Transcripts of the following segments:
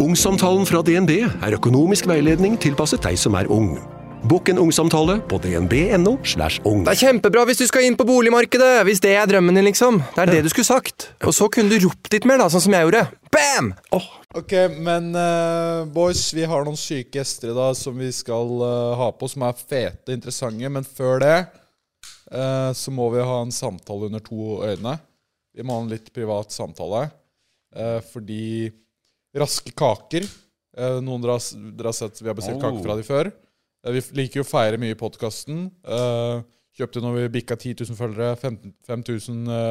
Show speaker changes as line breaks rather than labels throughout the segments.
Ungsamtalen fra DNB er økonomisk veiledning tilpasset deg som er ung. Bokk en ungsamtale på dnb.no. slash ung.
Det er kjempebra hvis du skal inn på boligmarkedet! Hvis det er drømmen din, liksom. Det er det du skulle sagt. Og så kunne du ropt litt mer, da, sånn som jeg gjorde. Bam! Åh,
Ok, men eh, boys, vi har noen syke gjester i dag som vi skal eh, ha på, som er fete, interessante. Men før det eh, så må vi ha en samtale under to øyne. Vi må ha en litt privat samtale. eh, fordi raske kaker eh, Noen dere har, s- dere har sett vi har bestilt kaker fra de før. Eh, vi f- liker jo å feire mye i podkasten. kjøpte når vi bikka 10 000 følgere, 15 5000 eh,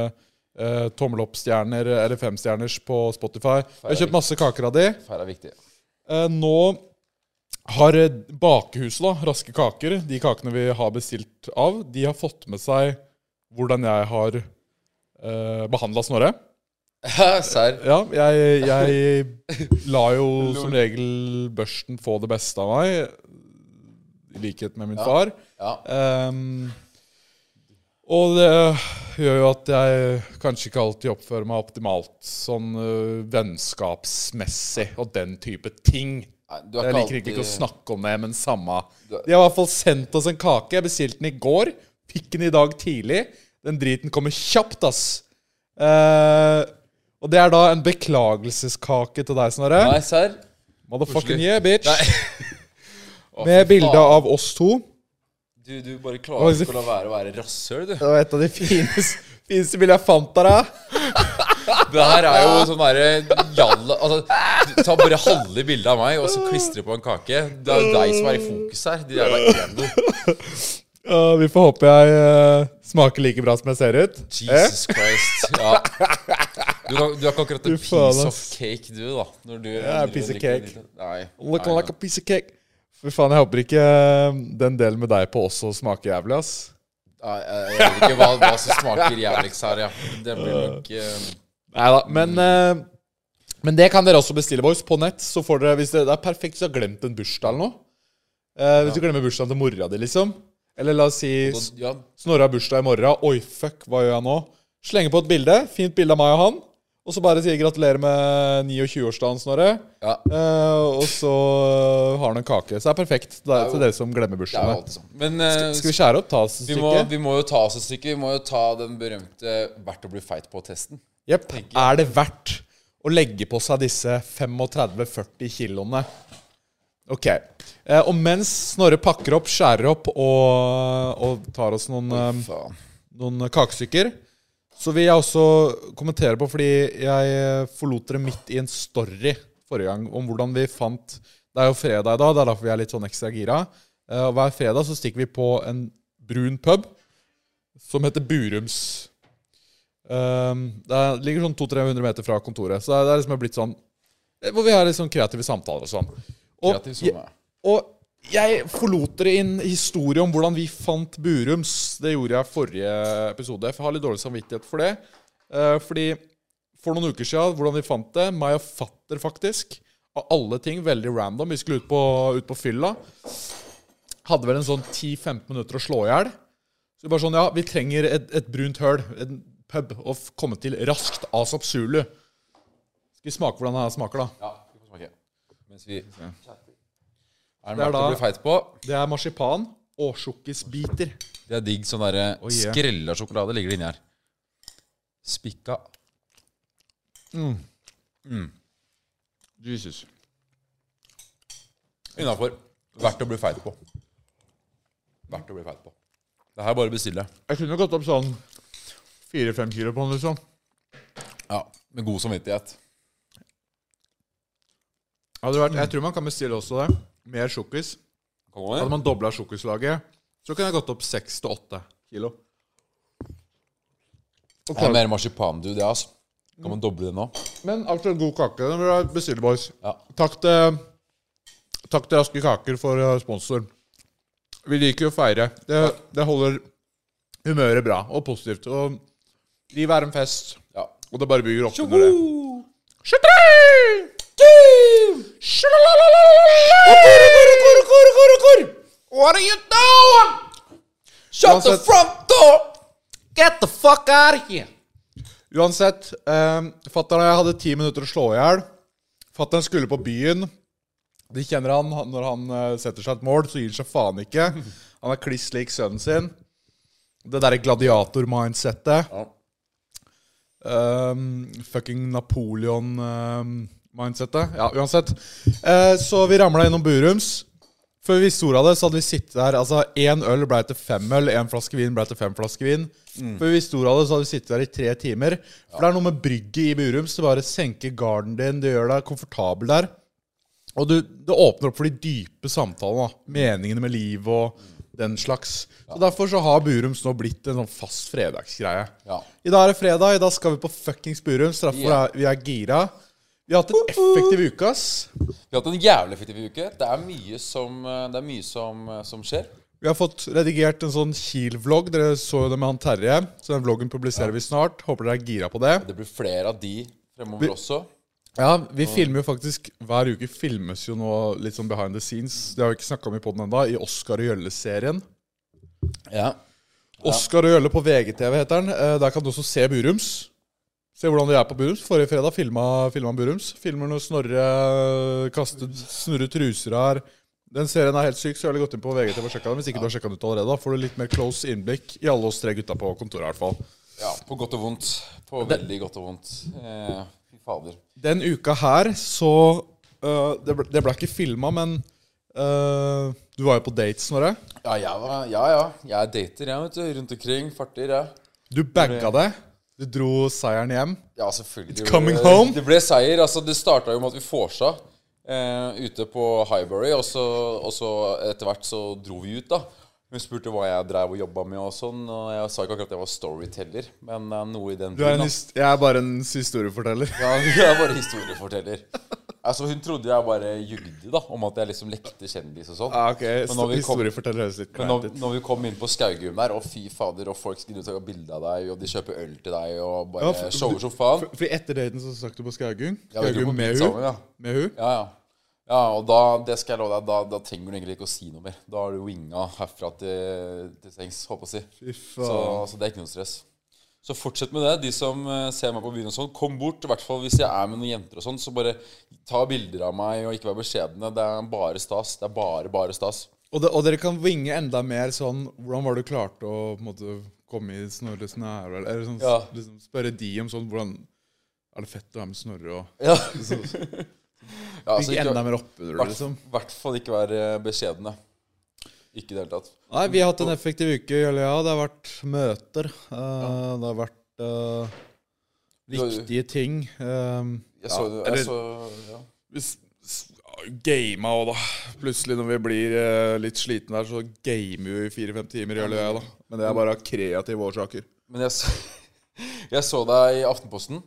eh, tommel opp-stjerner eller femstjerners på Spotify. Vi har kjøpt masse kaker av de.
Feil er viktig.
Eh, nå har eh, bakehuset, da, Raske Kaker, de kakene vi har bestilt av, de har fått med seg hvordan jeg har eh, behandla Snorre.
Serr?
Ja, jeg, jeg la jo som regel børsten få det beste av meg, i likhet med min far.
Ja.
Ehm, og det gjør jo at jeg kanskje ikke alltid oppfører meg optimalt sånn øh, vennskapsmessig og den type ting.
Nei, du er
Jeg
ikke
liker ikke
alltid-
å snakke om det, men samme.
Du er-
De har i hvert fall sendt oss en kake. Jeg bestilte den i går. Fikk den i dag tidlig. Den driten kommer kjapt, ass. Eh, og det er da en beklagelseskake til deg, Snorre.
Nei, serr?
Motherfucking
koselig.
yeah, bitch.
Å,
Med
fy
bilde
faen.
av oss to.
Du, du bare klarer
Oi,
ikke å la være å være rasshøl, du.
Det var et av de fineste, fineste bildene jeg fant av deg.
Det her er jo sånn derre jalla Altså, du tar bare halve bildet av meg, og så klistrer du på en kake. Det er jo deg som er i fokus her. De der emo.
Ja, vi får håpe jeg eh, smaker like bra som jeg ser ut. Eh?
Jesus Christ. Ja. Du, kan, du er ikke akkurat
Du
en
faen,
piece of
ass.
cake, du, da. Når du
er en piece of cake.
Nei.
Look
nei,
like
nei.
a piece of cake. Fy faen, jeg håper ikke eh, den delen med deg på også smaker jævlig, ass.
Nei, jeg jeg vet ikke hva, hva som smaker jævligst her, ja. Det blir nok eh,
Neida, men, eh, men det kan dere også bestille, boys, på nett. Så får dere, hvis det, det er perfekt hvis du har glemt en bursdag eller noe. Eh, hvis du glemmer bursdagen til mora di, liksom. Eller la oss si S-
Ja,
Snorre har bursdag i morgen. Oi, fuck, hva gjør jeg nå? Slenger på et bilde. Fint bilde av meg og han. Og så bare sier gratulerer med 29-årsdagen, Snorre.
ja.
Eh, og så har han en kake. Så det er perfekt det er, til dere som glemmer
Det er jo
bursdagene.
alltid sånn. Men eh,
Skal vi skjære opp, ta oss et
vi, må,
stykke?
vi må jo ta oss et stykke. Vi må jo ta den berømte 'verdt å bli feit på'-testen.
Jepp. Er det verdt å legge på seg disse 35-40 kiloene? Ok. Eh, og mens Snorre pakker opp, skjærer opp og, og tar oss noen, eh,
Faen.
noen kakestykker, så vil jeg også kommentere på, fordi jeg eh, forlot dere midt i en story forrige gang om hvordan vi fant Det er jo fredag i dag, det er derfor vi er litt sånn ekstra gira. Eh, Og hver fredag så stikker vi på en brun pub som heter Burums. Um, det er- ligger sånn 200-300 meter fra kontoret. Så det er, det er liksom blitt sånn eh, Hvor vi har litt sånn kreative samtaler og sånn. Og,
Kreativ som er.
og jeg forlot dere inn historie om hvordan vi fant Burums. Det gjorde jeg forrige episode. For jeg har litt dårlig samvittighet for det. Eh, fordi for noen uker siden, hvordan vi fant det Meg og fatter, faktisk. Av alle ting. Veldig random. Vi skulle ut på, ut på fylla. Hadde vel en sånn 10-15 minutter å slå i hjel. Så det er bare sånn, ja, vi trenger et, et brunt høl, en pub, å f- komme til raskt Asap Zulu. Skal vi smake hvordan det her smaker, da?
Ja, vi får smake. Mens vi Er den
Det er
verdt å
da-
bli feit på?
Det er marsipan og sjokkisbiter.
Det er digg sånn derre
Oi, ja.
skrella sjokolade ligger det inni her. Spikka.
Jesus.
Innafor. Verdt å bli feit på. Verdt å bli feit på. Det her er bare å bestille.
Jeg kunne gått opp sånn fire-fem kilo på den, liksom.
Ja, Med god samvittighet.
Hadde vært, jeg tror man kan bestille også det. Mer sjokkis.
Kan gå
Hadde
ned.
man dobla sjokkislaget, så kunne jeg gått opp seks til åtte kilo. Og
Det er
klar-
mer marsipan, du. Det, altså. Kan man doble det nå?
Men altså, god kake. Den vil jeg bestille, boys.
Ja.
Takk til, takk til Raske Kaker for eh, sponsor. Vi liker jo å feire. Det, det holder humøret bra og positivt. Og livet er en fest,
Ja.
og det bare bygger opp under det. Sjuttri! Sjalalala!
What are you doing? Shut
the
front door! Get the fuck out of here!
ehm, Uansett, eh, fatter'n og jeg hadde ti minutter å slå i hjel. Fatter'n skulle på byen. De kjenner han. han- Når han eh, setter seg et mål, så gir han seg faen ikke. Han er kliss lik sønnen sin. Det derre gladiator-mindsettet.
Ja.
Um, fucking Napoleon-mindsettet. ja, uansett. Eh, så vi ramla innom Burums. Før vi visste ordet av det, så hadde vi sittet der Altså, én øl ble til fem øl, én flaske vin ble til fem flasker vin.
Mm.
Før vi visste ordet av det, så hadde vi sittet der i tre timer. For det er noe med brygget i Burums. Det bare senker garden din, det gjør deg komfortabel der. Og du, det åpner opp for de dype samtalene. da. Meningene med livet og den slags. Så Derfor så har Burums nå blitt en sånn fast fredagsgreie.
Ja.
I dag er det fredag, i dag skal vi på fuckings Burums. Derfor
Ja.
er vi er gira. Vi har hatt en effektiv uke, ass.
Vi har hatt en jævlig effektiv uke. Det er mye som, eh, det er mye som, eh, som skjer.
Vi har fått redigert en sånn Kiel-vlogg. Dere så jo det med han Terje. Så den vloggen publiserer vi snart. Håper dere er gira på det.
Det blir flere av de fremover også.
Ja, vi filmer jo faktisk Hver uke filmes jo nå litt sånn behind the scenes. Det har vi ikke snakka om i poden ennå. I Oscar og Gjølle-serien.
Ja.
Oskar og Jølle på VGTV heter den. Eh, Der kan du også se Burums. Se hvordan de er på Burums. Forrige fredag filma, filma Burums. Filmer når Snorre kastet snurre truser her. Den serien er helt syk, så jeg har gått inn på VGTV og sjekka den. Hvis ikke du har sjekka den ut allerede, da får du litt mer close innblikk i alle oss tre gutta på kontoret. i hvert fall.
ja. På godt og vondt. På veldig godt og vondt. Eh, Fy fader.
Den uka her, så eh, Det ble, det ble ikke filma, men eh, du var jo på date, Snorre.
Ja, jeg var, ja, ja. Jeg dater, jeg, vet du. Rundt omkring. Farter, jeg.
Du bagga det. Du dro seieren hjem.
Ja, selvfølgelig.
It's coming
det,
home.
Det ble seier. altså Det starta jo med at vi vorsa eh, ute på Highbury, og så, og så etter hvert så dro vi ut, da. Hun spurte hva jeg drev og jobba med og sånn, og jeg sa ikke akkurat at jeg var storyteller, men eh, noe i den
Du er en,
duren, da.
his- jeg er bare en historieforteller.
Ja, jeg er bare historieforteller. Altså, hun trodde jeg bare ljugde, da, om at jeg liksom lekte kjendis og sånn.
Ja, Ah, ok.
Men når vi kom-
Historieforteller høres litt
Men når,
kleint ut.
når vi kom inn på Skaugum der, og fy fader, og folk skulle ta bilde av deg, og de kjøper øl til deg, og
Ja,
bare
for-
shower som faen.
For- Fordi etter daten så stakk du på Skaugum.
Ja, vi dro på
Skaugum med
bit
hun.
sammen, ja.
Med hun.
Ja, ja. Ja, og da, det skal jeg love deg, da, da trenger du egentlig ikke å si noe mer. Da har du winga herfra til, til sengs, håper jeg å si.
Fy
Så,
faen.
så det er ikke noe stress. Så fortsett med det. De som eh, ser meg på byen og sånn, kom bort. I hvert fall hvis jeg er med noen jenter og sånn, så bare ta bilder av meg og ikke vær beskjedne. Det er bare stas. Det er bare, bare stas.
Og, det, og dere kan vinge enda mer sånn Hvordan var det du klarte å på en måte, komme i Snorres nære? Eller sånn,
Ja.
liksom, spørre de om sånn Hvordan er det fett å være med Snorre? Og ja,
Ja, altså, ikke-
enda mer oppunder det,
hvert-
liksom.
hvert fall ikke vær eh, beskjedne. Ikke i det hele tatt.
Nei, vi har hatt en effektiv uke. Eller ja, det har vært møter. eh, Det har vært eh, viktige ting. eh,
Jeg så,
Ja,
jeg
eller-
så ja.
Vi s- s- Gama òg, da. Plutselig når vi blir eh, litt slitne der, så gamer vi i fire-fem timer, gjør jeg, da. Men det er bare av kreative årsaker.
Men jeg så, jeg så deg i Aftenposten.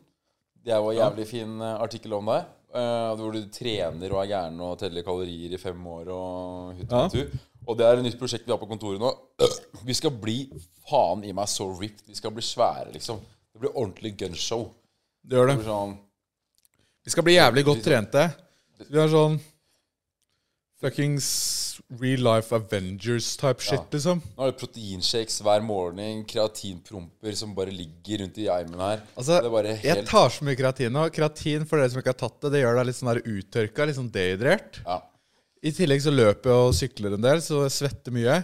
Det var en jævlig fin eh, artikkel om deg. eh, hvor du trener og er gæren og teller kalorier i fem år og hut og tur. Og det er et nytt prosjekt vi har på kontoret nå. Vi skal bli faen i meg så ripped. Vi skal bli svære, liksom. Det blir ordentlig gunshow.
Det gjør
Det
det.
blir sånn
Vi skal bli jævlig godt trente. Vi er sånn fuckings real life Avengers-type shit, liksom.
Nå er det proteinshakes hver morgen, kreatinpromper som bare ligger rundt i eimen her.
Altså,
det er bare
Jeg
helt
tar så mye kreatin nå. Kreatin, for dere som ikke har tatt det, det gjør deg litt sånn der uttørka, litt sånn dehydrert.
ja.
I tillegg så løper jeg og sykler en del, så jeg svetter mye.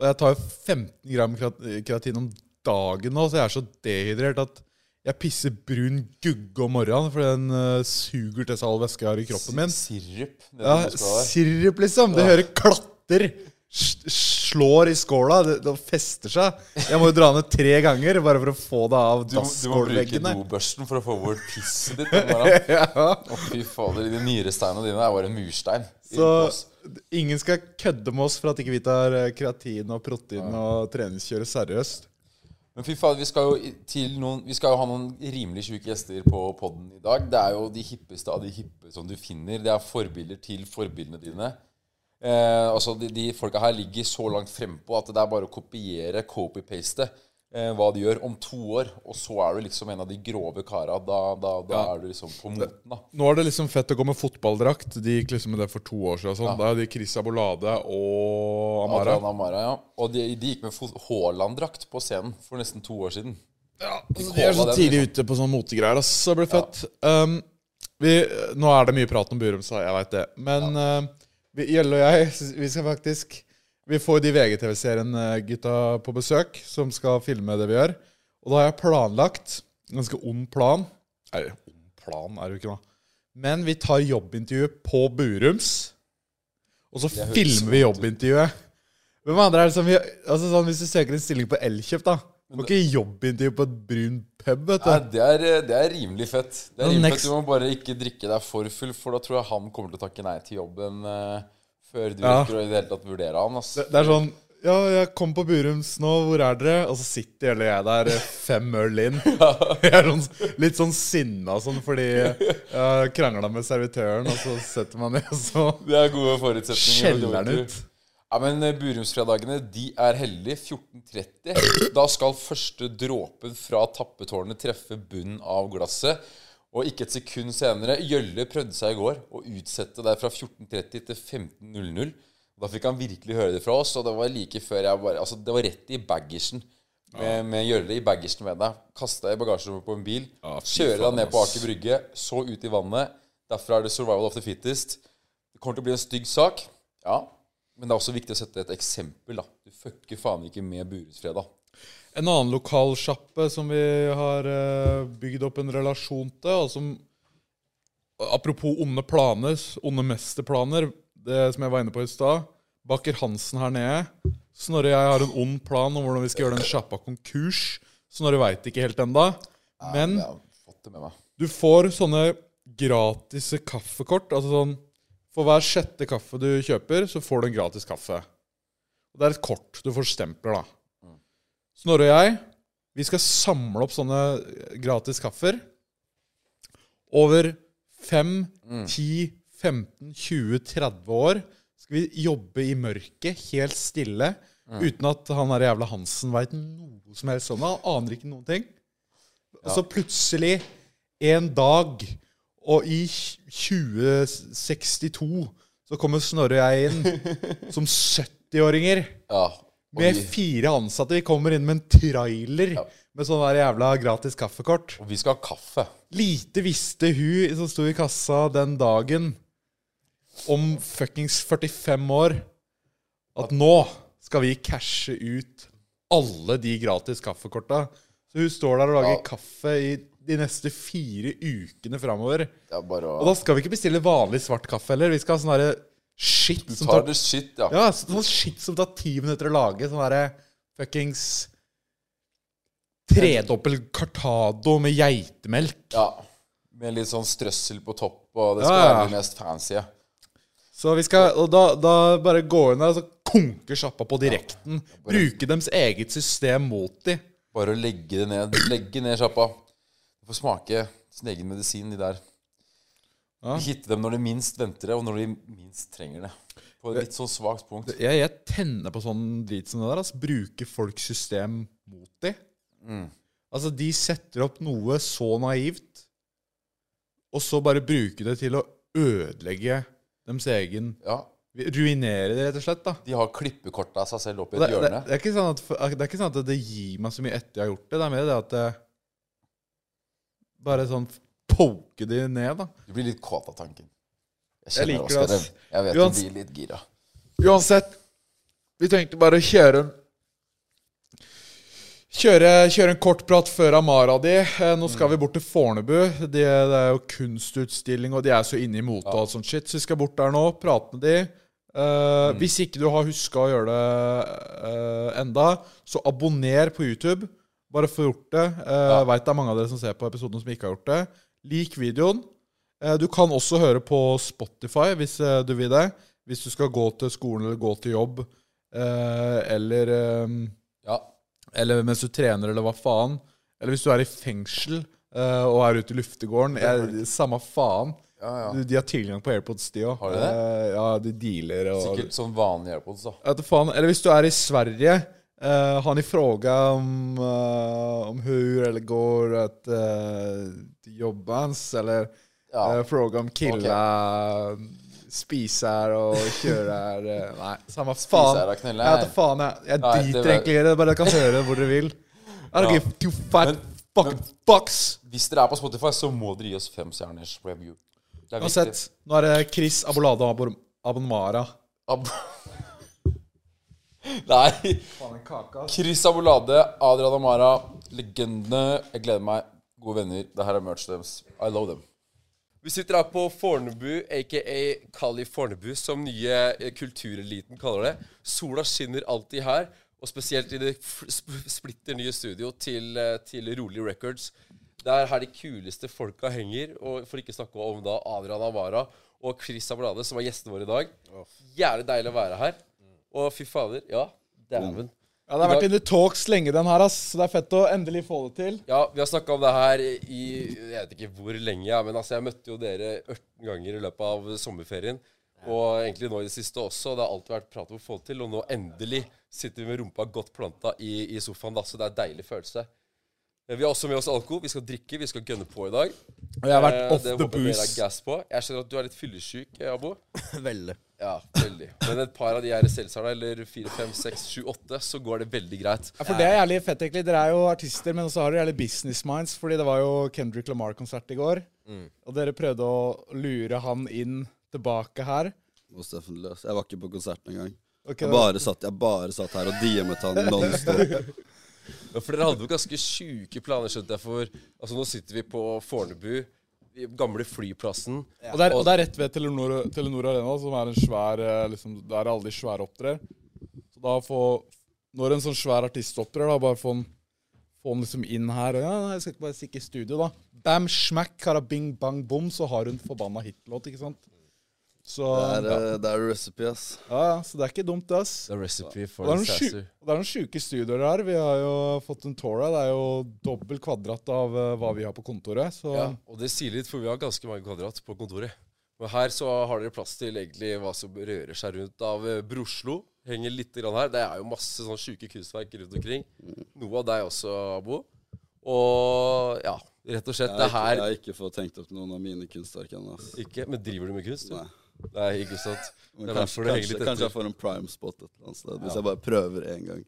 Og jeg tar jo 15 gram krat- kreatin om dagen nå, så jeg er så dehydrert at jeg pisser brun gugge om morgenen, for den eh, suger til seg all væske jeg har i kroppen min.
Sirup nedi
Ja,
muskelen der.
Sirup, liksom. Det hører klatter. s- Slår i skåla. Det, det fester seg. Jeg må jo dra ned tre ganger bare for å få det av
Du, du må bruke
dasskålveggene.
dobørsten for å få bort pisset ditt. den morgenen. Å, fy fader. De nyresteinene dine er bare en murstein.
Så ingen skal kødde med oss for at ikke vi tar eh, kreatin og protein og treningskjøret seriøst.
Men fy fader, vi skal, jo i- til noen, vi skal jo ha noen rimelig sjuke gjester på poden i dag. Det er jo de hippeste av de hippe som du finner. Det er forbilder til forbildene dine. Eh, altså, de, de folka her ligger så langt frempå at det er bare å kopiere, copy-paste. Eh, hva de gjør om to år, og så er du liksom en av de grove kara. Da, da, da er du liksom på moten, da.
Nå er det liksom fett å gå med fotballdrakt. De gikk liksom med det for to år siden. og Sånn. Da er de Chris Abolade og Amara.
Adrian Amara, ja. Og de, de gikk med fot- Haaland-drakt på scenen for nesten to år siden.
de er så tidlig ute på sånne motegreier. ass. Så det blir fett. Um, Vi, nå er det mye prat om Burum, så jeg veit det. Men eh, vi- Gjelle og jeg, vi skal faktisk Vi får de VGTV-serien eh, gutta på besøk, som skal filme det vi gjør. Og da har jeg planlagt en ganske ond plan. Er det ond plan? Er det jo ikke noe. Men vi tar jobbintervjuet på Burums, og så
høres
filmer vi jobbintervjuet. Hvem andre er det som vi, altså sånn, Hvis du søker en stilling på Elkjøp, da Du må ikke jobbintervju på et brun pub, vet du.
Nei, det, er, det er rimelig fett. Det er
Men
rimelig
next-
fett. Du må bare ikke drikke deg for full, for da tror jeg han kommer til å takke nei til jobben eh, før du
Ja.
rekker å i det hele tatt vurdere han. ass.
Det, det er sånn Ja, jeg kom på Burums nå, hvor er dere? Og så sitter hele jeg der eh, fem øl inn. Jeg er sånn, litt sånn sinna sånn fordi jeg har krangla med servitøren, og så setter man ned, og så
Det er gode forutsetninger.
skjeller han ut.
Ja, men eh, Burumsfredagene de er heldige. 14.30. Da skal første dråpen fra tappetårnet treffe bunnen av glasset. Og ikke et sekund senere Gjølle prøvde seg i går å utsette det fra 14.30 til 15.00. Da fikk han virkelig høre det fra oss, og det var like før jeg bare Altså, det var rett i baggersen. Med, med Gjølle i baggersen med deg. Kasta i bagasjerommet på en bil.
Ja, fy
kjører
faen,
deg ned på
ass.
Aker Brygge, så ut i vannet. Derfra er det 'survival of the fittest'. Det kommer til å bli en stygg sak. Ja. Men det er også viktig å sette et eksempel. da. Du fucker faen ikke med Burusfredag.
En annen lokalsjappe som vi har eh, bygd opp en relasjon til, og som Apropos onde planer, onde mesterplaner, det som jeg var inne på i stad. Baker Hansen her nede. Snorre og jeg har en ond plan om hvordan vi skal gjøre den sjappa konkurs. Snorre veit ikke helt ennå. Men
Jeg har fått det med meg.
du får sånne gratis kaffekort. Altså sånn For hver sjette kaffe du kjøper, så får du en gratis kaffe. Og det er et kort. Du får stempler, da. Snorre og jeg, vi skal samle opp sånne gratis kaffer. Over 5, 10, 15, 20, 30 år skal vi jobbe i mørket, helt stille, uten at han der jævla Hansen veit noe som helst om det. Han aner ikke noen ting. Og så plutselig, en dag, og i 2062, så kommer Snorre og jeg inn som 70-åringer.
Ja. og
Med
vi,
fire ansatte. Vi kommer inn med en trailer
Ja.
med sånn der jævla gratis kaffekort.
og vi skal ha kaffe.
Lite visste hun som sto i kassa den dagen, om fuckings 45 år, at nå skal vi cashe ut alle de gratis kaffekorta. Så hun står der og lager
Ja.
kaffe i de neste fire ukene framover.
Det er bare
Og
å
da skal vi ikke bestille vanlig svart kaffe heller. Vi skal ha sånn derre shit
Du
som
tar
tar
det shit, ja.
ja, så- sånn shit som tar ti minutter å lage. Sånn derre fuckings Tredobbel cartado med geitemelk.
ja. Med litt sånn strøssel på topp, og det
Ja,
skal
ja.
være det mest fancy. ja.
Så vi skal Og da, da bare gå inn der og så konke sjappa på direkten. Bruke deres eget system mot de.
Bare å legge det ned. Legge ned sjappa. Du får smake sin egen medisin, de der.
Ja.
Hitte dem når de minst venter det, og når de minst trenger det. På et litt sånn svakt punkt.
Jeg, jeg tenner på sånn drit som det der. Altså, bruke folks system mot de. Altså, de setter opp noe så naivt, og så bare bruke det til å ødelegge deres egen
Ja.
Ruinere det, rett og slett. da
De har klippekortet av seg selv opp i
Det,
et
det,
hjørne.
det, er ikke sånn at, det er ikke sånn at det gir meg så mye etter jeg har gjort det. Det er mer det at det, Bare sånn poke de ned, da.
Du blir litt kåt av tanken. Jeg,
Jeg
kjenner
liker det,
Oskar.
ass.
Jeg vet
Uans-
du blir litt gira.
Uansett, vi tenkte bare å kjøre en Kjøre, kjøre en kort prat før Amara di. Eh, Nå skal vi bort til Fornebu. De, det er jo kunstutstilling, og de er så inne i motet og alt sånt shit. Så vi skal bort der nå, prate med de. Eh, Hvis ikke du har huska å gjøre det eh, enda, så abonner på YouTube. Bare få gjort det. Eh, Veit det er mange av dere som ser på episoden som ikke har gjort det. Lik videoen. Eh, Du kan også høre på Spotify hvis eh, du vil det. Hvis du skal gå til skolen eller gå til jobb, eh, eller, eh,
Ja.
eller mens du trener eller hva faen. Eller hvis du er i fengsel eh, og er ute i luftegården. Jeg, samme faen.
Ja, ja.
Du, de har tilgang på AirPods, de òg.
Har de det?
ja, de dealer og
Sikkert sånn vanlig AirPods, da.
Jeg vet da faen. Eller hvis du er i Sverige. Uh, har ni fråga om, eh, om hur eller går att uh, jobba ens? Eller
Ja.
Eh, Fråga om killar spisar och körar eh, Nej, samma
Spisar
fan.
och knullar.
Jag vet inte fan, jag, jag
Nej, det
driter
var-
egentligen i det. Bara jag kan höra det vad du vill. I don't
Ja.
give two fat
Men-
fucking bucks.
Hvis dere er på Spotify, så må dere gi oss fem stjerners review.
Det er viktig.
Uansett, nå er det Chris Abolada Abor- Abonmara.
Ab Nei. Chris Abolade, Adrian Amara, legendene. Jeg gleder meg. Gode venner. Det her er merch deres. I love them.
Vi sitter her på Fornebu, aka Kali Fornebu, som nye eh, kultureliten kaller det. Sola skinner alltid her, og spesielt i det f- sp- splitter nye studio til, eh, til Rolig Records. Det er her de kuleste folka henger, og for ikke snakke om da Adrian Amara og Chris Ablade, som er gjestene våre i dag. Jævlig deilig å være her. Og fy fader, ja. Dæven.
Ja, Det har vært in the talks lenge, den her. ass Så det er fett å endelig få det til.
Ja, vi har snakka om det her i jeg vet ikke hvor lenge, ja, men altså, jeg møtte jo dere 18 ganger i løpet av sommerferien. Og egentlig nå i det siste også. Det har alltid vært prat om å få det til, og nå endelig sitter vi med rumpa godt planta i, i sofaen, da, så det er en deilig følelse. Eh, Vi har også med oss alko. Vi skal drikke, vi skal gønne på i dag.
Og jeg har vært
Eh,
off
det
the
håper jeg dere har
booze.
gass på. Jeg skjønner at du er litt fyllesyk, eh, Abo.
Veldig.
Ja, veldig. Men et par av de her seltzerne, eller 4, 5, 6, 7, 8, så går det veldig greit.
Ja, for det er jævlig fett, egentlig. Dere er jo artister, men også har dere jævlig business minds. Fordi det var jo Kendrick Lamar-konsert i går.
Mm.
Og dere prøvde å lure han inn tilbake her.
Hos Steffen Løs. Jeg var ikke på konserten engang.
Ok,
Jeg
da-
bare satt, jeg bare satt her og DM-et han nonstop.
Ja, for dere hadde jo ganske sjuke planer, skjønte jeg, for altså, nå sitter vi på Fornebu, i gamle flyplassen.
Og det, er, og det er rett ved Telenor, Telenor Arena, som er en svær eh, liksom, Der alle de svære opptrer. Så da få Når en sånn svær artist opptrer, da, bare få han få han liksom inn her og ja, nei, 'Jeg skal ikke bare stikke i studio', da. Bam, smack, karabing, bang, bom, så har hun forbanna hitlåt, ikke sant? Så
Det er,
ja.
eh, det er recipe, ass.
ja, så det er ikke dumt, det, ass.
The recipe
Og
for
det er noen
disaster.
sju- og det er noen sjuke studioer her. Vi har jo fått en tour her. Det er jo dobbel kvadrat av eh, hva vi har på kontoret. Så
Ja, og det sier litt, for vi har ganske mange kvadrat på kontoret. Men her så har dere plass til egentlig hva som rører seg rundt av eh, Broslo. Henger litt grann her. Det er jo masse sånn sjuke kunstverk rundt omkring. Noe av deg også, Abo. Og ja, rett og slett,
Jeg
det her
har ikke- jeg har ikke fått tenkt opp noen av mine kunstverk ennå, ass.
ikke Men driver du med kunst? du?
Nei.
Nei, ikke sant?
Men
Det er
kanskje,
derfor det henger
kanskje,
litt
kanskje
etter.
jeg får en prime spot et eller annet sted, hvis jeg bare prøver én gang.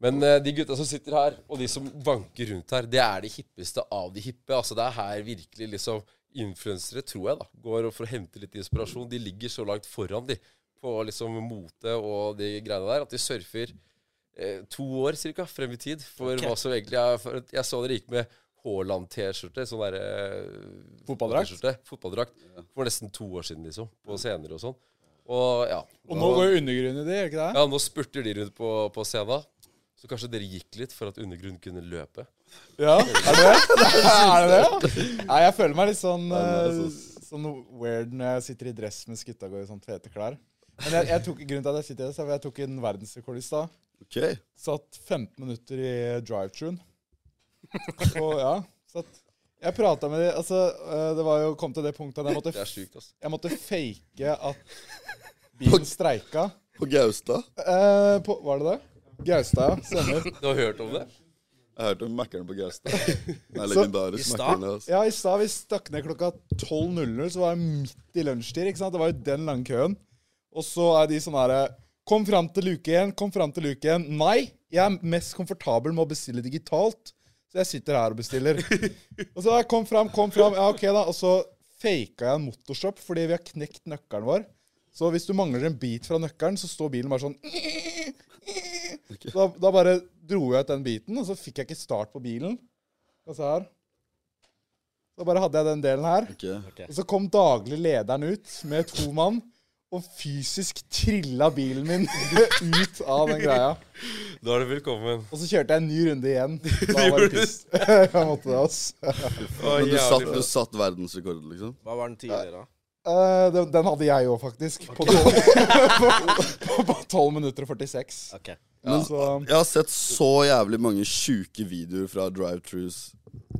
Men eh, de gutta som sitter her, og de som vanker rundt her, det er de hippeste av de hippe. Altså Det er her virkelig liksom influensere, tror jeg, da, går og for å hente litt inspirasjon. De ligger så langt foran, de, på liksom mote og de greiene der, at de surfer eh, to år cirka frem i tid for hva som egentlig er for, at Jeg så dere gikk med Haaland-T-skjorte, sånn derre
Fotballdrakt?
Fotballdrakt. For nesten to år siden, liksom. På scener og sånn. Og ja.
Og nå går jo undergrunnen i det, gjør ikke det?
Ja, nå spurter de rundt på, på scenen. Så kanskje dere gikk litt for at undergrunnen kunne løpe.
Ja, er det det? er det det? Nei, jeg føler meg litt sånn,
er
eh,
sånn.
sånn weird når jeg sitter i dress mens gutta går i sånn fete klær. Men jeg, jeg tok, grunnen til at jeg sitter i dress, er fordi jeg tok en verdensrekord i stad.
Ok,
Satt 15 minutter i drive-tune. Og ja, satt Jeg prata med de Altså, eh, det var jo kom til det punktet at jeg måtte,
Det er sjukt, altså.
jeg måtte fake at bilen streika.
På Gaustad?
Eh, på, var det det? Gaustad, ja. Stemmer.
Du har hørt om det?
Jeg hørte om Mækkern på Gaustad. Det er legendarisk Mækkern. ass.
Ja, i stad vi stakk ned klokka 12.00, så var jeg midt i lunsjtid. ikke sant? Det var jo den lange køen. Og så er de sånn herre Kom fram til luke én, kom fram til luke én. Nei, jeg er mest komfortabel med å bestille digitalt, så jeg sitter her og bestiller. og så jeg kom fram, kom fram. Ja, ok, da. Og så faka jeg en motorstopp fordi vi har knekt nøkkelen vår. Så hvis du mangler en bit fra nøkkelen, så står bilen bare sånn da, da bare dro jeg ut den biten, og så fikk jeg ikke start på bilen. Og så her. Da bare hadde jeg den delen her.
Ok.
Og så kom daglig lederen ut med to mann og fysisk trilla bilen min ut av den greia.
Da er du velkommen.
Og så kjørte jeg en ny runde igjen. Da var det piss. jeg måtte det, ass.
Men du satt, du satt verdensrekord, liksom?
Hva var den tidligere, da?
Eh, den, den hadde jeg òg, faktisk. På 12, på, på 12 minutter og 46.
Ok.
Men
Så
jeg har sett så jævlig mange sjuke videoer fra drive-trues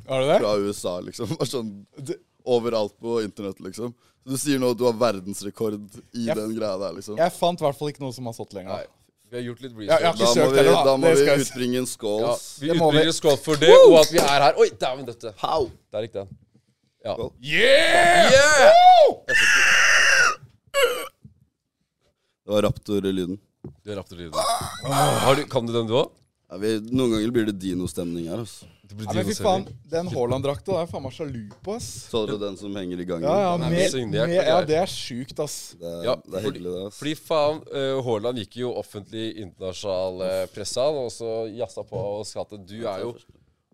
Har du det?
fra USA, liksom. Bare sånn
Det-
overalt på internett, liksom. Så du sier nå at du har verdensrekord i
Jeg-
den greia der, liksom.
Jeg fant i hvert fall ikke noe som har stått lenger. da.
Nei. Vi har gjort litt
Ja, ja.
research.
Da må
søkt
vi,
heller, da.
da må
Det skal
vi
jeg si.
utbringe en skål.
Ja,
ass.
vi
Det må vi.
utbygger skål for det, og at vi er her. Oi, dæven døtte. Der gikk den. Ja.
Skål.
Yeah! yeah!
Det var raptor-lyden.
Du har raptor lyden. Har du, kan du den, du òg?
Ja, vi, noen ganger blir det dinostemning her, altså.
Nei, men fy faen, den Haaland-drakta der er jeg faen meg sjalu på, ass.
Så er det den som henger i gangen.
Ja, ja,
Den er
med,
signert,
med,
det er.
ja det er sjukt, ass.
Det, er,
Ja,
det er
fordi-
hyggelig, det. ass.
Fordi faen, eh, Haaland gikk jo offentlig i internasjonal uh, presse, han, og så jazza på og sa at du er jo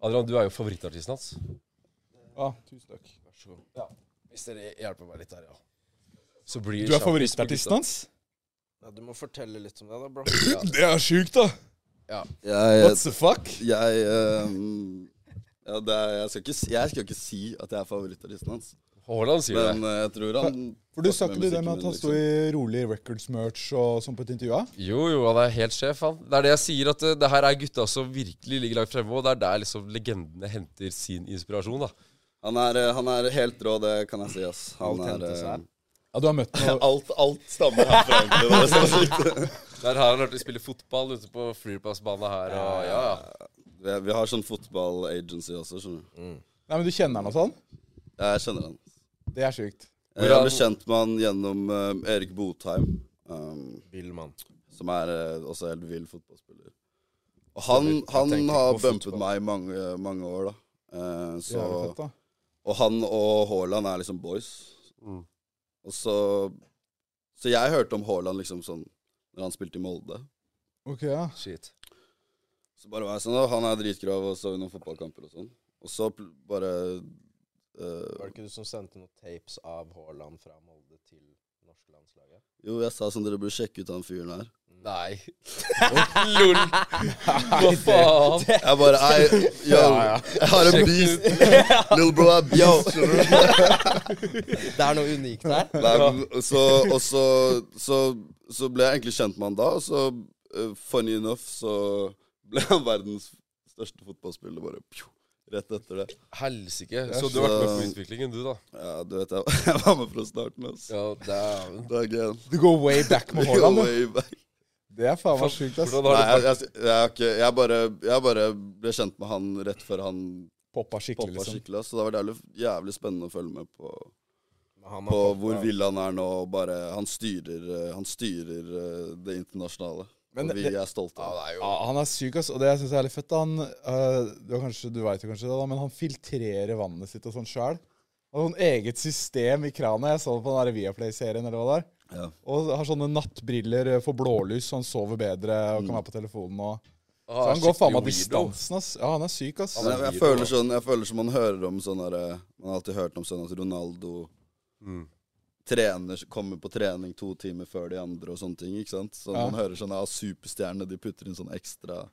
Adrian, du er jo favorittartisten hans.
Ja, tusen takk.
Ja. Hvis dere hjelper meg litt her, ja. Så blir
Du er favorittartisten hans?
Ja, du må fortelle litt om det, da, bro.
Det er sjukt, da.
Jeg,
What the fuck?
jeg, ehm, ja, det er, jeg, skal ikke, si- jeg skal ikke si at jeg er favorittartisten hans,
Haaland sier
men eh, jeg tror han
For du sa ikke
fucker med
du det med
musikken
at han
min,
sto
liksom.
i rolig records-merch og sånn på et intervju? ja?
det. Jo, jo, han er helt sjef, han. Det er det jeg sier, at eh, det her er gutta som virkelig ligger langt fremme, og det er der liksom legendene henter sin inspirasjon, da.
Han er, eh, han er helt rå, det kan jeg si, ass. Han er eh,
Ja, du har møtt noe
Alt, alt stammer herfra, egentlig. Det er så sykt.
Der har han hørt de spille fotball ute på flyplassbanen her, og ja, ja.
Vi, vi har sånn fotball-agency også, skjønner du.
Nei, men du kjenner han og sånn?
Jeg kjenner han.
Det er sjukt.
Jeg
Hvordan-
ble kjent med han gjennom eh, Erik Botheim, um,
Vill mann.
som er eh, også helt vill fotballspiller. Og han, han
tenker
har
på
bumpet
fotball.
meg i mange, mange år, da. Eh,
Det
så,
er jo fett, da.
og han og Haaland er liksom boys. Og så Så jeg hørte om Haaland liksom sånn når han spilte i Molde.
Ok, ja.
Shit.
Så bare var jeg sånn, «Å, han er dritgrav, og så vi noen fotballkamper og sånn. Og så pl- bare eh,
Var det ikke du som sendte noen tapes av Haaland fra Molde til norske landslaget?
Jo, jeg sa sånn, dere burde sjekke ut han fyren her.
Nei. Lol. Hva faen?
Jeg bare ei, yo, jeg har en beast. Little bro, jeg yo.
Det er noe unikt der.
Nei, men så, og så, så, så ble jeg egentlig kjent med han da, og så, eh, funny enough, så ble han verdens største fotballspiller, bare pjo, rett etter det.
Helsike. Så du har vært med på utviklingen, du, da?
Ja, du vet, jeg, jeg var med fra starten, altså.
Ja, dæven.
Det er gøy.
Du går way back med Haaland, du.
Way back.
Det er faen meg sjukt, ass.
Hvordan
Nei,
har du
jeg, jeg, jeg, har ikke- jeg, bare, jeg bare ble kjent med han rett før han
Poppa skikkelig,
poppa
liksom.
skikkelig, ass, så det var jævlig, jævlig spennende å følge med på.
Men han
på
har
hvor vill han er nå. og Bare, han styrer, eh, han styrer eh, det internasjonale.
Men
og vi
det-
er stolte av det.
Ja, han er syk, ass. Og det jeg synes er litt fett, da, han eh, du, har kanskje, du vet jo kanskje det, da, men han filtrerer vannet sitt og sånn sjæl. Han har sånn eget system i krana. Jeg så det på den der Viaplay-serien eller hva det er.
Ja.
Og har sånne nattbriller eh, for blålys, så han sover bedre og kan være på telefonen og Så
ah,
han går faen meg
skikkelig weirdo.
distansen, ass. Ja, han er syk, ass.
Men jeg, jeg, føler sånn, jeg føler som man hører om sånn derre Man har alltid hørt om sånn at Ronaldo trener, kommer på trening to timer før de andre og sånne ting. ikke sant? Så
Ja.
Man hører sånn av superstjernene de putter inn sånn ekstra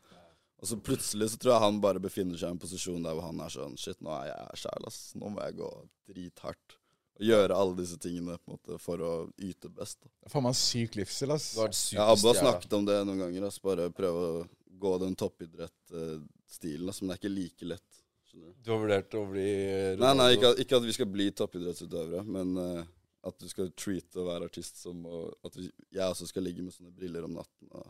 Og så plutselig så tror jeg han bare befinner seg i en posisjon der hvor han er sånn Shit, nå er jeg sjæl, ass. Nå må jeg gå drithardt. Og gjøre alle disse tingene på en måte for å yte best. da.
Faen meg en syk livsstil, ass.
Du har en
Ja, Abba har
superstjerne.
snakket om det noen ganger. Altså bare prøve å gå den toppidrettsstilen. Altså, men det er ikke like lett. Skjønner du?
Du har vurdert å bli eh,
Nei, nei, ikke, at- ikke at vi skal bli toppidrettsutøvere, men eh, at du skal treate å være artist som og At vi, jeg også skal ligge med sånne briller om natten og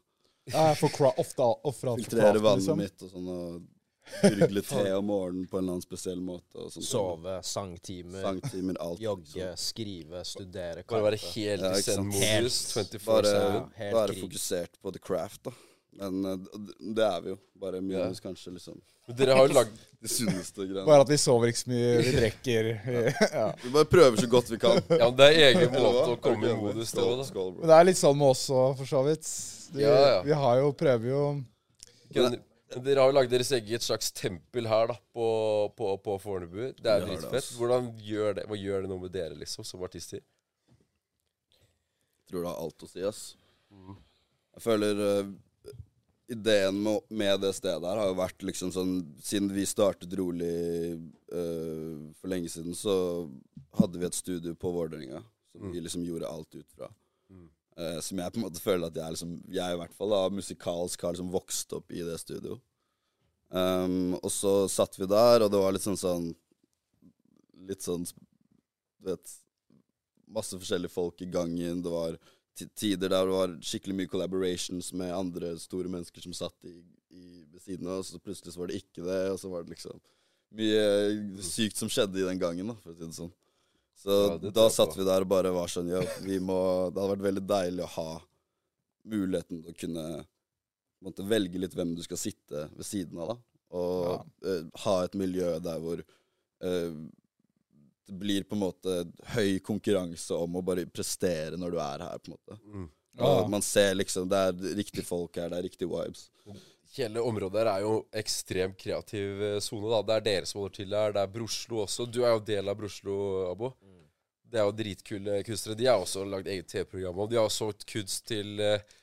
Ja, jeg får cra- ofte al- ofra alt for
filtrere
kraften,
vannet
liksom.
mitt og sånn og gurgle te om morgenen på en eller annen spesiell måte og sånn.
Sove, sangtimer,
Sangtimer, alt. liksom.
jogge, skrive, studere,
Bare være
kampe.
helt
Ja,
i
ikke sant.
zen-modus.
Bare,
24-7.
helt
bare
krig.
fokusert på the craft, da. Men eh, d- det er vi jo. Bare minus kanskje liksom
Men Dere har jo lagd
de sunneste greiene.
Bare at vi sover ikke så mye, vi drikker ja.
Vi bare prøver så godt vi kan.
Ja, men det er egen måte å komme i modus på. da.
Skål,
Men det er litt sånn med oss òg, for så vidt. De,
Ja, ja.
Vi har jo, prøver jo
Men men Dere har jo lagd deres eget slags tempel her da, på, på, på Fornebu. Det er
Vi har det,
dritfett.
ass.
Hvordan gjør det, hva gjør det noe med dere liksom, som artister?
tror det har alt å si, ass. Jeg føler eh, ideen med, med det stedet her har jo vært liksom sånn Siden vi startet rolig eh, for lenge siden, så hadde vi et studio på Vålerenga som vi liksom gjorde alt ut fra. Eh, som jeg på en måte føler at jeg liksom Jeg i hvert fall da, musikalsk har liksom vokst opp i det studio. Um, og så satt vi der, og det var litt sånn sånn Litt sånn Du vet masse forskjellige folk i gangen. Det var ti- tider der det var skikkelig mye collaborations med andre store mennesker som satt i, i, ved siden av oss, og så plutselig så var det ikke det, og så var det liksom mye sykt som skjedde i den gangen, da, for å si det sånn. Så
Ja, det tror
da
jeg
satt
på.
vi der og bare var sånn, ja, vi må Det hadde vært veldig deilig å ha muligheten til å kunne måtte velge litt hvem du skal sitte ved siden av, da. Og eh, ha et miljø der hvor eh, det blir på en måte høy konkurranse om å bare prestere når du er her, på en måte.
Mm.
Ja.
Og man ser liksom Det er riktige folk her, det er riktige vibes.
Hele området her er jo ekstremt kreativ eh, sone. da. Det er dere som holder til her. Det er Broslo også. Du er jo del av Broslo, Abo. Det er jo dritkule kunstnere. De har også lagd eget TV-program. Og de har solgt kunst til eh,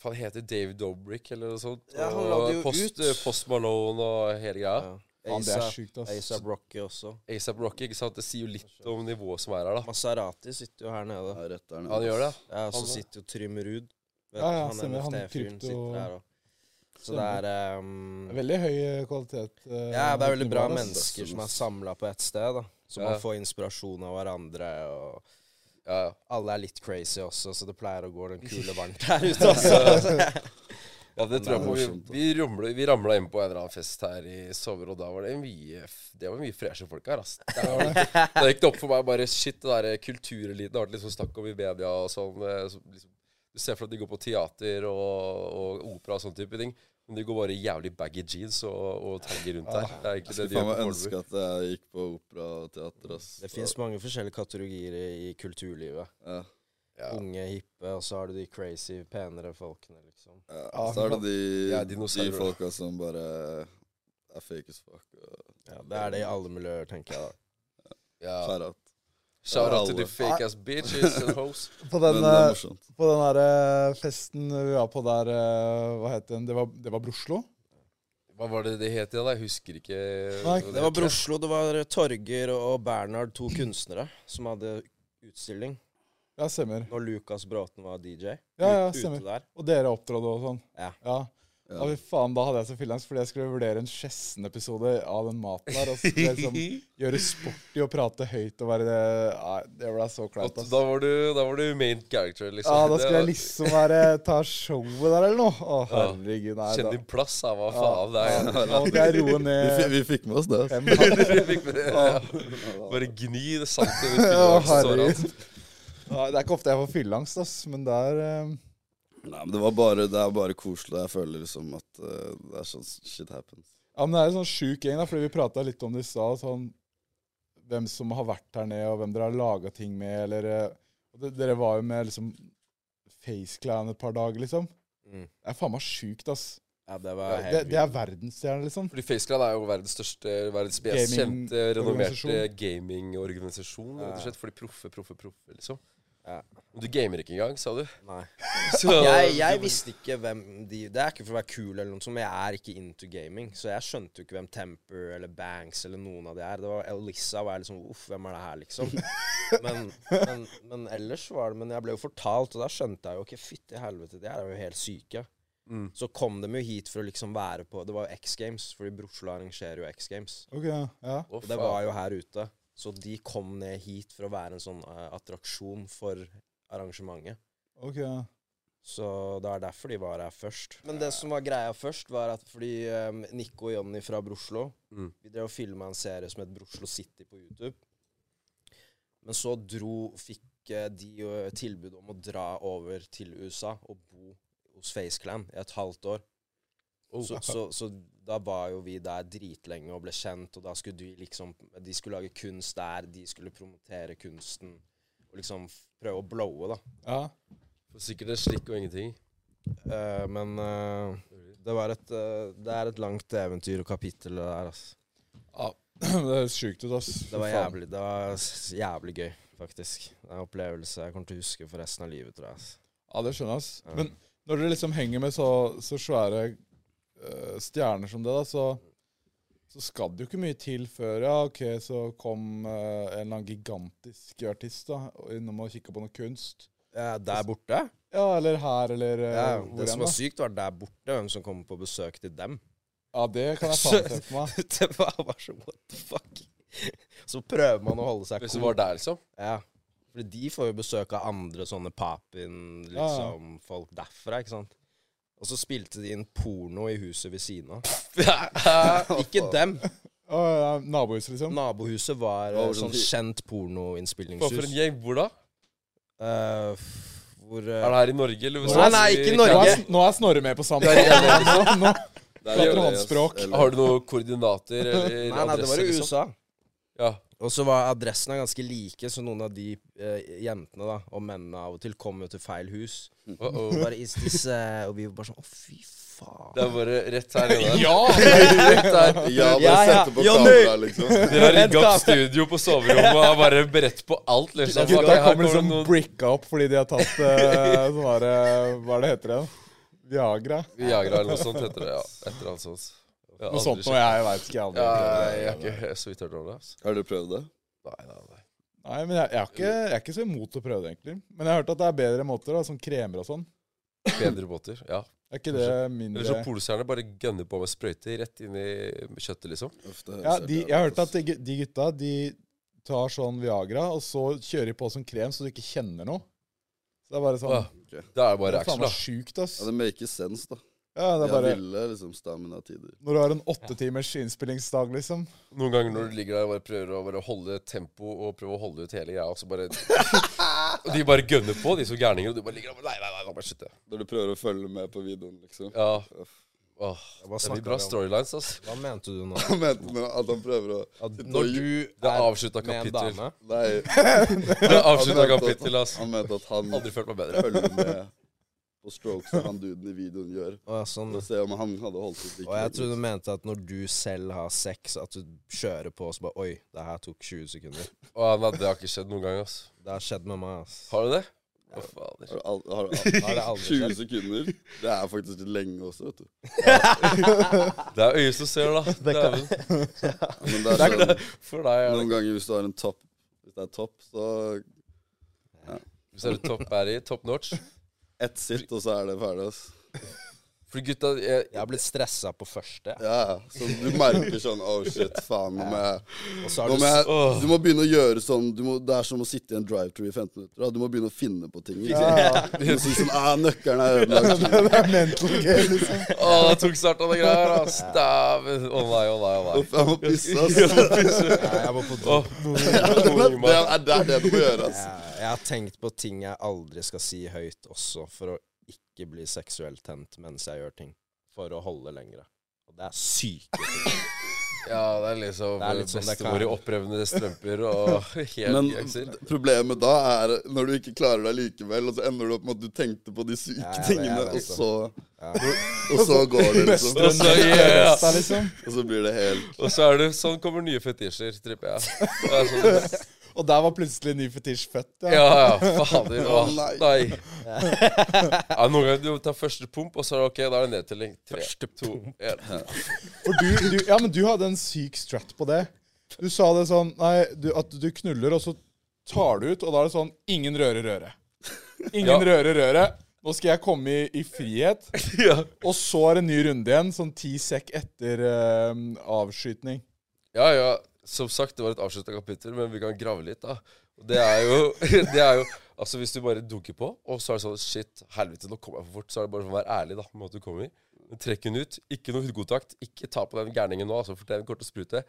Hva heter Dave Dobrik eller noe sånt?
Ja, han
og
la det jo
Post, eh,
ut.
Post Malone og hele greia.
Ja.
Faen, det er sjukt, ass.
ASAP Rocky også.
ASAP Rocky, ikke sant? Det sier jo litt om nivået som er her, da.
Maserati sitter jo her nede.
Ja, rett der nede.
Ja, det gjør det.
Ja, og så
Han-
sitter jo Trym Ruud. Vet
Ja, ja,
du,
stemmer, han
Han er NFT-fyren
krypto-
sitter her òg. Så det
Stemmer.
er ehm,
Veldig høy kvalitet. eh,
Ja, det er veldig bra
nivå der, ass.
mennesker som er samla på ett sted, da. Så
Ja.
man får inspirasjon av hverandre, og
Ja, ja.
alle er litt crazy også, så det pleier å gå den kule varmt der ute, altså.
Ja, det tror jeg på.
morsomt, da.
Vi, vi, ramla, vi ramla inn på en eller annen fest her i sommer, og da var det mye f- Det var mye freshe folk her, ass. Det er- Da gikk det opp for meg bare Shit, det der kultureliten har vært litt sånn snakk om i media og sånn. eh, så Liksom, du ser for deg at de går på teater og, og opera og sånne type ting. Men de går bare i jævlig baggy jeans og, og tagger rundt der. Det er egentlig det
Skulle
de gjør
faen meg
på Fornebu.
ønske at jeg gikk på opera og teater, ass.
Det fins mange forskjellige kategorier i, i kulturlivet.
Ja.
Ja.
Unge, hippe, og så har du de crazy, penere folkene, liksom.
Ja, så er det de,
Ja,
de
dinosaurer.
folka som bare er fake as fuck. og
Ja, det er det i alle miljøer, tenker jeg. da.
Ja.
Shout out.
Shout out to
Alle.
the fake ass bitches and hoes.
På
Men
den,
det er
eh,
morsomt.
på den der eh, festen vi var på der eh, Hva het den? Det var, det var Broslo?
Hva var det det het igjen? da? Jeg husker ikke.
Nei,
Det var Broslo, det var Torger og Bernhard, to kunstnere, som hadde utstilling.
Ja, stemmer.
Når Lukas Bråten var DJ.
Ja, ja,
ute
stemmer.
der.
Og dere opptrådde og sånn.
Ja.
ja.
Ja.
Ja, fy faen, Da hadde jeg så fyllangst fordi jeg skulle vurdere en Skjessen-episode av den maten der. Og så skulle jeg liksom gjøre sport i å prate høyt og være det Nei, det ble så
Og
kleint, ass.
Da var du, da var du main character, liksom.
Ja, da
Det
skulle jeg
var-
liksom være ta showet der eller noe. Å,
Ja.
herregud. Nei,
Kjenn
da.
din plass, da. Hva faen? Det
Ja,
er
Da måtte jeg roe
Vi, fi-
ned
vi fikk med oss det. ass.
fem hakk.
Du fikk med det, ja. Bare gni det saltet ut.
Å,
Ja,
herregud. Ja, det er ikke ofte jeg får fyllangst, ass, men der eh,
Nei, men det, var bare, det er bare koselig. Jeg føler liksom at eh, det er sånn shit happens.
Ja, men det er en sånn sjuk gjeng, da, fordi vi prata litt om det i stad. Sånn, hvem som har vært her nede, og hvem dere har laga ting med, eller eh, og de- Dere var jo med liksom FaceClan et par dager, liksom.
Mm.
Det er faen meg sjukt, ass.
Ja, det var helt
Det, det er verdensstjerner, liksom.
Fordi Faceclan er jo verdens største, verdens mest
Gaming-
kjente, renommerte
organisasjon.
gamingorganisasjon. Rett og slett fordi proffe, proffe, proffe, liksom.
Ja.
Men Du gamer ikke engang, sa du.
Nei.
Så,
Jeg, jeg visste ikke hvem de Det er ikke for å være kul, eller noe sånt, men jeg er ikke into gaming. Så jeg skjønte jo ikke hvem Temper eller Banks eller noen av de er. Det var Elisa var jeg liksom Uff, hvem er det her, liksom? Men, men, men ellers var det Men jeg ble jo fortalt, og da skjønte jeg jo ikke Fytti helvete, de her er jo helt syke.
Mm.
Så kom de jo hit for å liksom være på Det var jo X Games, fordi Broslo arrangerer jo X Games.
Ok, ja. ja.
Å,
Og det
faen.
var jo her ute. Så de kom ned hit for å være en sånn eh, attraksjon for arrangementet.
Ok, ja.
Så det er derfor de var her først. Men det som var greia først, var at fordi um, Nico og Jonny fra Broslo
Mm.
Vi drev og filma en serie som het Broslo City på YouTube. Men så dro Fikk eh, de jo tilbud om å dra over til USA og bo hos FaceClan i et halvt år. Så, så, så da var jo vi der dritlenge og ble kjent, og da skulle de liksom De skulle lage kunst der, de skulle promotere kunsten, og liksom f- prøve å blowe, da.
ja.
For Sikkert en slikk og ingenting.
Eh, men eh, det, var et, eh, det er et langt eventyr og kapittel det der, ass.
Det høres sjukt ut, ass.
Det var
Fy faen.
jævlig, det var s- jævlig gøy, faktisk. Det er en opplevelse jeg kommer til å huske for resten av livet, tror jeg. ass.
Ja, det skjønner jeg, ass.
Ja.
Men når dere liksom henger med så, så svære eh, stjerner som det, da, så, så skal det jo ikke mye til før ja, ok, så kom eh, en eller annen gigantisk artist da, og innom og kikka på noe kunst.
Eh, der borte?
Ja, eller her, eller eh,
Ja,
hvor
det som
enn.
var
da.
sykt, var der borte hvem som kom på besøk til dem.
Ja, det kan jeg faen se for meg.
det var bare så what the fuck. Så prøver man å holde seg
Hvis du var der, liksom.
Ja. For de får jo besøk av andre sånne papin,
Ja, ja.
liksom, folk derfra, ikke sant. Og så spilte de inn porno i huset ved siden av. Ikke dem.
Å, ja, nabohus, liksom.
Nabohuset var
Hva
eh,
var det
sånn
de-
kjent
Hva for en
pornoinnspillingshus.
gjeng? Hvor da?
Eh, f- hvor
Er det her i Norge? Eller
Nei, nei, ikke i Norge.
Nå er, nå er Snorre med på samtalen. Nå, nå.
Det
Prater
jo
hans
det, ass.
språk.
Eller-
Har du noen koordinater eller
Nei, nei, det var
adresser,
i
liksom?
USA.
Ja.
Og så var adressene ganske like, så noen av de eh, jentene da, og mennene av og til kom jo til feil hus.
Uh -oh.
Og, bare, is this, eh, og vi var bare sånn Å, fy faen.
Det er bare rett her inne.
Ja!
Rett der.
Ja, bare
Ja, ja.
sette på
Ja, nå.
kamera, liksom.
Dere har rigga opp studio på soverommet og er bare beredt på alt. liksom.
Gutta
Her
kommer
det
liksom
noen-
bricka opp fordi de har tatt eh, sånn her eh, Hva er det heter igjen? Viagra?
Viagra eller noe sånt heter det. ja. Et eller annet sånt. Jeg har
Noe
aldri
sånt noe jeg veit ikke. Jeg
sjekket. Ja,
aldri.
jeg har ikke jeg er så vidt hørt om det. altså.
Har du prøvd det?
Nei, nei, nei.
Nei, men jeg, jeg, er ikke, jeg er ikke så imot å prøve det, egentlig. Men jeg har hørt at det er bedre måter, da, som kremer og sånn.
Bedre båter. ja.
Er ikke det
Eller så
mindre
polstjerne bare gønner på med sprøyter rett inn i kjøttet, liksom.
Uff, det høres
Ja,
helt
de,
jævlig
jeg har hørt
ut,
at de, gu- de gutta de tar sånn Viagra, og så kjører de på som krem så du ikke kjenner noe. Så det er bare sånn
Ja, Det er
Det
bare
er faen
action, da.
meg sjukt, ass.
ass. Ja, det maker sense, da.
Ja, det
Jeg
er bare
ville liksom stamina-tider.
Når du har en åtte timers innspillingsdag, liksom.
Noen ganger når du ligger der og bare prøver å bare holde tempo og prøve å holde ut hele greia, og så bare Og de bare gønner på, de som gærninger, og du bare ligger der og bare Nei, nei, nei, la meg slutte.
Når du prøver å følge med på videoen, liksom.
Ja.
Uff.
Åh,
Hva
det blir
snakket
bra
vi om?
storylines, ass.
Hva mente du nå?
Han mente med at han prøver å
At
sitte
når
og-
du
Det er
er
avslutta
med en
kapittel.
dame
Nei.
Det er avslutta
Han mente at-
kapittel, ass.
Han mente at han
Aldri følt meg bedre.
følger med på strokes som han duden i videoen gjør.
og, jeg er sånn,
For å se om han hadde holdt ut
og jeg trodde du mente at når du selv har sex, at du kjører på og så bare Oi, det her tok 20 sekunder.
Åh, nei, det har ikke skjedd noen gang, ass.
Det har skjedd med meg, ass.
Har du det? Å, fader.
Har, al- har,
Nå har det
al-
aldri
20
skjedd.
sekunder? Det er faktisk litt lenge også, vet du.
Det er øyet som ser, da. Dæven.
Men det er sånn,
For deg er det
noen ganger hvis du har en topp Hvis det er topp, så
Hvis det er top battery, top notch.
ett sitt, og så er det ferdig, ass.
For gutta jeg,
Jeg har blitt stressa på første,
Ja, ja. Så du merker sånn Oh shit, faen. Nå må jeg,
og så
nå må
har du
jeg
Åh.
Du må begynne å gjøre sånn du må, Det er som å sitte i en drive-thru i 15 minutter. Da. Du må begynne å finne på ting. Ikke? sant? Du må si sånn ah, 'Nøkkelen er ødelagt'.
Det er mental game, liksom.
Å, det tok snart av det greia her, ass. Dæven. Å nei, å nei, å nei.
Uff, jeg må pisse, ass.
Nei, jeg må på do.
Åh,
Det er, det er det du må gjøre, ass.
Jeg, jeg har tenkt på ting jeg aldri skal si høyt også, for å ikke bli seksuelt tent mens jeg gjør ting. For å holde lengre. Og det er sykt.
Ja, det er liksom
Det er litt sånn det kan
bestemor i opprevne strømper og helt
Men
gangster.
problemet da er når du ikke klarer deg likevel, og så ender du opp med at du tenkte på de syke
Ja, jeg vet, jeg
tingene,
vet
og
det.
så Og så går det, liksom.
Og så, ja,
Da, liksom.
Og så blir det helt
og så er det sånn kommer nye fetisjer, tripper jeg. Det er sånn,
Og der var plutselig ny fetisj født. Ja.
ja, ja, fader. Å,
Å, nei.
nei. Ja, noen ganger du tar første pump, og så er det ok, da er det nedtelling. Tre, to, en.
For du, du, ja, men du hadde en syk strat på det. Du sa det sånn Nei, du, at du knuller, og så tar du ut, og da er det sånn Ingen røre røret. Ingen
Ja.
røre røret. Nå skal jeg komme i, i frihet.
Ja.
Og så er det ny runde igjen, sånn ti sekk etter eh, avskytning.
Ja, ja. Som sagt, det var et avslutta kapittel, men vi kan grave litt, da. Og det er jo, det er jo Altså, hvis du bare dunker på, og så er det sånn Shit, helvete, nå kommer jeg for fort. Så er det bare sånn, vær ærlig, da, med at du kommer. Men Trekk hun ut. Ikke noe hudkontakt. Ikke ta på den gærningen nå, altså, for den kommer til å sprute.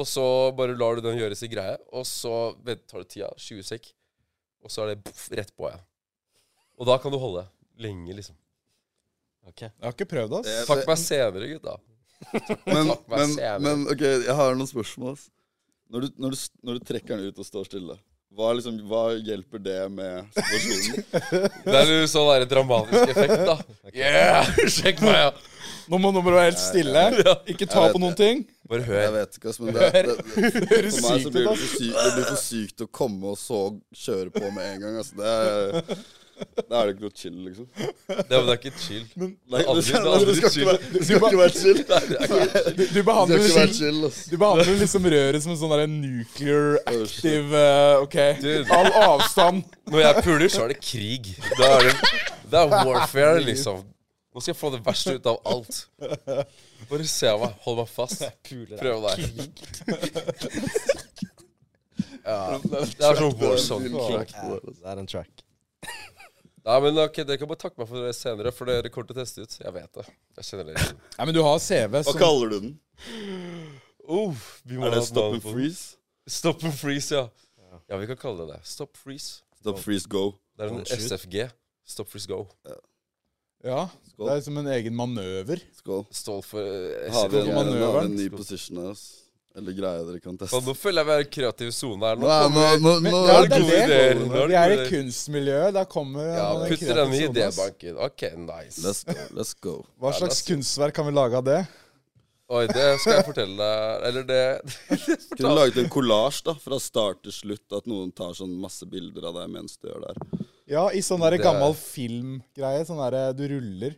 Og så bare lar du den gjøre sin greie, og så vent, tar det tida. 20 sekk. Og så er det boff, rett på, ja. Og da kan du holde. Lenge, liksom.
Jeg har ikke prøvd, ass.
Altså,
Takk meg senere, gutta.
Men,
Fuck, hva
men,
ser jeg
men OK, jeg har noen spørsmål. ass. Når du, når, du, s- når du trekker den ut og står stille, hva, liksom, hva hjelper det med situasjonen?
Det er jo sånn der dramatisk effekt, da. Yeah! Sjekk meg, ja.
Nå må nummeret være helt stille. Ikke ta
Jeg vet
på noen ting.
Bare
Jeg
hør.
vet ikke, ass, men det, det, det,
Høres sykt
for meg så
ut,
blir det,
ass.
for sykt, det blir for sykt å komme og så kjøre på med en gang. Ass. Det er, da er det ikke noe chill, liksom.
Det er, men det er ikke chill.
Nei,
Aldri-
det skal,
aldri
det skal, ikke,
chill.
være, det skal ikke være chill. Det
Du, du behandler
skal ikke være
liksom-
chill, ass.
Du behandler liksom røret som en sånn der nuclear
Oh, shit.
active eh, OK.
Dude.
All avstand.
Når jeg puler, så er det krig. Da er det, det er warfare, liksom. Nå skal jeg få det verste ut av alt. Bare se meg. Hold meg fast. Prøv deg. Ja. Det er sånn Warzone king.
Ja, det er en track.
Nei, men ok, Dere kan bare takke meg for det senere, for dere kommer til å teste ut. Jeg vet det. Jeg kjenner dere.
Nei, men du har CV
Hva
som
kaller du den?
Oh, vi må
Er det
ha et
stop
navn
and
på den.
freeze?
Stop and freeze, ja. Ja, vi kan kalle det det. Stop freeze.
Stop, freeze, go.
Det er en SFG. Stop Frisk Go.
Ja,
Skål.
det er som en egen manøver.
Skål.
Stål for eh,
Har vi en,
SVG.
manøveren.
nå har vi en ny position her, ass. Eller greie dere kan teste.
Og nå føler jeg vi er i kreativ sone her. Nå
Nå er nå, nå,
Men-
nå,
Ja,
er det
det
gode
er det.
ideer. Nå er
Vi er
det
i
gode ideer.
kunstmiljøet. Der kommer
Ja,
den
putter
kreative
den i
sonen, ass.
idébanken. altså. OK, nice.
Let's go. Let's go.
Hva slags kunstverk kan vi lage av det?
Oi, det skal jeg fortelle deg Eller det
Kunne laget en kollasj da, fra start til slutt, at noen tar sånn masse bilder av deg mens du gjør det her.
Ja, i sånn der
Det er-
gammel filmgreie. Sånn derre du ruller.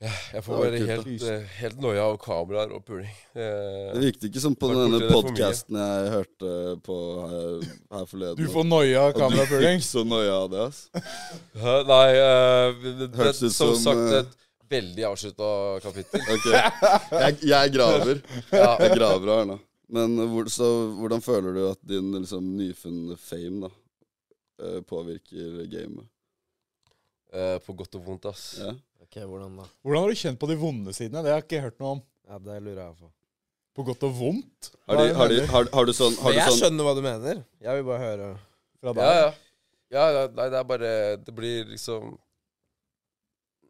Jeg får bare
kult, da.
helt, eh, helt noia av kameraer og puling.
Det
Eh,
virket ikke som på
Bare borti
denne
det for mye.
podkasten jeg hørte på her, her forleden.
Du får noia av
at du
kamerapuling.
fikk så noia av det, ass.
Hæ? Nei, eh, det, det,
Hørtes ut
som
som,
sagt
eh,
et veldig avslutta kapittel.
Ok, jeg, jeg graver.
Ja.
Jeg graver her nå. Men hvor, så, hvordan føler du at din liksom, nyfunne fame da, eh, påvirker gamet?
eh, på godt og vondt, ass.
Ja?
Ok, hvordan da?
Hvordan har du kjent på de vonde sidene? Det har jeg ikke hørt noe om.
Ja, Det lurer jeg på.
På godt og vondt?
Har, de, har, de, har, har du sånn, har
Men
du
jeg
sånn
skjønner hva du mener. Jeg vil bare høre.
Fra
Ja,
deg?
ja. ja ja, nei, det er bare Det blir liksom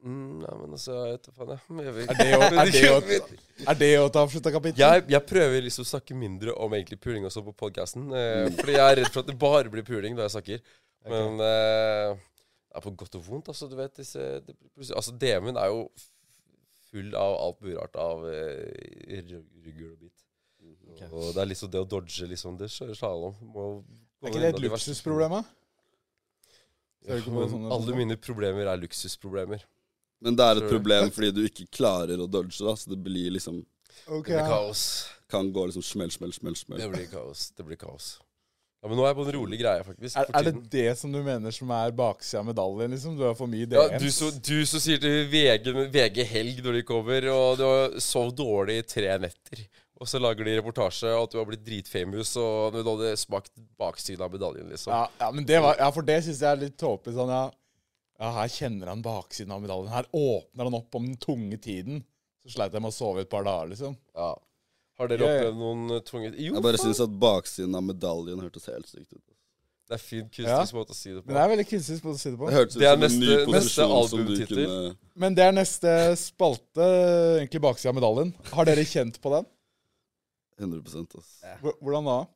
mm, Nei, men altså Jeg vet da faen, jeg. jeg. vet-
Er det jo- er det jo- Er det å ta avslutta kapittel?
jeg, jeg prøver liksom å snakke mindre om egentlig puling også på podkasten. Eh, fordi jeg er redd for at det bare blir puling når jeg snakker. Men eh, det er på godt og vondt, altså. Du vet disse det, blir plutselig- Altså, DM-en er jo f- full av alt mulig rart av eh, rug- ruggel og bit.
Mhm,
Og det er liksom det å dodge, liksom. Det skjø- slalåm. Må
Er ikke det et luksusproblem, da? Så er det sånn- ikke bare sånne-
Alle mine problemer er luksusproblemer.
Men det er et
Sorry.
problem fordi du ikke klarer å dodge, da, så det blir liksom
Ok,
Det blir
ja.
kaos.
Kan gå liksom smell, smell, smell,
Det
smell.
blir kaos. Det blir kaos. Ja, Men nå er jeg på en rolig greie, faktisk.
Er,
for
er det
tiden.
det som du mener som er baksida av medaljen, liksom? Du har for mye
Ja,
DM?
du, som- du som sier til VG, med VG Helg når de kommer, og du har sovet dårlig i tre netter. Og så lager de reportasje og at du har blitt dritfamous, og du hadde smakt baksiden av medaljen, liksom.
Ja, ja, men det var, ja, for det syns jeg er litt tåpelig. Sånn, ja. ja, her kjenner han baksiden av medaljen. Her åpner han opp om den tunge tiden. Så sleit jeg med å sove et par dager, liksom.
Ja. Har dere
Ja, ja.
opplevd noen eh, tvunget Jo,
Jeg bare
faen,
syns at baksiden av medaljen hørtes helt sykt ut.
det er fin
Ja.
kunstnerisk måte å si det
Men det
på.
er veldig kunstig å si det på.
Det hørtes ut
Det er
som en
neste-
ny
neste
posisjon som du
albumtittel.
kunne
Men det er neste spalte, egentlig baksida av medaljen. Har dere kjent på den?
100 ass.
Hvor- Hvordan da?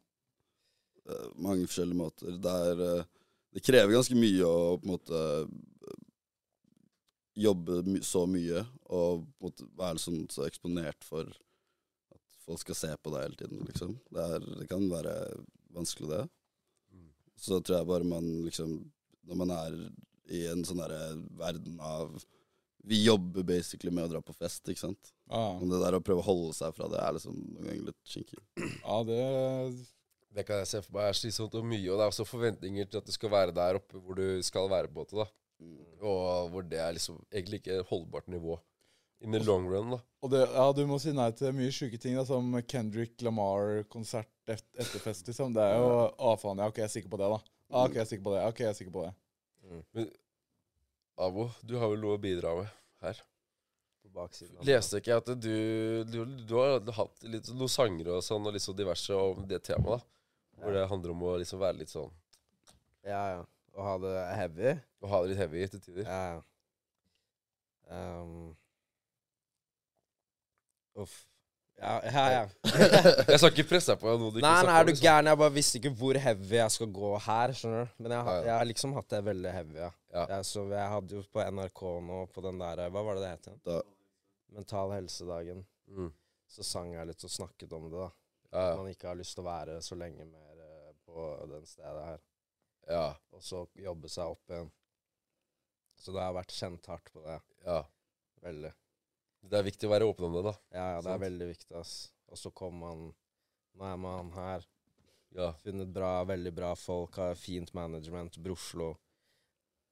eh, mange forskjellige måter. Det, er, eh, det krever ganske mye å på en måte eh, jobbe my så mye og på en måte være liksom så eksponert for at folk skal se på deg hele tiden, liksom. Det, er, det kan være vanskelig, det. Så tror jeg bare man liksom Når man er i en sånn derre verden av Vi jobber basically med å dra på fest, ikke sant.
Ah,
Men det der å prøve å holde seg fra det er liksom noen ganger litt kinkig.
ja, det
Det kan jeg se for meg er slitsomt og mye, og det er også forventninger til at du skal være der oppe hvor du skal være på en måte, da.
Mm.
Og hvor det er liksom egentlig ikke holdbart nivå. In the long run, da.
Og det, ja, du må si nei til mye sjuke ting, da, som Kendrick Lamar-konsert et, etterfest, liksom. Det er jo Å, faen, ja, OK, jeg er sikker på det, da. Ah, OK, jeg er sikker på det. OK, jeg er sikker på det.
Abo, du har vel noe å bidra med her?
På baksiden. av-
Leste ikke jeg at du, du, du har hatt litt, noen sanger og sånn, og litt sånn diverse om det temaet, da. Hvor det handler om å liksom være litt sånn
Ja, ja. Å ha det heavy.
Å ha det litt heavy til tider.
Ja, ja. Ehm. Uff. Ja, ja, ja.
Jeg skal ikke presse deg på noe du ikke
Nei, nei,
snakker
er
om,
du
liksom.
gæren? Jeg bare visste ikke hvor heavy jeg skal gå her, skjønner du. Men jeg, har-
Ja, ja.
jeg har liksom hatt det veldig heavy, ja.
Ja.
Jeg, så jeg hadde jo på NRK nå, på den der Hva var det det het igjen?
Da-
Mental helsedagen.
Mm.
Så sang jeg litt og snakket om det, da.
Ja,
At
ja,
man ikke har lyst til å være så lenge mer eh, på den stedet her.
ja,
Og så jobbe seg opp igjen. Så det har vært kjent hardt på det.
ja.
Veldig.
Det er viktig å være åpen om det, da.
Ja, ja, det
Sant.
er veldig viktig, ass. Og så kommer man Nå er man her.
Ja.
Funnet bra, veldig bra folk, har fint management, Broslo.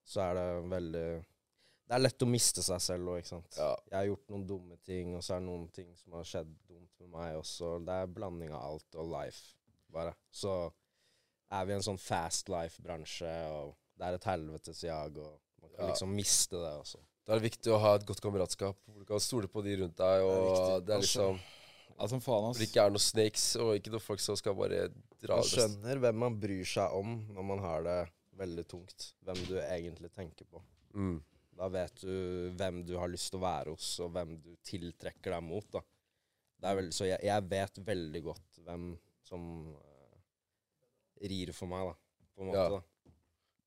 Så er det veldig Det er lett å miste seg selv òg, ikke sant.
ja.
Jeg har gjort noen dumme ting, og så er det noen ting som har skjedd dumt med meg også. Det er blanding av alt og life, bare. Så er vi i en sånn fast life-bransje, og det er et helvetes jag, og man kan
Ja.
liksom miste det også.
Da er det viktig å ha et godt kameratskap. Hvor du kan stole på de rundt deg, og det er liksom
Ja, som faen,
Hvor det
ass.
ikke er noen snakes, og ikke noen folk som skal bare dra det
Man
beste.
skjønner hvem man bryr seg om når man har det veldig tungt hvem du egentlig tenker på. Da vet du hvem du har lyst til å være hos, og hvem du tiltrekker deg mot. Da. Det er veldig, så jeg, jeg vet veldig godt hvem som eh, rir for meg, da. På en måte,
Ja.
da.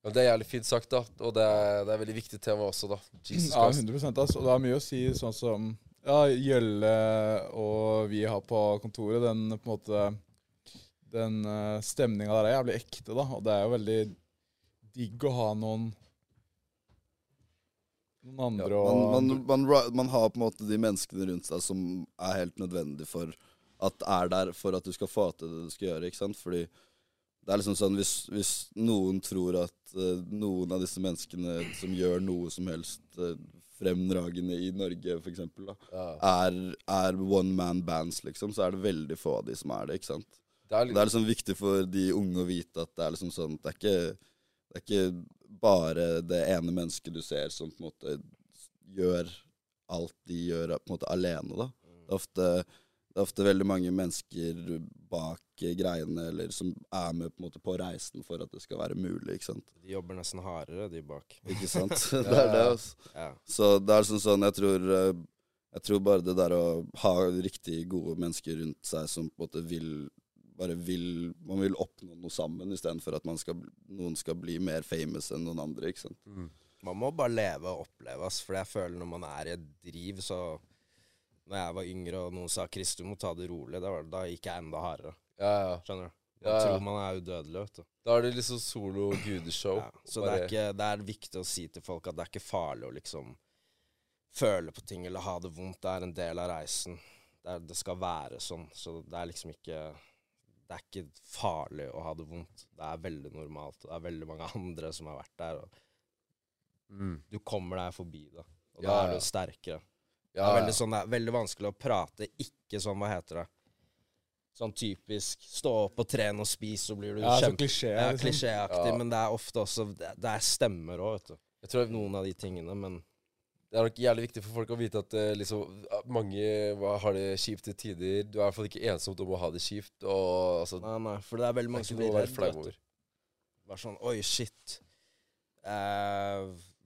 Ja, det er jævlig fint sagt, da. Og det er, det er veldig viktig tema også, da. Jesus
Ja,
Christ.
100 altså. Og det er mye å si sånn som ja, Gjølle og vi har på kontoret, den på en måte Den uh, stemninga der er jævlig ekte, da. Og det er jo veldig digg å ha noen Noen andre og
Man, man, man, ra- man har på en måte de menneskene rundt seg som er helt nødvendig for at er der for at du skal få til det du skal gjøre. ikke sant? Fordi det er liksom sånn hvis, hvis noen tror at eh, noen av disse menneskene som gjør noe som helst eh, fremragende i Norge, for eksempel, da, er, er one man bands, liksom, så er det veldig få av de som er det. ikke sant?
Det er
Det
litt
er liksom viktig for de unge å vite at det er liksom sånn Det er ikke, det er ikke bare det ene mennesket du ser som på en måte gjør alt de gjør på en måte alene, da. Det er ofte, det er ofte veldig mange mennesker bak eh, greiene eller som er med på, en måte på reisen for at det skal være mulig, ikke sant.
De jobber nesten hardere, de bak.
Ikke sant? Det er det, altså.
Ja.
Så det er sånn sånn, jeg tror eh, Jeg tror bare det der å ha riktig gode mennesker rundt seg som på en måte vil Bare vil Man vil oppnå noe sammen istedenfor at man skal, noen skal bli mer famous enn noen andre, ikke sant.
Man må bare leve og oppleve, ass. For jeg føler når man er i et driv, så Når jeg var yngre og noen sa 'Chris, du må ta det rolig', da, var, det- da gikk jeg enda hardere.
Ja, ja.
Skjønner du? Man
Ja, ja.
tror man er udødelig, vet du.
Da er det liksom solo gudeshow.
Ja. Så det er,
Bare-
ikke, det er viktig å si til folk at det er ikke farlig å liksom føle på ting eller ha det vondt. Det er en del av reisen. Det, er, det skal være sånn. Så det er liksom ikke Det er ikke farlig å ha det vondt. Det er veldig normalt. Det er veldig mange andre som har vært der. Og
Mm.
du kommer deg forbi det. Og da
Ja,
er
ja.
du sterkere.
Ja,
det, er
ja.
veldig sånn, det er veldig vanskelig å prate ikke sånn, hva heter det Sånn typisk stå opp og tren og spis, så blir du
Ja, så
kjempe...
sånn klisjé.
Ja,
liksom.
klisjéaktig,
Ja.
men det er ofte også Det, det er stemmer òg, vet du. Jeg tror noen av de tingene, men
Det er nok jævlig viktig for folk å vite at eh, liksom, at mange hva, har det kjipt til tider. Du er i hvert fall ikke ensomt om å ha det kjipt. Og altså, det
Nei, nei, for det er veldig
er
mange
ikke noe
som blir
å være
redd.
flau
vet du.
over.
Bare sånn Oi, shit. Eh,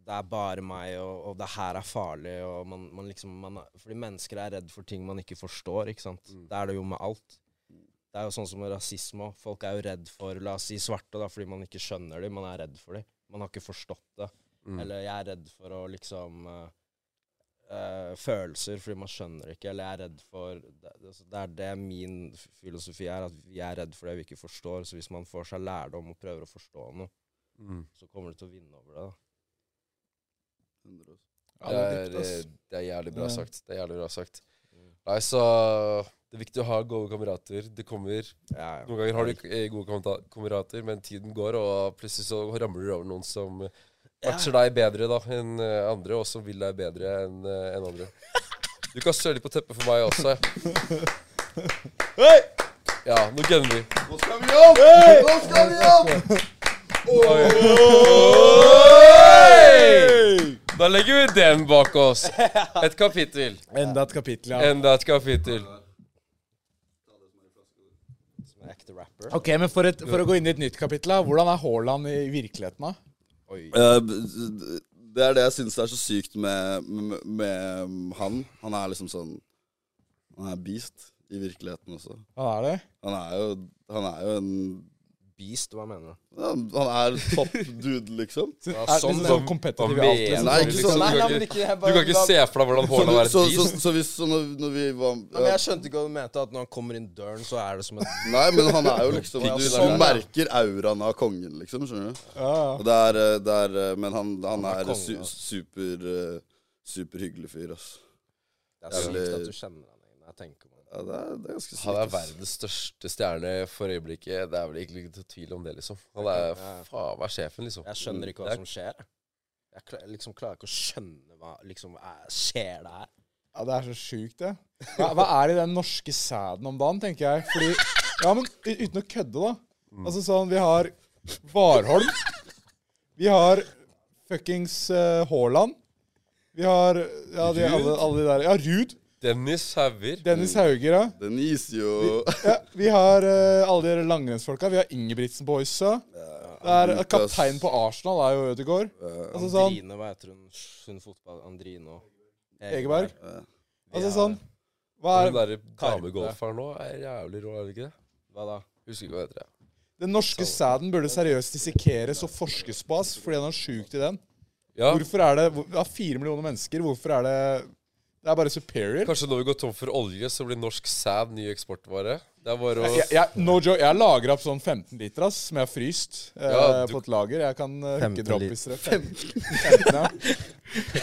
det er bare meg, og, og det her er farlig. Og man, man liksom, man, er- fordi mennesker er redd for ting man ikke forstår. ikke sant? Det er det jo med alt. Det er jo sånn som med rasisme òg. Folk er jo redd for la oss si svarte da, fordi man ikke skjønner dem. Man er redd for dem. Man har ikke forstått det. Eller jeg er redd for å liksom eh, eh, følelser fordi man skjønner det ikke. Eller jeg er redd for det, altså, det er det min f- filosofi er, at vi er redd for det vi ikke forstår. Så hvis man får seg lærdom og prøver å forstå noe, så kommer du til å vinne over det. da.
Ja,
Det
det er
er,
dypt, ass.
eh, det er jævlig bra
Ja.
sagt. Det er jævlig bra sagt.
Mm.
Nei, så Det er viktig å ha gode kamerater. Det kommer
Ja, ja.
Noen ganger har du eh, gode kamata- kamerater, men tiden går, og plutselig så ramler du over noen som eh, matcher deg bedre da, enn eh, andre, og som vil deg bedre enn eh, enn andre. Du kan søle på teppet for meg også. jeg. Ja, nå gunner vi.
Nå skal vi opp! Nå skal vi opp!
Da legger vi den bak oss. Et kapittel.
Enda et kapittel, ja. Eh,
Enda et kapittel.
Som en ekte rapper.
Ok, men for, et, for å gå inn i et nytt kapittel, da. Hvordan er Haaland i virkeligheten, da?
Eh, b- Det er det jeg syns er så sykt med, med, med han. Han er liksom sånn Han er beast i virkeligheten også.
Han er det?
Han er jo, han er jo en
Beast, hva mener du?
han, han er topp dude, liksom.
Så, er, det
sånn
liksom
som-
sånn competitive
Hva
i alt,
mener
liksom.
Nei, ikke
Du
sånn.
kan ikke, du kan ikke se for deg hvordan
Så,
Haaland
du,
er
så,
et
så,
beast.
så hvis så når, når vi var
Nei, men Jeg skjønte ikke hva du mente, at når han kommer inn døren, så er det som et
Nei, men han er jo liksom Du, du
Sånn, ja.
merker auraen av kongen, liksom. Skjønner du?
Ja, ja.
Og det er, eh, det er eh, Men han, han
er
er
konge,
su,
altså.
super eh, Superhyggelig fyr, altså.
Det er sykt
Jævlig-
at du kjenner han igjen. Jeg tenker meg om.
Ja, det er, det er ganske sykt.
Han er
ass.
verdens største stjerne for øyeblikket. Det er vel ikke noe tvil om det, liksom. Han er
Ja.
faen meg sjefen, liksom.
Jeg skjønner
Det
ikke hva
er-
som skjer. jeg. Jeg kla- liksom klarer ikke å skjønne hva liksom er, skjer det her.
Ja, det er så sjukt, det. Hva, hva er det i den norske sæden om dagen, tenker jeg. Fordi, ja, men u- uten å kødde, da.
Mm.
Altså sånn, vi har Warholm. Vi har fuckings eh, Haaland. Vi har ja, de, alle, alle de der Ja, Ruud.
Dennis Hauger.
Dennis
Mm.
Hauger, ja.
Den iser jo
ja vi har eh, alle de langrennsfolka. Vi har Ingebrigtsen Boysa. Det er
Lukas.
Kapteinen på Arsenal er jo Ødegaard. Altså sånn
Andrine, hva heter hun? Hun fotball... Andrine og
Egeberg.
Ja.
Altså sånn Hva
Den
er
derre damegolferen nå er jævlig rå, er det ikke det?
Hva da?
Husker ikke hva heter det.
Den norske sæden burde seriøst dissekeres og forskes på, ass, fordi han er sjuk til den.
Ja,
Hvorfor er det hvor- Vi har fire millioner mennesker. Hvorfor er det Det er bare superior.
Kanskje når vi går tom for olje, så blir norsk sæd ny eksportvare. Det er bare å
Jeg, jeg, no joke, jeg lager opp sånn 15 liter ass, som jeg har fryst eh,
Ja, du-
på et lager. Jeg kan uh,
15
hooke droppis.
liter.
15, 15 ja.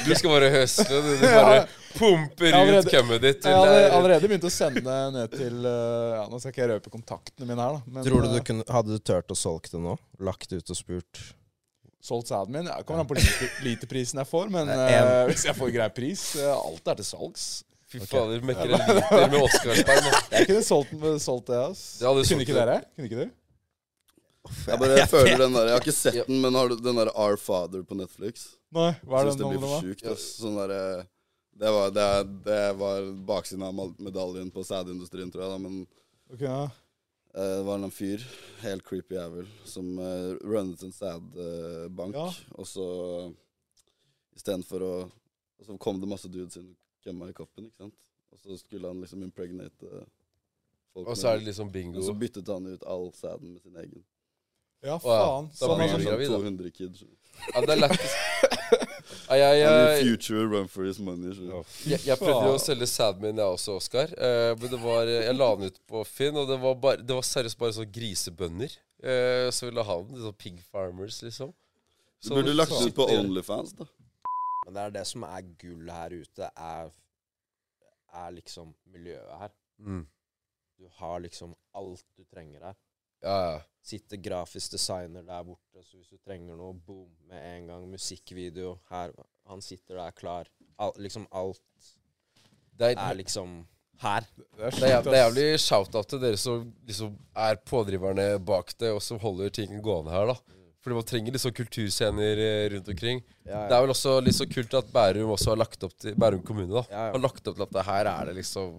Du skal bare høsle. Du du bare pumper
Allerede-
ut kømmet ditt.
Jeg
Til eh,
har
det
allerede,
er-
allerede begynt å sende ned til eh, ja, Nå skal ikke jeg røpe kontaktene mine her, da. Men
Tror du du
eh,
kunne, hadde du turt å solgt det nå? Lagt ut og spurt?
solgt sæden min ja, det Kommer an på liter, literprisen jeg får, men
Nei, en.
eh, hvis jeg får grei pris eh, Alt er til salgs.
Fy fader, makrelliter med Oscarsperm. ass.
Jeg kunne solgt, den- solgt det, ass.
Det hadde du
kunne
solgt
ikke
det.
dere? Kunne ikke du?
Jeg bare føler den der Jeg har ikke sett den, men har du den der Our Father på Netflix?
Nei, hva er
Syns
det nå
det blir
det
for
var?
sjukt. ass. Sånn der, eh, det, var, det, er- det var baksiden av mal- medaljen på sædindustrien, tror jeg. Da. Men
Ok, ja.
eh, det var en fyr, helt creepy jævel, som eh, runnet en sædbank.
Ja.
Og så istedenfor å Og så kom det masse dudes inn og kømma i koppen, ikke sant. Og så skulle han liksom impregnate eh, folk.
Og så er
med-
det liksom
og så
bingo.
byttet han ut all sæden med sin egen.
ja, faen.
Å, ja. Da
Sånn,
blir
altså,
det- gravid, da.
200 kids.
Ja, det er lættis. Nei, jeg,
And
jeg,
the future run for his money. så.
jeg, jeg prøvde jo å selge sæden min, jeg også, Oskar. Eh, men det var, jeg la den ut på Finn, og det var, bare, det var seriøst bare sånne grisebønder eh, som ville ha den. Sånn pig farmers, liksom.
Du burde lagt det ut på Onlyfans, da.
Men det er det som er gull her ute, er, er liksom miljøet her.
Mm.
Du har liksom alt du trenger her.
Ja, ja.
Sitter grafisk designer der borte, så hvis du trenger noe, boom, med en gang. Musikkvideo her. Han sitter der klar. Al, liksom alt
Det er,
er liksom her.
det er
Det er,
sjukt,
jæv- det er
ass.
jævlig shout-out til dere som liksom er pådriverne bak det, og som holder ting gående her, da. Fordi man trenger liksom kulturscener eh, rundt omkring.
Ja,
Det er vel også litt så kult at Bærum også har lagt opp til Bærum kommune da
Ja, ja.
har lagt opp til at det her er det liksom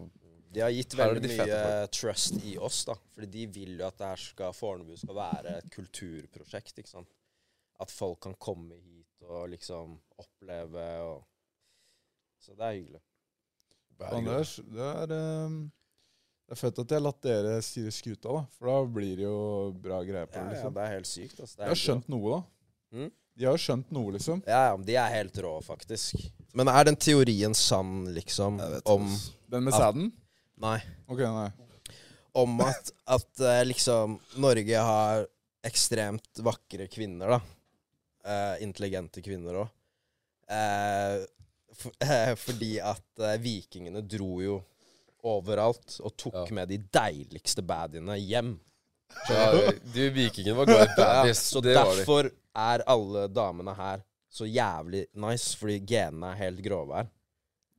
De har gitt
Her er det
veldig
de fete
mye trust i oss, da. Fordi de vil jo at det her skal, Fornebu skal være et kulturprosjekt, ikke sant. At folk kan komme hit og liksom oppleve og Så det er hyggelig.
Anders, det er, ehm, det er fett at jeg har latt dere styre skuta, da. For da blir det jo bra greier på
Ja,
det.
ja,
liksom.
det er helt sykt. Altså. Det
De
er
har
helt rå.
skjønt noe, da.
Mm.
De har jo skjønt noe, liksom.
Ja, ja, men de er helt rå, faktisk. Men er den teorien sann, liksom,
Jeg vet ikke,
om
ass.
Den med
Ja.
sæden?
Nei.
Ok, nei.
Om at, at eh, liksom Norge har ekstremt vakre kvinner, da. Eh, intelligente kvinner òg. Eh, for, eh, fordi at eh, vikingene dro jo overalt og tok
Ja.
med de deiligste baddiene hjem.
ja, Du, vikingen var glad i baddies.
Så
det var de.
derfor er alle damene her så jævlig nice, fordi genene er helt grove her.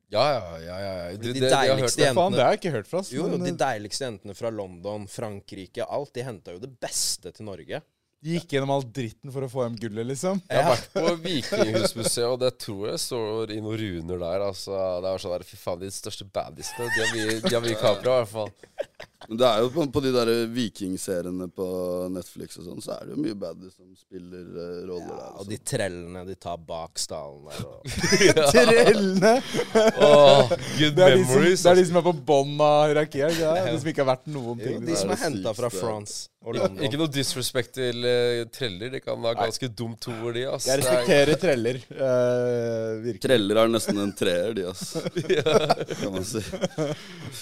Ja, ja, ja. ja, ja. Du,
De
det, det jeg har hørt
deiligste
det.
Faen, det
jentene
har jeg ikke hørt fra. ass,
Jo, jo,
men,
de
eh,
deiligste jentene fra London, Frankrike, alt. De henta jo det beste til Norge.
de gikk gjennom all dritten for å få hjem gullet, liksom.
Jeg har vært på Vikinghusmuseet, og det tror jeg står i noen runer der. Altså, det er sånn der, Fy faen, de største baddiesene. De har mye- de har mye kamera, i hvert fall.
Men det er jo på, på de der vikingseriene på Netflix og sånn, så er det jo mye baddies som spiller eh, roller
Ja,
der.
og
Altså.
de trellene de tar bak stallen der. Og...
Trellene!
Åh, good
Det er, de som,
memories.
det er de som er på bånn av hierarkiet. ikke det? De som ikke har vært noen
Jo,
ting.
de
liksom.
som
det
er henta
sykeste.
fra France og
altså. Ikke
London.
noe disrespect til eh, treller. De kan ha ganske dumt toer, de. ass.
Jeg
Det er-
respekterer treller. eh, virkelig.
Treller er nesten en treer, de, ass. Kan man si.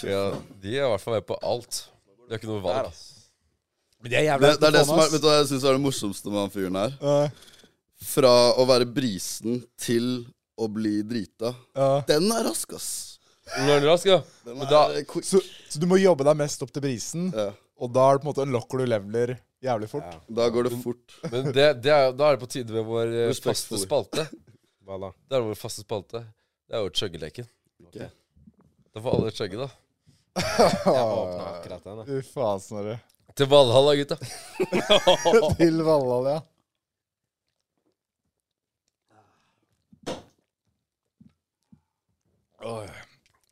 Ja, de er i hvert fall med på alt. Det er ikke noe valg.
Det, det er det som er, vet du hva jeg syns er det morsomste med han fyren her?
Eh,
Fra å være brisen til å bli drita.
ja.
Den er rask, ass.
Nå er den rask, ja.
Den
Men
er
da-
eh, quick.
Så, så du må jobbe deg mest opp til brisen,
Ja,
og da er det på en måte unlocker du leveler jævlig fort.
da går det fort.
Men det, det er, da er det på tide med vår eh,
Respekt
faste
for.
spalte.
Hva da?
Det er vår faste spalte. Det er jo chuggeleken.
Ok.
Da får alle chugge, da.
Jeg åpna akkurat den. jeg.
Fy faen, Snorre.
Til Valhalla, gutta.
Til Valhall, ja.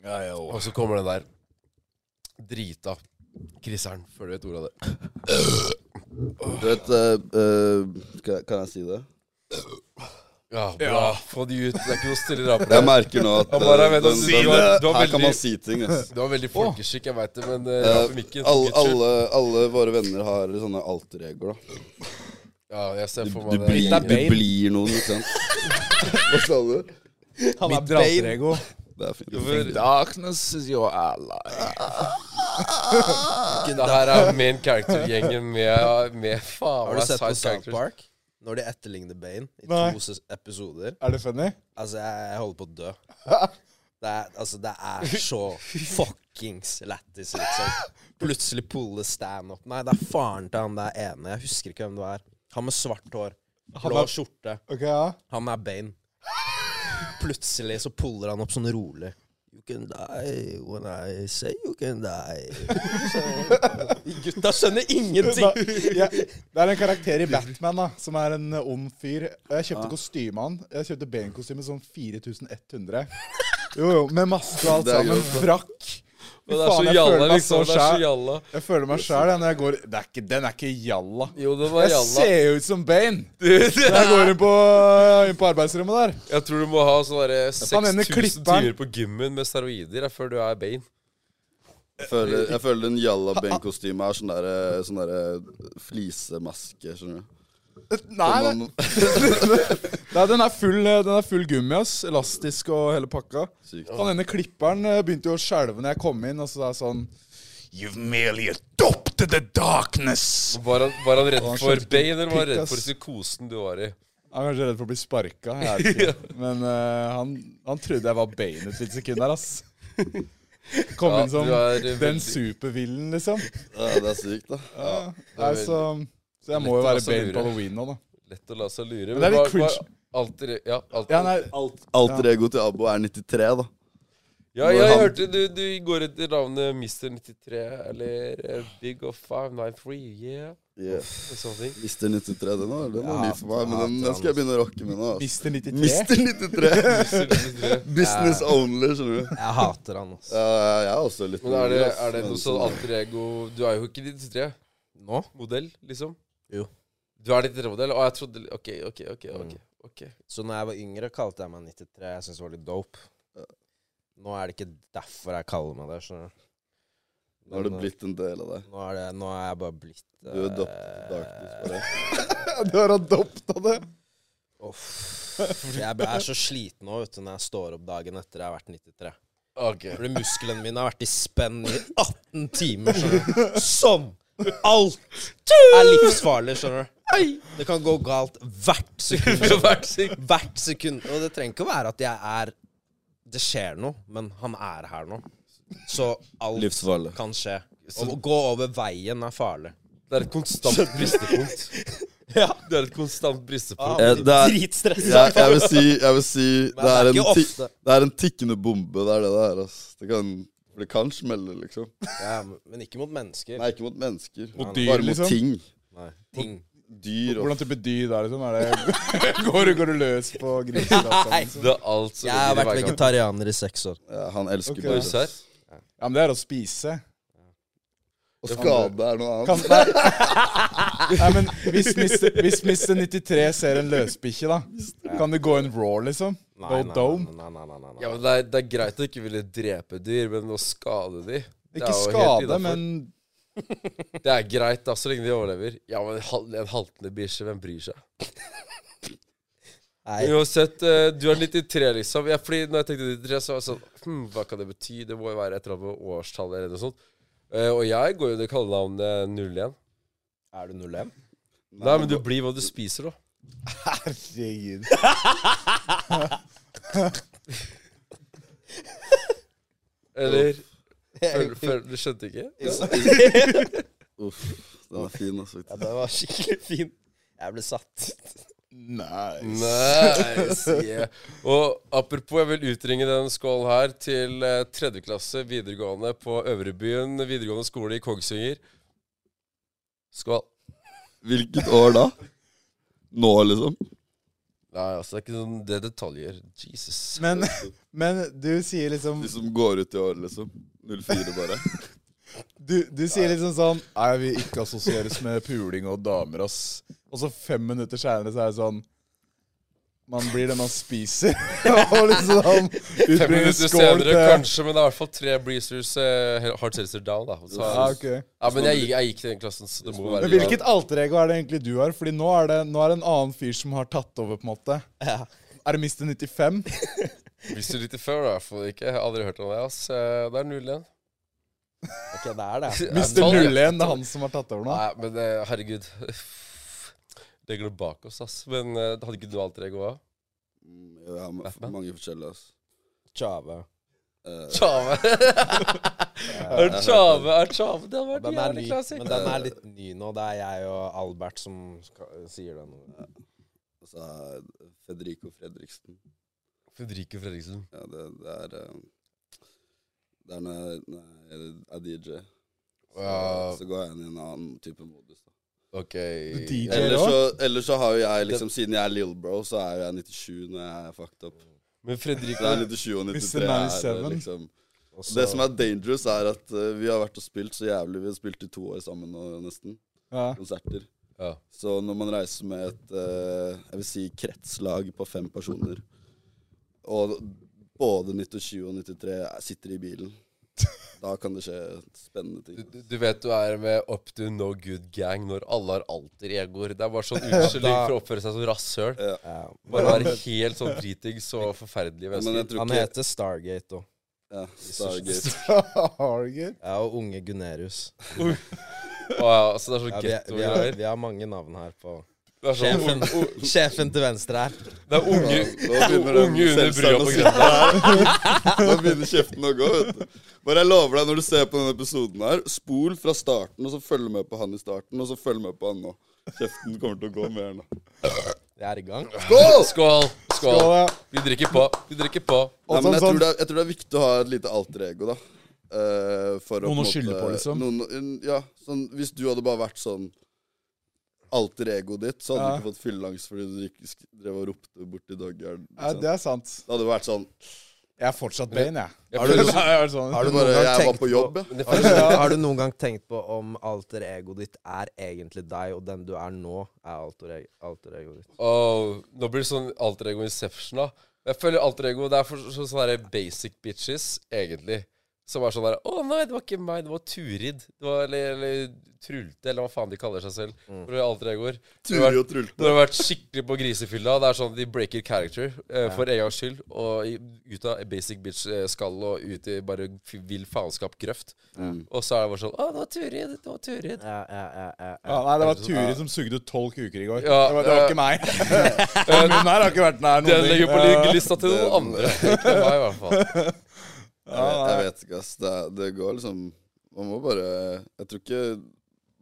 Ja, ja, Og så kommer den der drita Chriseren, før du vet ordet av det.
Du vet eh, eh, kan- Kan jeg si det?
Ja, bra. Få de ut. Det er ikke noe stille rapere.
Jeg merker nå at
Han bare er med
eh,
å si det. Du har
Her
veldig-
kan man si ting, ass.
Det var veldig folkeskikk, jeg veit det, men uh,
Eh,
for mikken for
alle,
guds skyld.
alle, alle våre venner har sånne alteregoer, da.
Ja, jeg ser for
Du
meg det.
blir,
gjengen.
du blir noen, ikke sant? Hva sa du?
Han er dratrego.
Det er fint.
Darkness is your ally.
Det her er main character-gjengen med, med faen
Har du
meg
sett på
side
South
characters.
Park? Når de etterligner Bane i
Nei.
to ses- episoder.
Er det funny?
Altså, jeg, jeg holder på å dø. Det er, altså, det er så fuckings lættis, liksom. Plutselig pulle standup. Nei, det er faren til han der ene. Jeg husker ikke hvem det er. Han med svart hår.
er-
Blå skjorte.
Ok, ja.
Han er Bane. Plutselig så puller han opp sånn rolig. You can die when I say you can die. Så, gutta skjønner ingenting!
Ja, det er en karakter i Batman da, som er en eh, ond fyr. Og Jeg kjøpte kostyme av han. Jeg kjøpte Bane-kostyme sånn 4100. Jo, jo, med maske og alt
Det er
sammen.
grovt,
Frakk. Fy
Men det er
faen,
så
jeg føler
jalla,
meg så
liksom. Det er så
sjæl.
jalla.
Jeg føler meg sjæl jeg, når jeg går det er ikke, Den er ikke jalla.
Jo, det var
Jeg
jalla.
ser jo ut som Bane når jeg går inn på, inn på arbeidsrommet der.
Jeg tror du må ha sånn derre
Faen, denne
6000
klipperen.
timer på gymmen med steroider ja, før du er Bane.
Jeg føler, jeg føler en jalla Bane-kostyme er sånn derre sånn der flisemaske, skjønner du.
Nei,
Som
nei,
man-
nei den, er full, eh, den er full gummi, ass. Elastisk og hele pakka.
Sykt.
Han denne klipperen eh, begynte jo å skjelve når jeg kom inn, og så det er sånn You've merely adopted the darkness.
Var han, var han redd
han skjønte
for
ikke
Bane, eller var han
pikk,
redd
ass.
for psykosen du var i?
Han er kanskje redd for å bli sparka. jeg vet ikke. Men eh, han, han trodde jeg var Bane et lite sekund der, ass. Kom
Ja,
inn som
du er eh,
den
veldig-
supervillen, liksom.
Ja, det er sykt, da.
Nei, så, så jeg må jo
Lett å
være
også
Bane
lure.
på halloween nå, da.
Lett å la seg lure.
det er litt
hva- hva-
cringe.
Alter, ja, alter.
Ja,
Ja,
nei,
Alt, alter ego til Abo er 93, da.
jeg
han-
hørte du, du går etter navnet Mr. 93, eller eh, Big of 593, yeah,
Yeah.
og sånne ting.
Mister 93, den var, den var ny for meg, men den, den skal jeg begynne å rocke med nå. ass.
Mister 93.
Mister 93.
Mr. 93.
Business only, skjønner du.
Jeg hater han, altså.
Ja, jeg er også litt
Men er det,
rolig, ass,
er det noe sånn alter ego Du er jo ikke 93.
Nå?
Modell, liksom?
Jo. Mm.
Du er 93-modell? Å, jeg trodde OK, OK, OK. ok, ok.
Så når jeg var yngre, kalte jeg meg 93. Jeg syntes det var litt dope. Nå er det ikke derfor jeg kaller meg det. skjønner du. eh,
Nå har det blitt en del av deg.
Nå er, det, nå er jeg bare blitt
Du er dopt darkness for det.
Du har adopta det.
Uff. Jeg ble- jeg er så sliten nå vet du, når jeg står opp dagen etter jeg har vært 93.
Ok.
Fordi musklene mine har vært i spenn i 18 timer. skjønner du. Sånn! Alt er livsfarlig, skjønner du. Det kan gå galt hvert sekund. skjønner du.
Hvert sekund.
Hvert sekund. Og det trenger ikke å være at jeg er Det skjer noe, men han er her nå. Så alt
Livsfarlig.
kan skje. Å gå over veien er farlig.
Det er et konstant bristepunkt.
Ja.
Det er et konstant bristepunkt.
Eh, det er,
Dritstressa.
jeg, jeg vil si, jeg vil si det,
det er
er en
ikke
ti,
ofte.
det er en tikkende bombe. Det er det det er. ass. Det kan, det kan smelle, liksom.
Ja, men- men ikke mot mennesker.
Nei, ikke mot mennesker.
Mot dyr,
Bare mot
liksom.
ting.
Nei. Ting.
Dyr og
Hvordan type dyr det er liksom? Er det, går, du, går du løs på griser? og sånn, liksom?
Det er alt som
Jeg
ligger
har
i
vært
veikanten.
vegetarianer i seks år.
ja, Han elsker
Ok.
bare
Er du serr?
Ja, men det er å spise.
Og skade er noe
Kan,
annet.
nei. nei, men hvis Mr. Hvis Mr. 93 ser en løsbikkje, da, kan det gå en raw, liksom? No dome?
nei, nei, nei, nei,
Ja,
nei.
men det er, det er greit å ikke ville drepe dyr, men å skade de det er
Ikke
jo helt
skade,
innenfor.
men
Det er greit, da, så lenge de overlever. Ja, men en hal- en haltende bikkje, hvem bryr seg?
Nei.
Uansett, eh, du er 93, liksom. Ja, fordi når jeg tenkte 93, så var jeg sånn hm, Hva kan det bety? Det må jo være et eller annet med årstallet eller noe sånt. Eh, og jeg går jo under kallenavnet 01.
Er du 01?
Nei, men du blir hva du spiser, da.
Herregud.
Eller føl, føl, Du skjønte ikke?
Uff, den er fin. ass,
Ja,
faktisk.
det var skikkelig fin. Jeg ble satt.
Nei.
Nice, yeah. Og apropos, jeg vil utringe den skål her til eh, tredjeklasse videregående på Øvrebyen videregående skole i Kongsvinger. Skål.
Hvilket år da? Nå, liksom?
Nei, altså, det er ikke sånn Det er detaljer. Jesus.
Men, men du sier liksom
De som går ut i år, liksom. 04 bare.
Du, du sier liksom sånn Nei, jeg vil ikke assosieres med puling og damer, ass. Og så fem minutter seinere så er det sånn Man blir det man spiser. og liksom
Fem
utbringer
minutter
skål
senere,
til
kanskje, men det er i hvert fall tre Breezers eh, hard seltzer down, da. Så,
Ja, Ah, ok.
ja, men jeg, gikk- jeg gikk til den klassen, så det må jo være
Men hvilket alter ego er det egentlig du har? Fordi nå er det, nå er det en annen fyr som har tatt over, på en måte.
Ja.
Er det Mr. 95?
Hvis du lytter før, da. i hvert fall ikke. Jeg har aldri hørt om det. ass. Eh, Det er 0-1.
Ok, det er det.
Mr. 01, det er han som har tatt over nå?
Nei, men eh, herregud. Det går bak oss, ass. Men eh, det hadde ikke du alter ego òg?
Mm, Jeg har ma- mange forskjellige, ass.
Tjave.
Eh,
Tjave. Er Tjave er Tjave. Det hadde vært
Den er
jævlig
ny,
classic.
men den er litt ny nå. Det er jeg og Albert som skal, sier det nå.
og så er det altså, Federico Fredriksen.
Fredrike Fredriksen.
Ja, det, det er eh, Det er når jeg, når jeg er DJ. Så,
Wow.
så går jeg inn i en annen type modus. Da.
OK.
DJ
Ellers
også?
så, ellers så har jo jeg liksom Siden jeg er Lill Bro, så er jo jeg 97 når jeg er fucked up.
Men Fredrike
Det er 97 og 93
Mr.
er
97.
det liksom
Og
Det
så-
som er dangerous, er at eh, vi har vært og spilt så jævlig. Vi har spilt i to år sammen nå, nesten.
Ja.
Konserter.
Ja.
Så når man reiser med et eh, jeg vil si kretslag på fem personer, og både 97 og 93 er- sitter i bilen, da kan det skje spennende ting.
Du, du vet du er med up to no good gang når alle har alter-egoer. Det er bare sånn unnskyldning for å oppføre seg som rasshøl.
ja.
Bare være helt sånn dritings og forferdelige
Men jeg
mennesker.
tror
Han
ikke
heter Stargate òg.
ja, Stargate.
Harger.
Ja, og unge Gunerius.
Å, ja, altså, det er
Ja,
sånn
vi, er- Oh,
getto
vi, har,
greier.
vi har mange navn her på
Det er sånn
Sjefen, sjefen til venstre her.
Det er unge,
Nå begynner den
unge under brua på
selvsagende å
grønn.
sitte her. Nå begynner kjeften å gå. vet du. Bare jeg lover deg, når du ser på denne episoden her, spol fra starten, og så følg med på han i starten, og så følg med på han nå. Kjeften kommer til å gå mer nå.
Vi er i gang.
Skål! Skål!
Skål, ja.
Vi drikker på. Vi drikker på.
Og
Nei, men
sånn,
jeg, tror
sånn.
det er, jeg tror det er viktig å ha et lite alter ego, da. Eh, for
Noen å
måte-
skylde på, liksom.
Noen, ja, sånn, hvis du hadde bare vært sånn alter egoet ditt, så hadde
Ja.
du ikke fått fylleangst fordi du gikk, sk- drev og ropte borti doggeren.
Ja,
Liksom.
det er sant.
Det hadde vært sånn
Jeg er fortsatt Bane, jeg.
Jeg
Har du,
føler-
er det sånn?
Har du noen
bare,
gang
Jeg var
tenkt
på jobb, jeg.
Men det
Har
føles-
du, har du noen gang tenkt på om alter egoet ditt er egentlig deg, og den du er nå, er alter, eg- alter egoet ditt?
Åh, nå blir det sånn alter ego inception, da. Jeg føler alter ego Det er for så- sånne der basic bitches, egentlig. Som er sånn der Å nei, det var ikke meg, det var Turid. Det var, eller, eller Trulte, eller hva faen de kaller seg selv. For det er Alter egoer. Når du har vært-
Turi Mm. og trulte.
når du har vært skikkelig på grisefylla, det er sånn de breaker character eh, for en gangs skyld. Og i, ut av basic bitch-skall og ut i bare f- vill faenskap grøft. Og så er det bare sånn Å, det var Turid, det var Turid.
Ja, ja, ja, ja, ja.
Ja, nei, det var Turi som sugde ut tolv kuker i går.
Ja,
det, var, det var
eh,
ikke meg. Hun her har ikke vært nær
Den
noen
legger på
Eh,
lista til noen andre. Ikke meg, i hvert fall.
Jeg vet, jeg vet ikke, ass. Det, det går liksom Man må bare Jeg tror ikke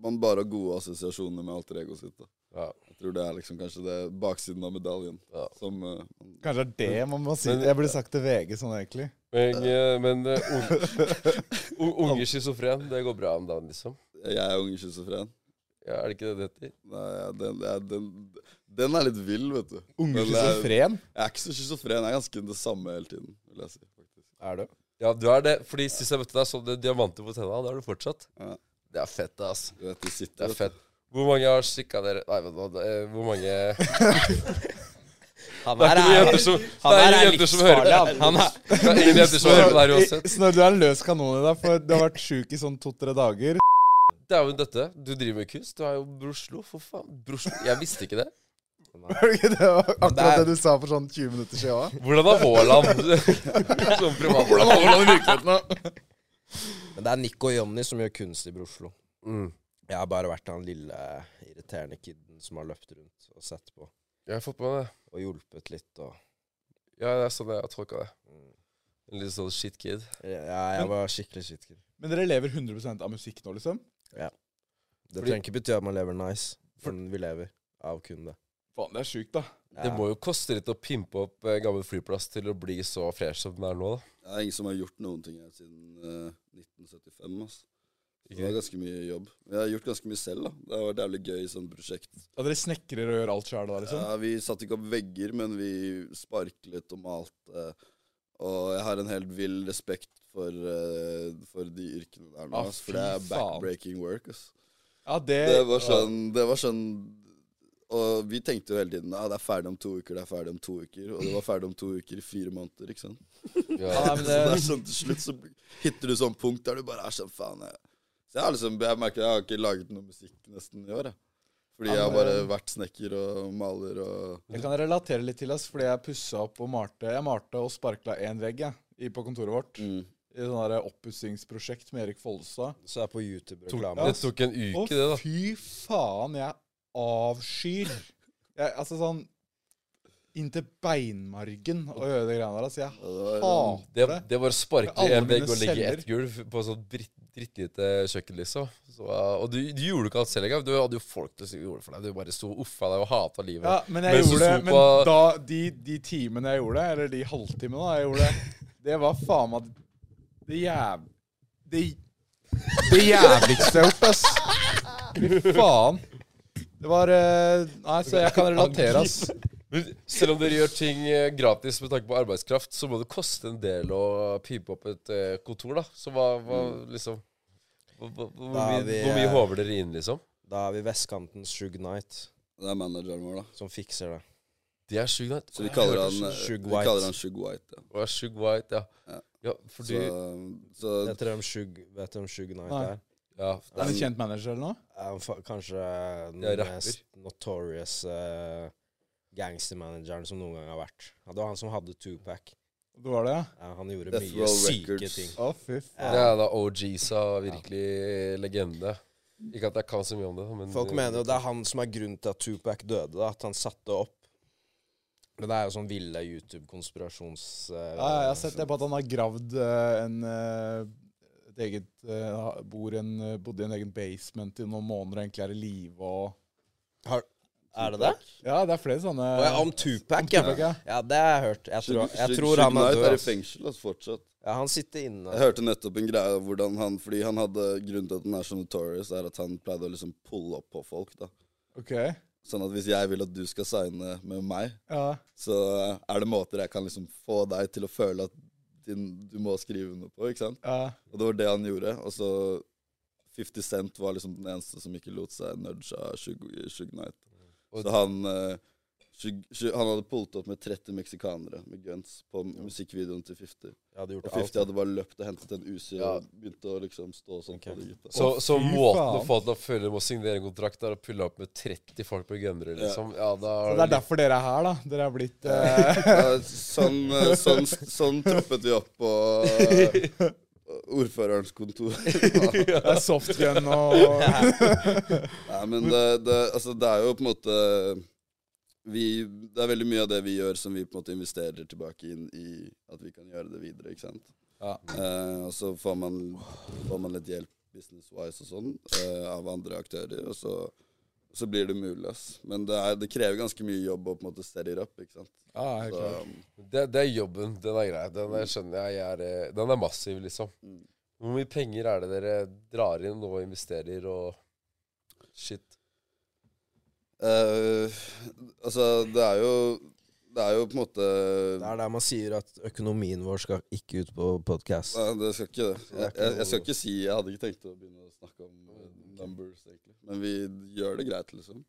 man bare har gode assosiasjoner med alter egoet sitt. Da.
Ja.
Jeg tror det er liksom kanskje det baksiden av medaljen. Som eh,
Kanskje det er det man må si.
Men-
Jeg burde sagt til VG sånn, egentlig.
Men, eh, men eh, un, un, unge schizofren, det går bra om dagen, liksom.
jeg er ung schizofren.
Ja, er det ikke det det heter?
Nei, ja, den, ja, den, den er litt vill, vet du.
Unge
Men jeg-
schizofren.
Jeg er ikke så schizofren. Jeg er ganske det samme hele tiden. vil jeg si. faktisk.
Er du?
Ja, du er det. Fordi sist jeg møtte deg, så du diamanter på tenna. Det har du fortsatt.
Ja.
Det er fett, ass.
Du vet, de
Det
sitter
er fett. Hvor mange har stikka dere Nei, vent nå. det er- Hvor mange Det
Han
er
her
ikke noen
er,
jenter som,
han
det er
her
ingen
er
jenter som hører
livsfarlig, han. han er,
Det er ingen jenter som hører på det her uansett.
Snorre, du er en løs kanon i dag, for du har vært sjuk i sånn to-tre dager.
Dæven døtte, du driver med kunst. Du er jo Broslo, for faen. Broslo. Jeg visste ikke det.
Var det ikke det var akkurat
Nei.
det du sa for sånn 20 minutter siden òg?
Hvordan er Haaland som privat?
Men det er Nico og Jonny som gjør kunst i Oslo.
Mm.
Jeg har bare vært han lille irriterende kiden som har løpt rundt og sett på.
Jeg har fått med det.
Og hjulpet litt og
Ja, det er sånn jeg har tolka det. En litt sånn shit kid.
Ja, jeg var skikkelig skitkid.
Men dere lever 100 av musikk nå, liksom?
Det
Fordi-
trenger ikke bety at man lever nice, men vi lever av kun det.
Faen, det er sjukt, da.
Ja.
Det må jo koste litt å pimpe opp eh, gammel flyplass til å bli så fresh som den er nå, da.
Det er ingen som har gjort noen ting her siden eh, 1975. ass. Så det er ganske mye jobb. Jeg har gjort ganske mye selv, da. Det har vært jævlig gøy sånn prosjekt.
Ja, dere snekrer og gjør alt sjæl da, liksom?
Ja, vi satte ikke opp vegger, men vi sparklet og malte. Og jeg har en helt vill respekt for, eh, for de yrkene der nå,
Ah,
ass,
fy
for det er
faen.
backbreaking work. Ass.
Ja, det,
Det var sånn, det var sånn Og vi tenkte jo hele tiden ja, det er ferdig om to uker, det er ferdig om to uker. Og det var ferdig om to uker i fire måneder, ikke sant.
Ja, nei, men
Så det
det,
er sånn, til slutt så hitter du sånn punkt der du bare er sånn faen. Jeg, så jeg, har liksom, jeg merker jeg har ikke laget noe musikk nesten i år. Jeg. Fordi jeg har bare vært snekker og maler og
Jeg kan relatere litt til oss, fordi jeg pussa opp og malte. Jeg malte og sparkla én vegg jeg, i- på kontoret vårt. I sånn der oppussingsprosjekt med Erik Follestad.
Så det er på YouTube-reklame.
Det tok en uke,
Å,
det, da.
fy faen, jeg avskyr jeg, Altså sånn Inntil beinmargen å gjøre de greiene der. Altså, jeg
Det,
hater det.
det var å sparke
Alle
en vegg
mine
og legge i
celler.
ett gulv på sånn dritt, drittlite kjøkken, liksom. Så, uh, og du, du gjorde ikke alt selv engang. Du hadde jo folk til å gjøre det for deg. Du bare sto og uffa deg og hata livet.
Ja, men jeg
Mens du
gjorde det.
sto
Men
på-
da, de, de timene jeg gjorde det, eller de halvtimene da jeg gjorde det, det var faen meg det jæv... Det, det jævligste jeg har gjort, ass. Fy faen. Det var eh, Nei, så jeg kan relatere, ass.
Men selv om dere gjør ting eh, gratis med tanke på arbeidskraft, så må det koste en del å pipe opp et eh, kontor, da. Så hva, hva liksom hva, hva, hvor,
Da er
mye,
vi,
hvor
eh,
mye håver dere inn, liksom?
Da er vi Vestkantens Shug Knight
Det er manageren vår, da.
som fikser det.
De er sjukt nice.
Så vi kaller han eh,
Shug
Vi
White.
kaller han Shug White, ja.
Og er sjukt white, ja.
Ja.
Ja,
Så, um,
fordi
så
Vet dere hvem Shug, vet dere hvem Shug Knight
Nei.
er?
Ja.
Er det en kjent manager eller noe?
Er han fa- kanskje den
Ja, rapper.
mest notorious eh, gangstermanageren som noen gang har vært. Ja, Det var han som hadde Tupac.
Det var det, ja.
Ja, han gjorde
Death
mye
Row
syke
Records.
ting.
Å, fy faen.
Det er da OGs av virkelig legende. Ikke at jeg kan så mye om det, da, men
Folk mener jo det er han som er grunnen til at Tupac døde, da, at han satte opp. Men det er jo sånn ville YouTube-konspirasjons... eh,
Ja, jeg har sett det på at han har gravd eh, en eh, et eget eh, bor i en, eh, Bodde i en egen basement i noen måneder og egentlig er i live og
Har, er det det?
Ja, det er flere sånne
Å, ja, om Tupac,
Tupac, ja.
ja. Ja, det har jeg hørt. Jeg tror,
Shug-
jeg
Shug-
tror
Shug
han er
Knight
død.
er i
altså.
fengsel ass, fortsatt.
Ja, han sitter
Jeg
inne.
hørte nettopp en greie om hvordan han Fordi han hadde grunnen til at han er så notorious, er at han pleide å liksom pulle opp på folk. da
Ok.
Sånn at hvis jeg vil at du skal signe med meg,
Ja.
så er det måter jeg kan liksom få deg til å føle at din, du må skrive under på, ikke sant?
ja.
Og det var det han gjorde. Og så 50 Cent var liksom den eneste som ikke lot seg nudge av Shug, Shug Knight.
Og-
Så han eh, Shug, Shug, Han hadde pult opp med 30 meksikanere med guns på musikkvideoen til 50.
Jeg hadde
Og
gjort
50
alt.
hadde bare løpt og hentet en Uzi og begynte å liksom stå sånn
Ok.
på de gutta.
Så, så
fy
måten å
faen.
få til å føle med å signere en kontrakt, er å pulle opp med 30 folk på gønnere, liksom. Ja, da
Så
er
det
det
er derfor dere er her, da. Dere er blitt eh,
Ja, sånn, eh, sånn, sånn troppet vi opp på eh, ordførerens kontor.
det er softgun og
Nei, men det, det, altså, det er jo på en måte vi, Det er veldig mye av det vi gjør, som vi på en måte investerer tilbake inn i at vi kan gjøre det videre. ikke sant?
Ja.
Eh, og så får man, får man litt hjelp business-wise og sånn eh, av andre aktører, og så, så blir det mulig. ass. Men det, er, det krever ganske mye jobb å på en måte steady it up. ikke sant?
Ja, helt
Så,
klart.
Det, det er jobben. Den er grei. Den er, skjønner jeg, jeg er, eh, den er massiv, liksom. Hvor mye penger er det dere drar inn og investerer og shit?
eh, altså, det er jo Det er jo på en måte
Det er der man sier at økonomien vår skal ikke ut på podkast.
Nei, det skal ikke det.
det er
Jeg,
ikke
jeg,
noe-
jeg skal ikke si Jeg hadde ikke tenkt å begynne å snakke om eh, numbers, egentlig. Men vi gjør det greit, liksom.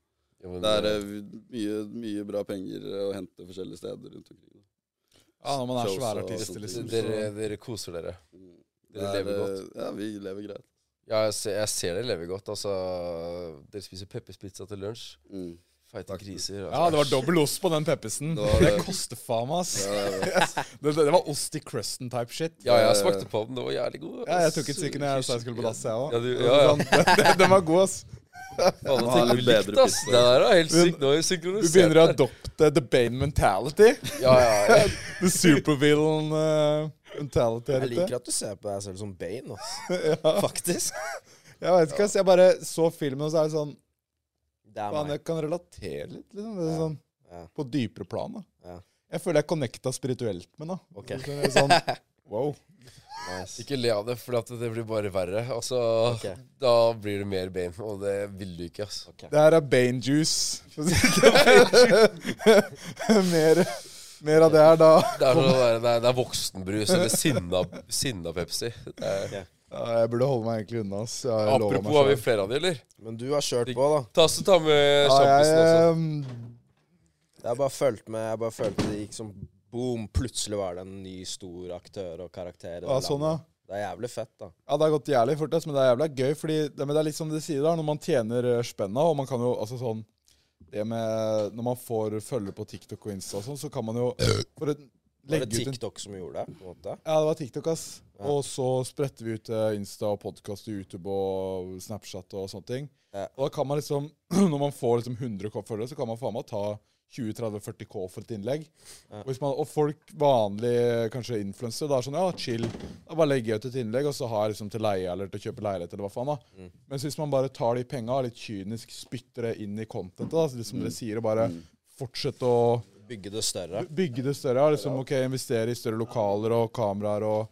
Ja, men,
Det er
eh,
eh, mye, mye bra penger å hente forskjellige steder rundt omkring.
Ja, når man er
Shows
svære
og
artister,
sånt.
liksom. så-
dere, dere koser dere.
Det
Dere
er,
lever
eh,
godt.
Ja, vi lever greit.
Ja, jeg ser, jeg ser dere lever godt. Altså, dere spiser pepperspizza til lunsj.
Mm.
Feite
Faktisk.
griser. altså.
Ja, det var dobbel ost på den Peppersen.
Det var
Det
det.
koster faen meg, ass.
Ja, jeg vet.
Det, det var ost i crusten type shit.
Ja, jeg smakte på den. Det var jævlig god.
Ja, jeg tok et stykke når jeg sa jeg skulle på dass, jeg
Ja,
òg.
du, ja, ja.
Den var god, ass.
Faen,
Han har
tenker vi
litt
likt,
bedre
ass.
pizza.
Det der er helt
Men-
sykt. Nå er vi
Du
synkronisert.
begynner å
her.
adopte the Bane mentality.
Ja, ja, ja.
The supervillain eh, mentality.
Jeg
Dette.
liker at du ser på deg selv som Bane, altså. Faktisk.
Jeg vet ikke, ass. Jeg bare så filmen, og så er det sånn
Det er
Faen,
meg.
jeg kan relatere litt, liksom. Det er sånn,
ja.
På dypere plan, da.
Ja.
Jeg føler jeg connecta spirituelt med den. da.
Ok.
Så det er Sånn, wow.
Nice.
Ikke le av det, for at det blir bare verre. Altså,
Ok.
Da blir det mer Bane, og det vil du ikke. ass.
Det her er Bane-juice. For å si det er Bane-juice. mer, mer av det her, da.
Det er, sånn å være- det er, det er voksenbrus eller sinna, sinna Pepsi. Det er,
Ja, jeg burde holde meg egentlig unna. ass. Jeg lover meg
apropos, har vi
selv.
flere av de, eller?
Men du har kjørt på, da.
Ta, så ta med
ja,
sjampisen
eh,
også.
jeg, ehm,
Jeg har bare fulgt med. Jeg bare følte det gikk som boom. Plutselig var det en ny stor aktør og karakter. i det
ja, sånn, ja.
landet. Det er jævlig fett, da.
Ja, det har gått jævlig fort, ass, men det er jævla gøy. Fordi det, men det er litt som de sier, da, når man tjener eh, spenna, og man kan jo altså sånn det med, Når man får følgere på TikTok og Insta og sånn, så kan man jo for å
Var det
legge ut en
TikTok som gjorde det? på en måte?
Ja, det var TikTok, ass.
Ja.
Og så spretter vi ut eh, Insta og podkast og YouTube og Snapchat og sånne ting.
Ja.
Og da kan man liksom, når man får liksom 100 K følgere, så kan man faen meg ta 20-30-40 K for et innlegg. Og, hvis man, og folk, vanlige kanskje influensere, da er sånn ja, chill. Da bare legger jeg ut et innlegg, og så har jeg liksom til leie eller til å kjøpe leilighet eller hva faen, da.
Mm.
Mens hvis man bare tar de penga og litt kynisk spytter det inn i contentet, da, så liksom
Mm.
dere sier, og bare fortsette å
Bygge det større.
Bygge det større. ja, Liksom, ok, Investere i større lokaler og kameraer og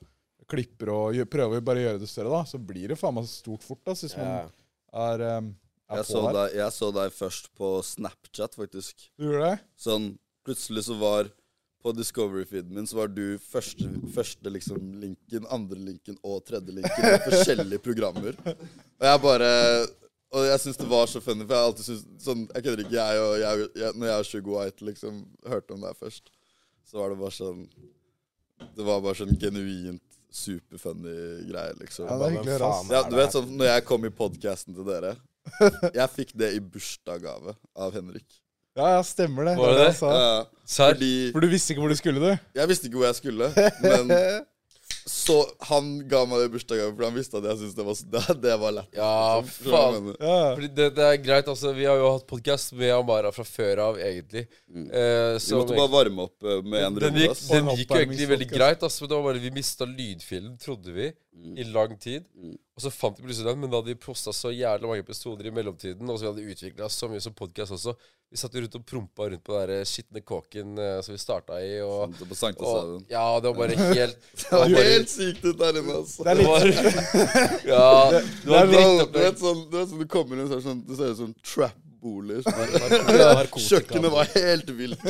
klipper og gjø- prøve å bare gjøre det større, da. Så blir det faen meg stort fort, ass, hvis
Ja.
man er, um, er
Jeg så,
på der.
deg, jeg så deg først på Snapchat, faktisk.
Du gjorde det?
Sånn, plutselig så var På Discovery-feeden min så var du første, første liksom linken, andre linken og tredje linken i forskjellige programmer. Og jeg bare Og jeg syns det var så funny, for jeg har alltid syns sånn Jeg kødder ikke, jeg og jeg, jeg, Når jeg og Sugar White liksom hørte om deg først, så var det bare sånn Det var bare sånn genuint superfunny greie, liksom.
Ja, det er hyggelig å høre, ass.
Ja, du vet sånn, når jeg kom i podcasten til dere Jeg fikk det i bursdagsgave av Henrik.
Ja, ja, stemmer det.
Var det
det
det?
jeg sa.
Ja,
Serr?
fordi
For du visste ikke hvor du skulle, du?
Jeg visste ikke hvor jeg skulle, men så han ga meg det i bursdagsgave, for han visste at jeg syntes det var, det, det var lett.
Ja,
Skjønner du hva jeg
faen.
mener?
Ja.
Fordi det, det er greit, altså. Vi har jo hatt podkast med Amara fra før av, egentlig. Eh,
Mm. Vi
som
måtte bare varme opp eh, med en
den
runde.
gikk,
ass.
den
Og en
gikk jo egentlig veldig
oppvarmingspodcast.
greit, altså, men det var bare vi mista lydfilen, trodde vi,
Mm.
i lang tid. Og så fant vi plutselig den, men da hadde vi posta så jævlig mange episoder i mellomtiden, og så vi hadde utvikla så mye som podkast også. Vi satt jo rundt og prompa rundt på den der skitne kåken eh, som vi starta i, og,
På Sankthanshaugen.
og Ja, det var bare helt
Det var helt sykt ut der inne, ass.
Det er
Det
litt
var, ja, det
Det
var
er sånn, du
drittopplegg.
vet sånn, du vet sånn, du kommer inn, så er det sånn, det ser ut som trap-boliger. som er- Kjøkkenet var helt vilt.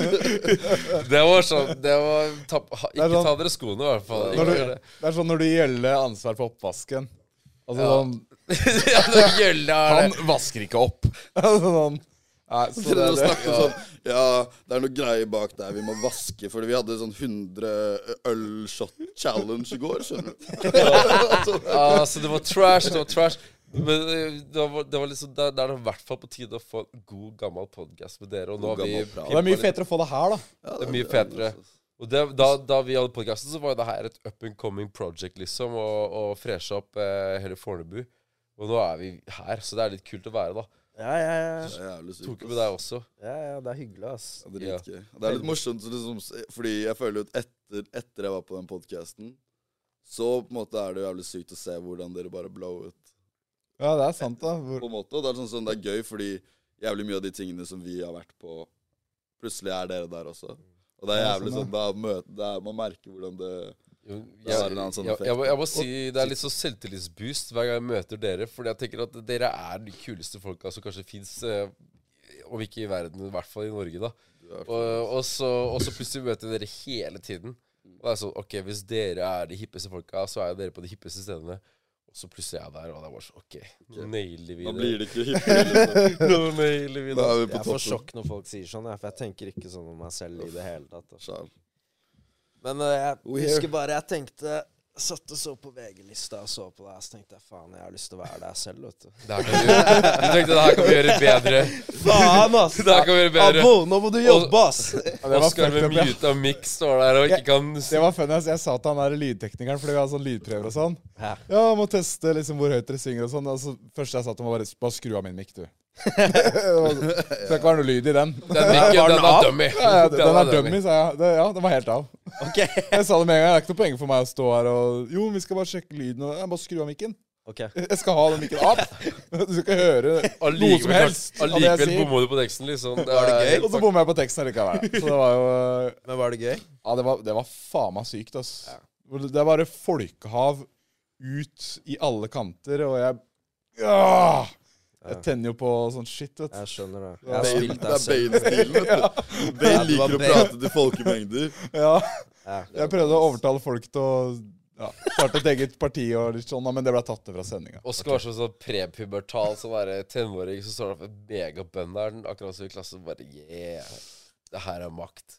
Det var sånn det var, tapp, ha,
er
Ikke
sånn-
ta dere skoene, i hvert fall.
når
Ikke
du,
gjør det.
det er sånn når du gjelder ansvar for oppvasken. Altså sånn
Ja, det er gjølle, er det.
Han vasker ikke opp. Altså sånn Nei, så det
Dere
er det.
snakket sånn Ja, det er noe greier bak der vi må vaske, fordi vi hadde sånn 100 ølshot-challenge i går, skjønner du.
Ja, Ah, så det var trash, det var trash. Men eh, det var, det var liksom, der, der er det i hvert fall på tide å få en god, gammel podkast med dere. Og nå
God,
har vi
gammel prat.
Og det er mye fetere å få det her, da.
det er mye fetere. Og det, da, da vi hadde podkasten, så var jo det her et up and coming project, liksom. Og, og freshe opp eh, hele Fornebu. Og nå er vi her, så det er litt kult å være, da.
Ja, ja, ja.
Det er jævlig sykt,
Tok
ass.
med deg også.
ja, ja det er hyggelig, ass.
Ja, dritgøy. Det er litt morsomt, så liksom, se- fordi jeg føler at etter, etter jeg var på den podcasten, så på en måte er det jo jævlig sykt å se hvordan dere bare blow ut.
Ja, det er sant, da. Hvor,
På en måte, og det er sånn, sånn, det er gøy, fordi jævlig mye av de tingene som vi har vært på, plutselig er dere der også. Og det er
Ja,
jævlig
sånn,
sånn, da møter, det er, man merker hvordan det...
Jo,
Da er det en annen sånn
jeg,
effekt.
jeg, må, jeg må si det er litt sånn selvtillitsboost hver gang jeg møter dere. Fordi jeg tenker at dere er de kuleste folka som kanskje fins, eh, om ikke i verden, i hvert fall i Norge, da. Og, og, så, og så plutselig møter jeg dere hele tiden. Og det er sånn, ok, Hvis dere er de hippeste folka, så er jo dere på de hippeste stedene. Og så plutselig er jeg der, og det er bare sånn OK, nå nailer vi
Da
det.
blir det ikke hyppelig, liksom.
Nå nailer vi
Da
det.
er vi på
Jeg får
toppen.
sjokk når folk sier sånn, ja, for jeg tenker ikke sånn om meg selv i det hele tatt. ass.
Sjæl.
Men eh, jeg
We here.
husker bare jeg tenkte Satt og så på VG-lista og så på deg, så tenkte jeg faen, jeg har lyst til å være der selv, vet du.
Det her kan vi, du tenkte det her kan vi gjøre bedre.
Faen, ass!
Det her kan vi gjøre bedre.
Abo, nå må du jobbe, ass!
var
Oskar med
fucked up, ja.
mute og mix står der og ikke kan
Det var funny. ass. Jeg sa til han der lydteknikeren, fordi vi har sånn lydprøver og sånn.
Ja.
Ja, må teste liksom hvor høyt dere synger og sånn. Altså, første jeg sa til ham, var bare, bare skru av min mikk, du. sånn. Det skal ikke være noe lyd i den.
Den mikken, den er dummy.
Ja, ja, den er dummy, sa jeg. Det, ja, den var helt av.
Ok.
Jeg sa det med en gang. Det er ikke noe poeng for meg å stå her og Jo, vi skal bare sjekke lyden. Og, jeg bare skru av mikken.
Ok.
Jeg skal ha den mikken av. Du skal ikke høre noe som
Allikevel,
helst av det jeg
allikevel
sier.
bomma du på teksten, liksom. Det
Var det
er-
gøy?
Og så bommer jeg på teksten likevel. Så det var jo
Men var det gøy?
Ja, det var, det var faen meg sykt, ass. Hvor Det det er bare folkehav ut i alle kanter, og jeg ja! Jeg tenner jo på sånn shit, vet du.
Jeg skjønner det. Jeg
Ja,
har
det er-
spilt
Det
deg
er
selv.
Bane-stilen, vet du. Bane liker å prate til folkemengder.
Ja,
Ja.
jeg prøvde å overtale folk til å ja, starte et eget parti og litt sånn, da, men det ble tatt ned fra sendinga.
Oskar var sånn sånn prepubertal som være tenåring, så står han for megabønderen akkurat som i klassen. Bare yeah. Det her er makt.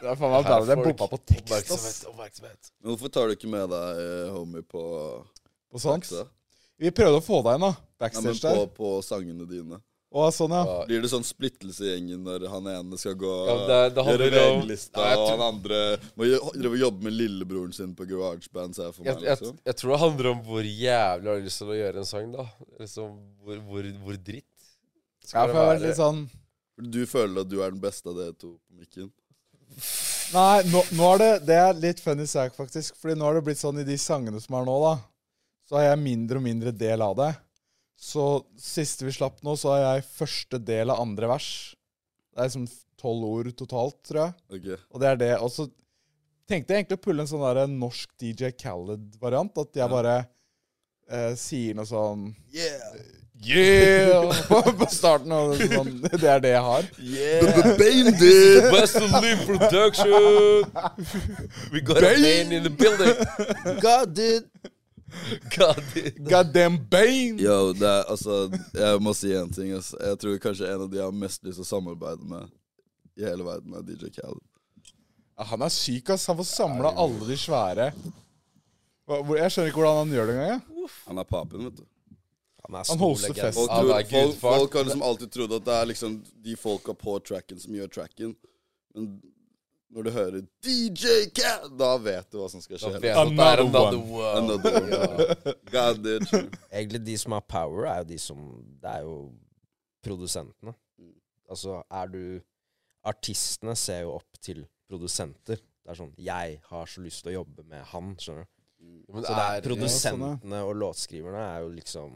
Det er faen meg
Her er
bra, det er
folk.
bomba på tekst, ass.
Oppmerksomhet, oppmerksomhet.
Men Hvorfor tar du ikke med deg eh, homie på
Og sånt.
Aksa?
Vi prøvde å få deg inn, da.
Nei, men
Backstage
på,
der.
på sangene dine.
Å, sånn, ja.
Blir det sånn splittelse i gjengen når han ene skal gå
Ja, men det- det handler
gjøre
om-
VG-lista,
Nei, jeg
og
tror-
han andre må jo- drive og jobbe med lillebroren sin på GarageBand, ser jeg for
Jeg,
meg.
jeg,
liksom.
jeg tror det handler om hvor jævlig har du lyst til å gjøre en sang, da. Liksom, hvor, hvor, hvor dritt.
Ja, for jeg har vært litt sånn
Du føler at du er den beste av dere to på mikken.
Nei, nå, nå er det Det er litt funny sak, faktisk. Fordi nå har det blitt sånn i de sangene som er nå, da. Så har jeg mindre og mindre del av det. Så siste vi slapp nå, så har jeg første del av andre vers. Det er liksom tolv ord totalt, tror jeg.
Ok.
Og det er det. Og så tenkte jeg egentlig å pulle en sånn der norsk DJ Khaled-variant. At jeg bare eh, sier noe sånn
Yeah!
Yeah! på, på starten. Og sånn, det er det jeg har.
Yeah! Bane-dude!
Best of Lee Production! We got a man in the building!
God, dude!
God, det-
God damn bane!
Yo, det er, altså, jeg må si én ting. ass. Jeg tror kanskje en av de jeg har mest lyst til å samarbeide med i hele verden, er DJ Khaled.
Ja, han er syk, ass. Han får samla alle de svære. Hva- hvor- Jeg skjønner ikke hvordan han gjør det engang. jeg.
Han er papen, vet du.
Han er
Han hoster
storlegende.
fest.
Folk,
Han
tror,
er
folk,
gudfar.
folk har liksom alltid trodd at det er liksom de folka på tracken som gjør tracken. Men når du hører DJ Khaled, da vet du hva som skal
Da
skje. liksom.
vet jeg at det Sånn er
Another
another
one.
world.
Another one. God, dude.
Egentlig de som har power, er jo de som Det er jo produsentene.
Mm.
Altså, er du Artistene ser jo opp til produsenter. Det er sånn Jeg har så lyst til å jobbe med han, skjønner du.
Men
Så det
er- eh,
er
Ja,
produsentene og låtskriverne er jo liksom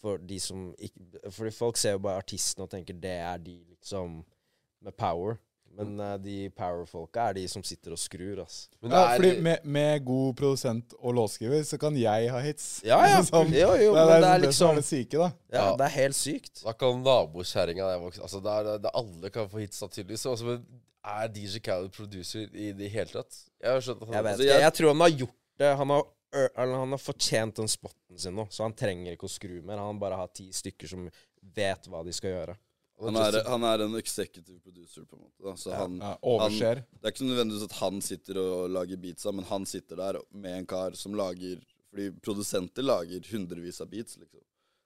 For de som ikke Fordi folk ser jo bare artistene og tenker det er de liksom med power. Men eh, de power-folka er de som sitter og skrur, ass.
Mm. men
Ja,
det
fordi
er-
med, med god produsent og låtskriver, så kan jeg ha hits.
Ja, ja.
Sånn.
Jo, jo,
det, er,
men det er
det som er
liksom
det syke, da.
Ja, det er helt sykt.
Snakk om nabokjerringa der vokste altså, det er, det er Alle kan få hits, da, tydeligvis. Altså, men er DJ Khaled producer i det hele tatt? Jeg har skjønt at han
Jeg vet
Altså,
ikke.
jeg-
Jeg tror han har gjort det. Han har, ø- eller han har fortjent den spotten sin nå, så han trenger ikke å skru mer. Han bare har ti stykker som vet hva de skal gjøre.
Han er, han er en executive producer, på en måte. da. Så han,
Ja,
han,
overser.
Det er ikke nødvendigvis at han sitter og lager beatsa, men han sitter der med en kar som lager Fordi produsenter lager hundrevis av beats, liksom.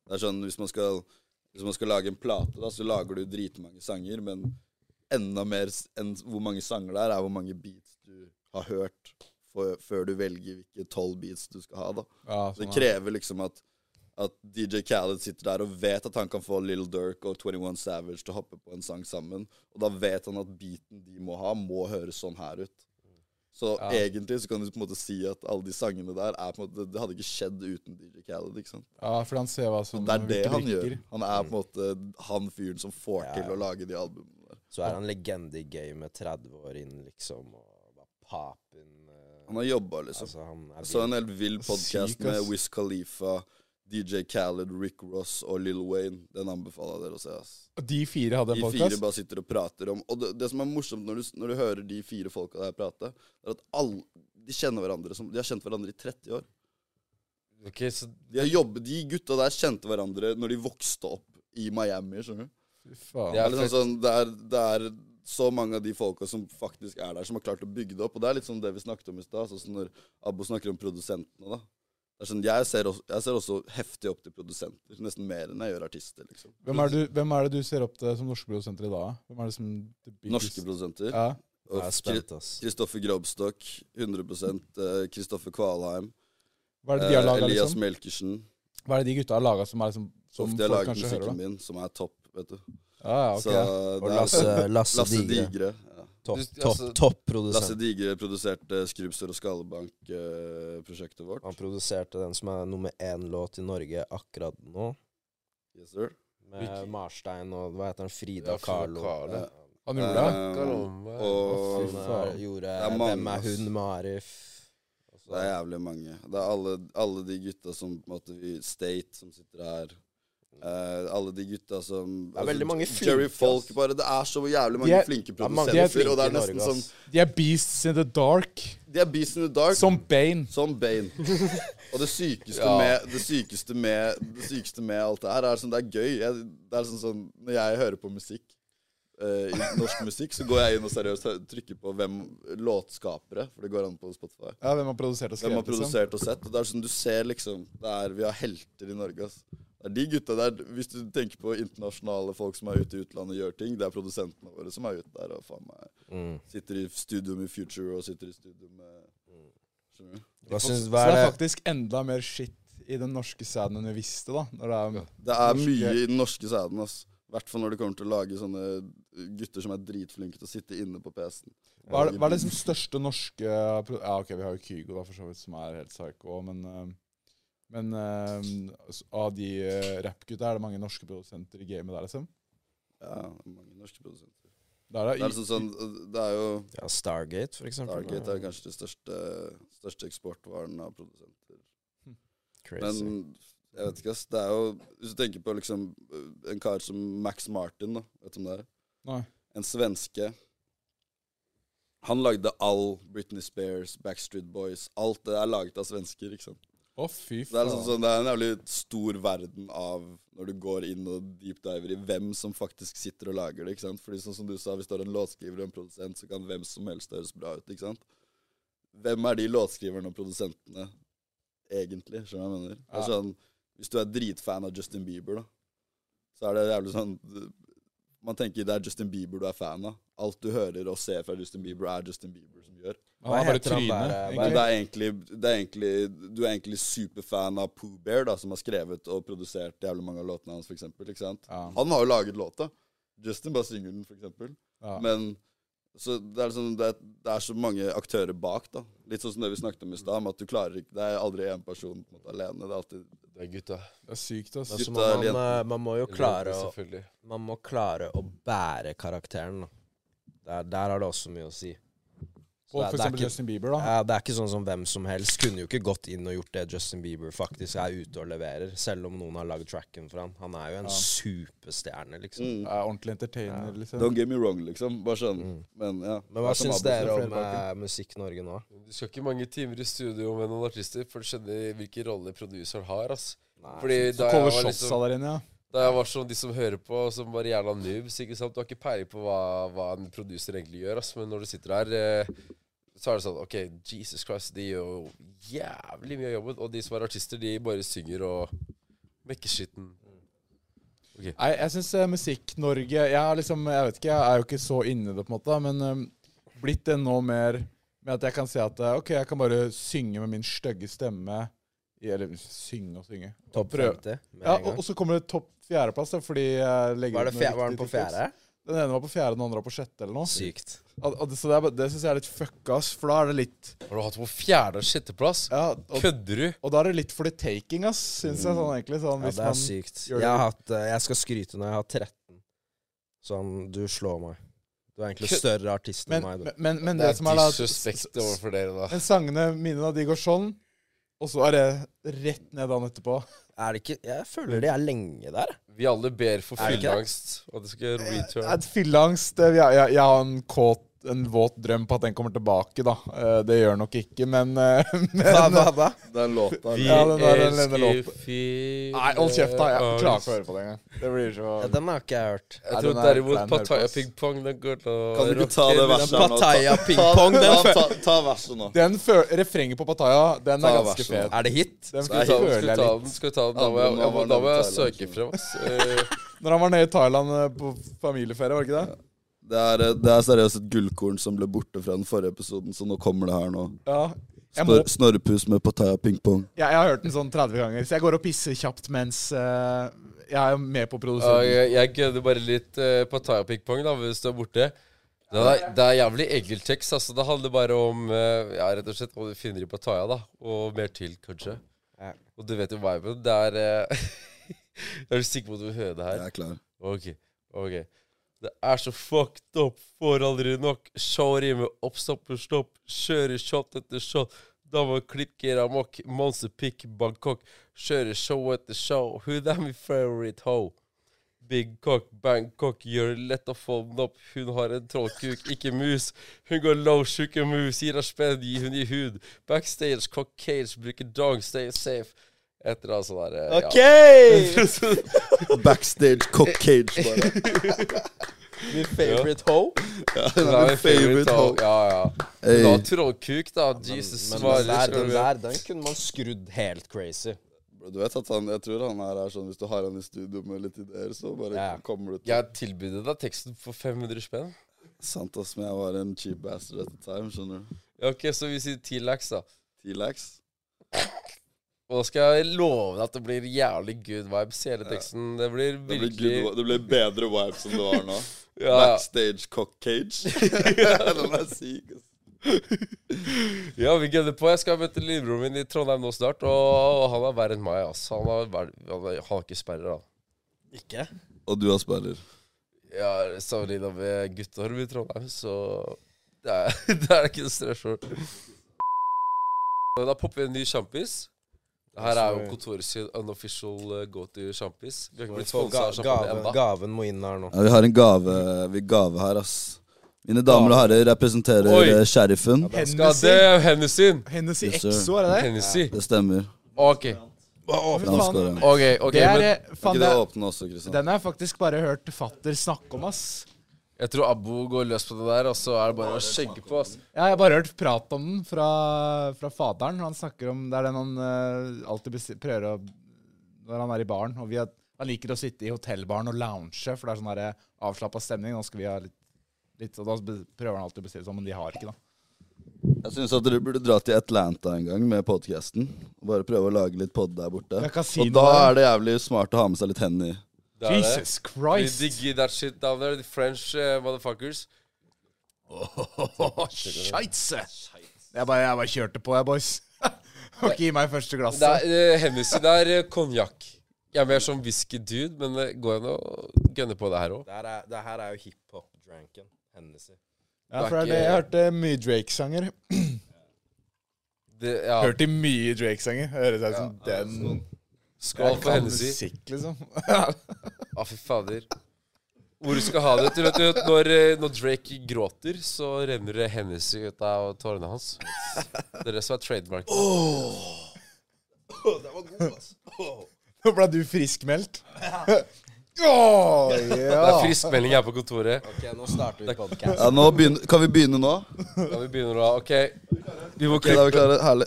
Det er sånn, hvis man skal, hvis man skal lage en plate, da, så lager du dritmange sanger, men enda mer s- enn hvor mange sanger det er, er hvor mange beats du har hørt for, før du velger hvilke tolv beats du skal ha, da.
Ja,
Det
sånn, ja.
krever liksom at, at DJ Khaled sitter der og vet at han kan få Little Dirk og 21 Savage til å hoppe på en sang sammen. Og da vet han at beaten de må ha, må høres sånn her ut. Så egentlig så kan du på en måte si at alle de sangene der er på en måte, Det hadde ikke skjedd uten DJ Khaled. ikke sant?
ja, fordi han ser hva som
Det er det han gjør.
virker.
Han er på en måte han fyren som får
Ja,
til
ja.
å lage de albumene der.
Så er han legende i gamet, 30 år inn, liksom, og bare papen eh,
Han har jobba, liksom.
Altså, han
Jeg
er
så
vild.
en helt vill podkast
Syk,
med
ass.
Wiz Khalifa, DJ Khaled, Rick Ross og Lil Wayne. Den anbefaler jeg dere å se. ass.
Og De fire hadde en
De fire
podkast.
bare sitter og prater om Og det, det som er morsomt når du, når du hører de fire folka der prate, er at alle De kjenner hverandre som De har kjent hverandre i 30 år.
Ok, så
De, har jobbet, de gutta der kjente hverandre når de vokste opp i Miami, skjønner du.
Det
Det
er
er, liksom sånn, det er, det er så mange av de folka som faktisk er der, som har klart å bygge det opp. Og det er litt sånn det vi snakket om i stad, sånn som når Abbo snakker om produsentene, da. Det er sånn, jeg, ser også, jeg ser også heftig opp til produsenter, nesten mer enn jeg gjør artister, liksom.
Hvem er, du, hvem er det du ser opp til som norske produsenter i dag? Hvem er det som the biggest-
Norske produsenter.
Ja.
Og
Jeg er
Kri-
spent, ass.
Kristoffer Grobstokk, 100 eh, Kristoffer Kvalheim.
Hva er det de
Eh,
har laga,
Elias
liksom?
Melkersen.
Hva er det de gutta har laga som er liksom
Som
Som
ofte jeg
folk
lager
kanskje hører,
musikken
da?
min, som er topp, vet du.
Ja, ja, ok.
Så
Og
det er
Lasse, Lasse,
Lasse
Digre.
Digre. Ja.
Topp
Du-
topp,
altså-
Lasse
topprodusent.
Digre produserte Skrubbsør og Skalebank-prosjektet vårt.
han produserte den som er nummer én låt i Norge akkurat nå.
Yes, sir.
Med Marstein og hva heter han? Frida
Ja, Frida
Kahlo.
Kahlo.
Ja.
Han gjorde det?
Eh,
Snakker om, eh,
og
Hun er,
faen.
gjorde
Det er mange,
Hvem er
ass.
hun med Arif?
Så det er jævlig mange. Det er alle, alle de gutta som på en måte i State som sitter her. Eh, alle de gutta som altså,
er veldig mange flinke,
Jerry Folk,
ass.
bare. Det er så jævlig mange
De er-
flinke
er mange
produsenter.
flinke
og det
i
er nesten sånn
Norge,
som
ass.
De er beasts in the dark.
De er Beast in the Dark.
Som Bane.
Som Bane. Og det sykeste,
Ja.
med, det, sykeste med, det sykeste med alt det her, er sånn det er gøy. Jeg, det er sånn sånn Når jeg hører på musikk, eh, i norsk musikk, så går jeg inn og seriøst hø- trykker på hvem låtskapere, for det går an på Spotify.
Ja, hvem har produsert og
Hvem
skrevet liksom?
har produsert og sett. Og det er sånn du ser liksom det er, Vi har helter i Norge, ass. Det er de gutta der, Hvis du tenker på internasjonale folk som er ute i utlandet og gjør ting, det er produsentene våre som er ute der og faen meg
Mm.
sitter i studio med Future og sitter i studio med
Mm.
Skjønner du?
Hva syns
Så det er
det?
faktisk enda mer shit i den norske sæden enn vi visste, da. Når det er
Det er
Norske-
mye i den norske sæden. ass. I hvert fall når det kommer til å lage sånne gutter som er dritflinke til å sitte inne på PC-en.
Hva er, hva er liksom største norske pro- Ja, ok, vi har jo Kygo, da, for så vidt, som er helt psycho, men eh, Men eh, altså, av de eh, rappgutta, er det mange norske produsenter i gamet der, liksom?
Ja, det er mange norske produsenter.
Det er, det.
Det er liksom sånn, det er jo
Ja, Stargate, for eksempel.
Stargate er kanskje det største, største eksportvaren av produsenter.
Crazy.
Men jeg vet ikke, ass. Det er jo Hvis du tenker på liksom øh, en kar som Max Martin, da. Vet du om det er?
Nei.
En svenske. Han lagde all Britney Spears, Backstreet Boys Alt det er laget av svensker, ikke sant?
Å, fy
Så Det
faen.
er, liksom sånn, det er en jævlig stor verden av når du går inn og deepdiver i hvem som faktisk sitter og lager det. ikke sant? Fordi sånn som du sa, Hvis du har en låtskriver og en produsent, så kan hvem som helst høres bra ut. ikke sant? Hvem er de låtskriverne og produsentene egentlig? Skjønner du hva jeg mener? Det er
Ja.
sånn, Hvis du er dritfan av Justin Bieber, da, så er det jævlig sånn Man tenker det er Justin Bieber du er fan av. Alt du hører og ser fra Justin Bieber, er Justin Bieber som gjør.
Han er
Hva
bare
heter han
trynet.
der, eh,
Men
egentlig.
det er egentlig, det er egentlig Du er egentlig superfan av Pooh Bear, da, som har skrevet og produsert jævlig mange av låtene hans, for eksempel. Ikke sant?
Ja.
Han har jo laget låta. Justin bare synger den, for eksempel.
Ja.
Men så det er, liksom, det, er, det er så mange aktører bak, da. Litt sånn som det vi snakket om i stad, om at du klarer ikke Det er aldri én person på en måte, alene. Det er alltid
Det er gutta.
Det er sykt, ass.
Ja,
Altså,
Gutta
man,
eller
man, eh, man må jo klare å
Selvfølgelig.
Man må klare å bære karakteren, da. Der, der har det også mye å si. Så
Og
det er-
for
det er
eksempel
ikke-
Justin Bieber, da.
Ja, det er ikke sånn som hvem som helst kunne jo ikke gått inn og gjort det Justin Bieber faktisk er ute og leverer, selv om noen har lagd tracken for han. Han er jo en superstjerne, liksom.
mm.
Er ordentlig entertainer, liksom.
Don't get me wrong, liksom. Bare sånn.
Mm.
Men ja.
Men hva
Det er som
syns
Abbas sier,
dere om
Fredbakken.
eh, Musikk Norge nå?
Du skal ikke mange timer i studio med noen artister for å skjønne hvilken rolle produseren har. ass.
Nei.
Fordi da jeg,
Cover
var
shots
liksom,
av der inne, ja.
da jeg var sånn de som hører på, som bare jævla noobs ikke sant? Du har ikke peiling på hva, hva en produser egentlig gjør, ass. men når du sitter her eh, så er det sånn OK, Jesus Christ, de gjør jo jævlig mye av jobben. Og de som er artister, de bare synger og mekker skitten.
Nei, jeg syns Musikk-Norge Jeg har liksom, jeg vet ikke, jeg er jo ikke så inni det, på en måte, men eh, blitt det nå mer med at jeg kan si at eh, OK, jeg kan bare synge med min stygge stemme. i- Eller synge og synge. Og
Topp
prøve-
50 med
Ja,
en
og,
gang.
og så kommer det topp fjerdeplass, da, fordi jeg legger
Var, det
ut noen
fe var den
riktige
på
tips.
fjerde?
Den ene var på fjerde, den andre var på sjette eller noe.
Sykt.
Og, og det, så det, er bare- det syns jeg er litt fucka, ass. For da er det litt
Har du hatt på fjerde- og sjetteplass?
ja, og,
Kødder du?
og da er det litt for the taking, ass, syns jeg sånn egentlig. Sånn,
Ja,
hvis
det er
man,
sykt.
gjør det-
Jeg, har hatt, eh, jeg skal skryte når jeg har 13. Sånn, du slår meg. Du er egentlig
Kø-
større artist enn
men,
meg.
men, men, men
Det
det,
er
som er da
disrespekt overfor dere, da.
Men sangene mine, da, de går sånn. Og så er det rett ned dagen etterpå.
Du. Er det ikke, jeg føler de er lenge der.
Vi alle ber for
Er det ikke det?
fylleangst. Og det skal return.
Et fylleangst eh, jeg, jeg, jeg har en kåt en våt drøm på at den kommer tilbake, da. Eh, Det gjør nok ikke, men, eh, men
Hva, hva, hva?
Det er låta.
Vi
Ja, den der, den
elsker
låten.
fyr
Nei, hold kjeft, da. Jeg klarer ikke å høre på det engang. Det blir så
Ja, den har ikke jeg hørt.
Jeg
Nei,
tror
den er klein å
derimot
høre på,
Pattaya
ass.
Ping Pong den går til å
Kan du ikke ta
rocke
det
mine-
verset her nå? Ta-
Pattaya
ta-
pingpong, den
ta-
føler
ta- Ta verset nå.
Den fø- refrenget på Pattaya, den er
Ta
ganske
vær så god.
fet.
Er det hit?
Den
Skal jeg
Skal
føler
vi
jeg
ta
litt.
den? Skal vi ta den? Da må jeg,
Andre
jeg, må-
var
da må jeg
Thailand,
søke
så-
frem, ass. Eh,
Når han var nede i Thailand eh, på familieferie, var det ikke det?
Det er, eh, det er seriøst et gullkorn som ble borte fra den forrige episoden, så nå kommer det her nå.
Ja. Jeg, må,
Snor, snorrepus med Pattaya ping-pong.
jeg, jeg har hørt den sånn 30 ganger, så jeg går og pisser kjapt mens eh, jeg er med på
ja,
produsenten.
jeg jeg kødder bare litt eh, Pattaya Ping Pong, da, hvis du er borte. Det er, det er jævlig enkel tekst. Altså, det handler bare om eh, ja, rett og slett hva du finner i Pattaya, da. Og mer til, kanskje.
Ja.
Og du vet jo viben. Det er eh, Er du sikker på at du hører det her?
Jeg er klar.
Ok, ok. Det er så fucked up, får aldri nok. Shorty med oppstopp og stopp, kjører shot etter shot. Damer klikker amok, monsterpick Bangkok. Kjører show etter show. Who that my favorite hoe? Big cock, Bangkok, gjør det lett å få den opp. Hun har en trollkuk, ikke mus. Hun går low, sjuke mus, gir henne spenn, gir hun i hud. Backstage, cockcage, bruker dong, stay safe. Et eller annet sånt der. eh,
OK!
Backstage cockcage, bare.
Min favorite hoe.
Ja. Det er min favorite hoe. Ja, ja.
Hey.
Da trollkuk, da. Jesus
Men
svarer.
den der,
skal
den
vi-
der, den kunne man skrudd helt crazy.
Bro, Du vet at han, jeg tror han her er sånn Hvis du har han i studio med litt ideer, så bare
Ja.
kommer du til
Jeg tilbød deg teksten for 500 spenn.
Sant, ass, men jeg var en cheap bastard at the time, skjønner du.
Ja, Ok, så vi sier 10 lax, da.
10 lax.
Og da skal jeg love deg at det blir jævlig good vibes i hele teksten. Det blir
Det ble,
virkelig
good, det ble bedre vibes enn det var nå.
ja, ja.
Backstage cock cage. Den er syk, ass.
ja, vi gønner på. Jeg skal møte lillebroren min i Trondheim nå snart, og han er verre enn meg. ass. Han har, verd- han har, han har ikke sperrer, da.
Ikke?
Og du har sperrer.
Ja, Sammenligna med guttorm i Trondheim, så det er, det er ikke noe stress for Og Da popper vi en ny sjampis. Det Her er jo kontoret sin unofficial eh, go-to-sjampis. Vi har ikke blitt sponsa av sjampis
gaven,
ennå.
gaven må inn her nå.
Ja, vi har en gave, vi gave her, ass. Mine damer og herrer representerer
Oi.
eh, sheriffen.
Skal det Hennessy?
Hennessy
Yes, sir.
XO, er det det?
Hennessy.
Det stemmer.
Ok,
Fy
Han
faen.
skårer.
ok, ok.
Det er,
Men
eh, faen,
Ikke
det
det
er,
åpne også, Kristian.
den har jeg faktisk bare hørt fatter snakke om, ass.
jeg tror Abbo går løs på det der, og så er det bare å skjegge på. ass.
Ja, jeg har bare hørt prat om den fra, fra faderen. Han snakker om Det er den han eh, alltid besti- prøver å Når han er i baren. Og vi har, han liker å sitte i hotellbaren og lounge, for det er sånn der, eh, avslappa stemning. Nå skal vi ha litt, litt Og da be- prøver han alltid å bestille sånn, men de har ikke, da.
Jeg syns at dere burde dra til Atlanta en gang med podkasten. Bare prøve å lage litt pod der borte.
Det er kasino
Og da
der.
er det jævlig smart å ha med seg litt hendene i.
Det er det.
Jesus
We
Christ!
dig that shit down there, the French eh, motherfuckers.
Scheisse! Jeg bare, jeg bare kjørte på, jeg, boys. Og gi meg første
Det
glasset.
er, eh, Hennessy, det er eh, konjakk. Jeg er mer som whisky-dude, men det går an å gønne på det her òg.
Det her er, det her er jo hiphop-dranken. Hennessy.
Ja, for det er det jeg hørte mye Drake-sanger.
Ja.
Hørte mye Drake-sanger. Høres ut som den
Skål for
kan
Hennessy.
musikk, liksom.
Å, fy fader. Hvor du skal ha det. Du vet, du vet, når, eh, når Drake gråter, så renner det Hennessy ut av tårene hans. Det er det som er trademark.
Nå ble du friskmeldt. Åh,
Det er
ja.
friskmelding her på kontoret.
Ok, nå starter vi podcast.
Ja, nå begynner, kan vi begynne nå?
Ja, vi begynner da. OK. Vi må
Ok, da er
klippe.
vi klare. Herlig.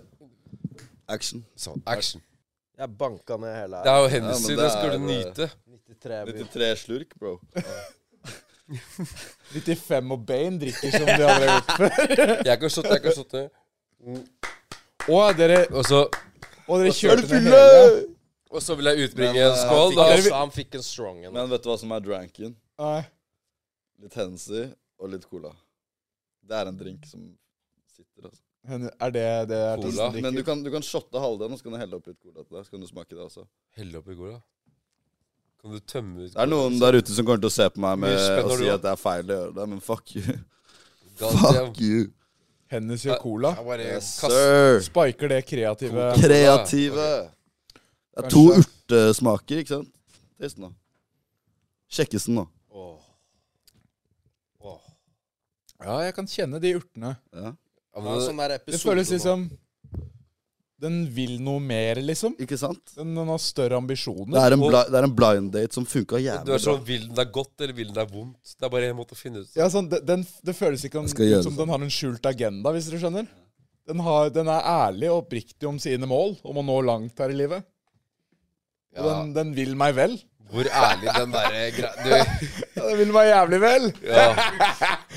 Action.
Sånn, action.
Jeg banka ned hele
Det
her.
er jo Hennessy.
Ja, men det
det skal
er-
du nyte.
93 minutter.
93 slurk, bro.
95 og Bane drikker som de aldri har gjort før.
Jeg kan shotte, jeg kan shotte.
Å, dere,
Og så,
og dere kjørte ned hele.
og så vil jeg
Men,
utbringe
eh,
en skål, da.
Altså, han fikk en strong en.
Men vet du hva som er dranken?
Nei.
Litt Hennessy og litt cola. Det er en drink som sitter, altså.
Men Er det det
Cola.
artisten
Men du
drikker?
kan, du kan shotte halvdelen, og så kan du helle opp litt cola til deg. Så kan du smake det også.
Hell oppi cola. Kan du tømme ut
Det er noen der ute som kommer til å se på meg med
Mye spenn
og
har
si
du
at det er feil å gjøre det, men fuck you.
cola?
Fuck you.
Hennessy og cola.
Jeg bare
Yes,
kaster
sir.
Spiker det kreative
Kreative. Det er to urtesmaker, ikke sant? Taste nå. Sjekkes den nå.
Ja, jeg kan kjenne de urtene.
Ja,
Ja.
Det er en
men
sånn der
Det
episode
føles
nå.
liksom Den vil noe mer, liksom.
Ikke sant?
Den, den har større
Det
ambisjoner.
er en, bli, det er en blind date som funka
Du
jævlig
er
bra.
sånn Vil den deg godt, eller vil den deg vondt? Det er bare en måte å finne ut
Ja, sånn, det- den, det føles ikke om,
skal gjøre
ut som
det.
den har en skjult agenda, hvis dere skjønner. Den, har, den er ærlig og oppriktig om sine mål, om å nå langt her i livet. Og
Ja.
den, den vil meg vel.
hvor ærlig den eh, derre greia
Ja, den vil meg jævlig vel!
ja.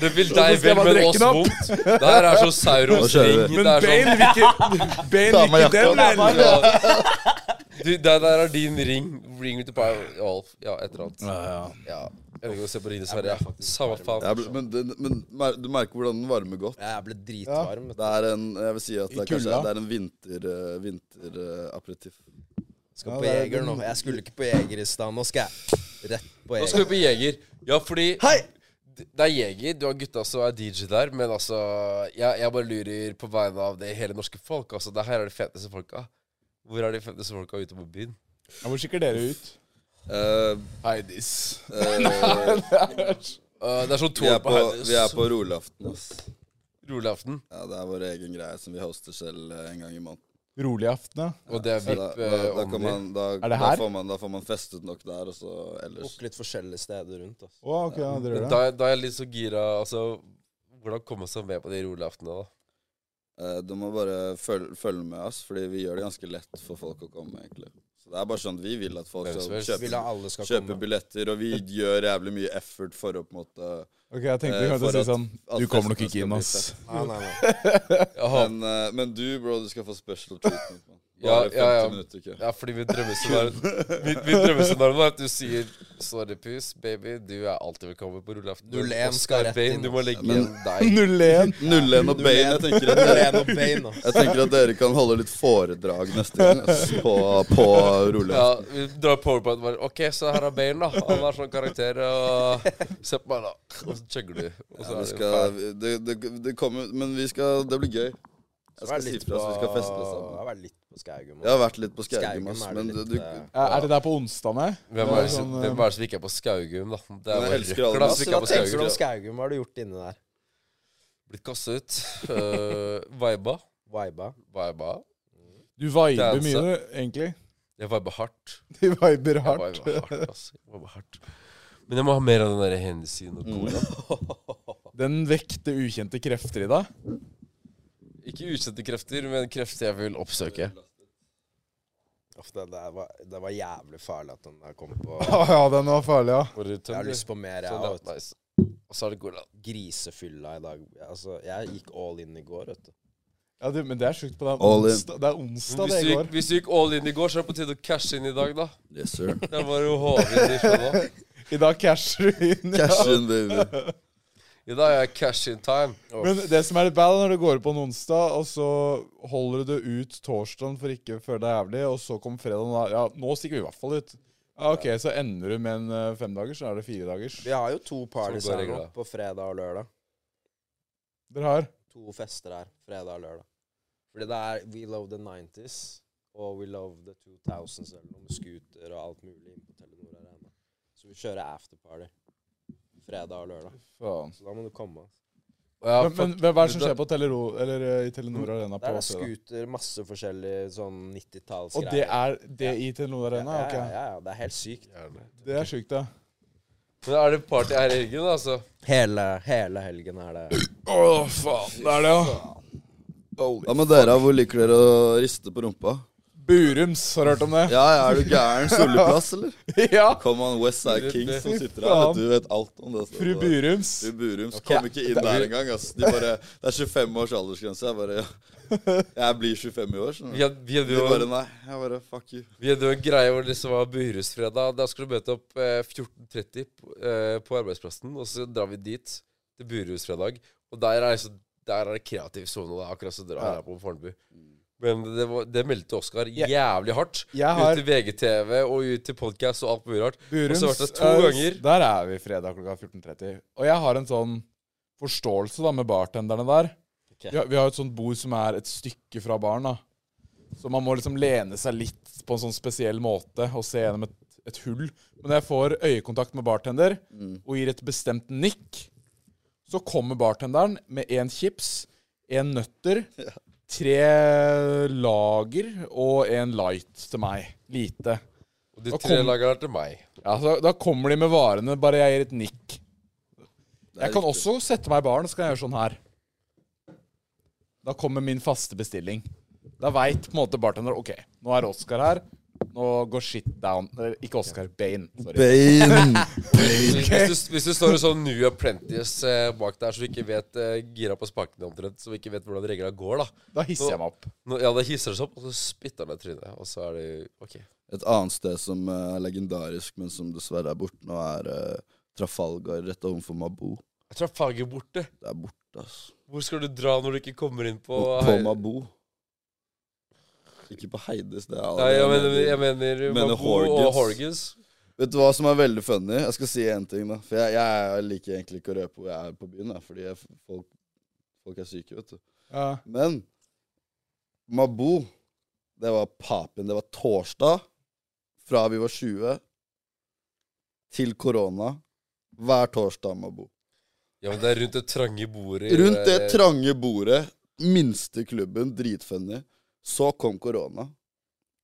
Det vil deg
Så skal jeg
vel,
bare
men
drikke
oss
den opp.
vondt. Det her er sånn Saurons
Nå kjører
ring.
vi.
Det
Men
er sånn
Bane vil ikke, Bane
Ta
vil
meg
ikke den
jakka.
vel!
ja. du, Det der er din ring. Ring to power Alf. Ja, et eller annet. Ja. Jeg vil ikke se på Rine Sverre. ja. Samme faen.
Jeg ble, men, den- men mer- du merker hvordan den varmer godt.
Jeg ble dritvarm. vet du.
Det er en jeg vil si at det er, kanskje,
kulda.
det er en vinter, eh, vinteraperitif.
Skal
Ja,
på
det er
Jeger nå. Jeg skulle ikke på Jeger i stad. Nå skal jeg rett på
Nå skal vi
Jeger.
på Jeger. Ja, fordi
Hei!
gutt, det er Jeger, du har gutta som er DJ der, men altså jeg, jeg bare lurer på vegne av det hele norske folk. Altså, det her er de feteste folka. Hvor er de feteste folka ute på byen?
Ja, hvor skikker dere ut?
Eh,
Heidis.
eh,
Øh, det er sånn
vi, er
tog på
på, vi er
Heidis.
på rolaften, ass.
Rolig aften.
Ja, det er vår egen greie som vi hoster selv eh, en gang i måneden.
Rolig aften, ja.
Og det er
Så da,
VIP eh,
da, da, kan
åndelig.
man, da,
det
da,
her?
får man, da får man festet nok der, og så ellers.
Booke litt forskjellige steder rundt. Altså.
Å, ok, ja, dere gjør
Da,
det.
da er jeg litt så gira. Altså, hvordan komme seg med på de rolige aftenene, da?
Eh, du må bare følge, følge med oss, fordi vi gjør det ganske lett for folk å komme, egentlig. Så det er bare sånn vi vil at folk
Hvem som
skal
helst.
Vil
kjøpe,
at alle skal
kjøpe
komme.
billetter, og vi gjør jævlig mye effort for å på en måte
Ok, jeg tenkte
Eh,
vi
for
kunne si
at-
sånn
at
Du kommer nok
festen
ikke inn,
skal bli
ass.
Nei, nei, nei.
Jaha.
Men, eh, men du, bro, du skal få special treatment. Man.
Ja,
Bare 50
ja, ja.
minutter, ikke?
Ja, fordi mitt drømmescenario mitt, mitt drømmescenario er at du sier Sorry, pus, baby, du er alltid velkommen på rullaften.
Null en
Og
skal rett
Bane,
inn,
Du må legge
Men-
igjen deg.
01.
Null en og Bane. Jeg tenker, at
Det
dere,
er noe bein, da.
jeg tenker at dere kan holde litt foredrag neste gang ass, på, på rolig.
Ja, vi drar powerpoint og bare OK, så her er Bane, da. Han har sånn karakter, og se på meg, da. Og så chugger du. Og så
Ja,
er
vi
det
skal, det, det, det kommer, men vi skal, det blir gøy. Jeg skal si fra, så vi skal feste
Jeg
sammen.
har vært litt på Skaugum.
Jeg har vært litt på Skaugum,
Skaugum
ass,
er det
men
litt,
du,
eh,
Ja, Er det der på onsdagene?
Hvem
Det
er
er
det som-
sånn,
hvem er det som ikke er på Skaugum, da? Det er
Men jeg
bare
elsker alle
røkla
masse.
som
Så
ikke
hva
er på
tenker du
Skaugum.
om Skaugum? Hva har du gjort inni der?
Blitt kasta ut. Uh, viba.
Viba?
Viba.
Du viber
Danse.
mye, du, egentlig.
Jeg viber hardt.
Du viber
Jeg
hardt.
viber hardt, altså. Jeg viber hardt. Men jeg må ha mer av den der hensynet og cola.
Mm.
Den vekte ukjente krefter i deg.
Ikke ukjente krefter, men krefter jeg vil oppsøke.
Uff, det, det, var, det var jævlig farlig at den der kom på.
Å ja, den var farlig, ja.
Jeg har lyst på mer, jeg
Sånn,
òg.
ja, nice. Og så er det cola.
Grisefylla i dag. Altså, jeg gikk all in i går, vet du.
ja du, men det er sjukt på den
All in.
onsdag. Det er onsdag
Hvis
det
du,
i
gikk,
går.
hvis du gikk all in i går, så er det på tide å cashe inn i dag, da.
Yes, sir.
Der var jo hodet i skjønna.
I dag casher du inn. ja.
Cash in, baby.
I dag er jeg cash in time.
Men det som er litt bad, er når du går på en onsdag, og så holder du det ut torsdagen for ikke å føle deg jævlig, og så kommer fredagen, og da Ja, nå stikker vi i hvert fall ut. Ja, OK, så ender du med en eh, femdagers, så er det firedagers.
Vi har jo to parties
går
her nå,
reglene.
på fredag og lørdag.
Dere har
To fester her, fredag og lørdag. Fordi det er We Love the 90s og We Love the 2000s, eller noe med scooter og alt mulig inn på Telenor Arena. Så vi kjører afterparty fredag og lørdag.
Faen.
Så da må du komme.
Ja,
Men, men
fuck.
hva er det som
Du-
skjer på Telero, eller eh, i Telenor Arena
Der
på
Mm. er
fredag?
scooter, masse forskjellig sånn 90-tallsgreier.
Og det er det i Telenor Arena?
ja, ja,
Ok.
ja, ja, det er helt sykt.
Det er sjukt, ja.
Men er det party her i helgen, altså?
Hele, hele helgen er det
Å, faen. Det er det, ja.
Hva med dere? Hvor liker dere å riste på rumpa?
Burums, har du hørt om det?
Ja, ja, er du gæren? Soleplass, eller?
ja.
Come on, Westside King som sitter her. Du vet alt om det. stedet.
Fru Burums.
Fru Burums kom ikke inn der engang. ass. De bare, det er 25 års aldersgrense. Jeg bare ja. Jeg blir 25 i år, skjønner
Vi
du.
hadde, vi hadde
De
jo
bare nei. Jeg bare fuck you.
Vi hadde jo en greie hvor det liksom var Burhusfredag. Da skulle du møte opp eh, 14.30 på, eh, på arbeidsplassen, og så drar vi dit til Burhusfredag. Og der er, liksom, der er det kreativ sone, og det er akkurat som drar her på Fornebu. Men det, var, det meldte Oskar jævlig hardt.
Jeg har-
Ut til VGTV og ut til podkast og alt mulig rart. Og
Burums.
så ble det to
eh,
ganger.
Der er vi fredag klokka 14.30. Og jeg har en sånn forståelse da med bartenderne der.
Ok.
Vi, har, vi har et sånt bord som er et stykke fra baren, da. Så man må liksom lene seg litt på en sånn spesiell måte og se gjennom et, et hull. Men når jeg får øyekontakt med bartender
Mm.
og gir et bestemt nikk, så kommer bartenderen med én chips, én nøtter, tre lager og en light til meg. Lite.
Og de
Og
tre
kom-
lagene er til meg.
Ja, så Da kommer de med varene, bare jeg gir et nikk.
er
Jeg kan
riktig.
også sette meg i baren, så kan jeg gjøre sånn her. Da kommer min faste bestilling. Da veit på en måte bartender OK, nå er Oscar her. Nå går shit down. Eller, Ikke Oscar, Bane. Sorry.
Bane.
Hvis, du, hvis du står en sånn New Apprentice eh, bak der, så du ikke vet eh, gira på spakene omtrent, så du ikke vet hvordan reglene går, da.
Da hisser jeg meg opp.
Nå- Ja, det hisser det seg opp, og så spytter han deg i trynet. Og så er det OK.
Et annet sted som eh, er legendarisk, men som dessverre er borte nå, er eh, Trafalgar rett overfor Mabo.
Jeg tror faget er borte.
Det er borte, ass.
Hvor skal du dra når du ikke kommer inn på
På Mabo. Ikke på Heides, det er
Nei, jeg mener, jeg mener
Mener
Mabo og
Horgans.
Horgans.
Vet du hva som er veldig funny? Jeg skal si én ting, da. For jeg, jeg liker egentlig ikke å røpe hvor jeg er på byen, da, fordi jeg, folk, folk er syke, vet du.
Ja.
Men Mabo, det var papen. Det var torsdag fra vi var 20 til korona. Hver torsdag, Mabo.
Ja, men det er rundt det trange bordet. i
Rundt det
der-
trange bordet, minste klubben, dritfunny. Så kom korona.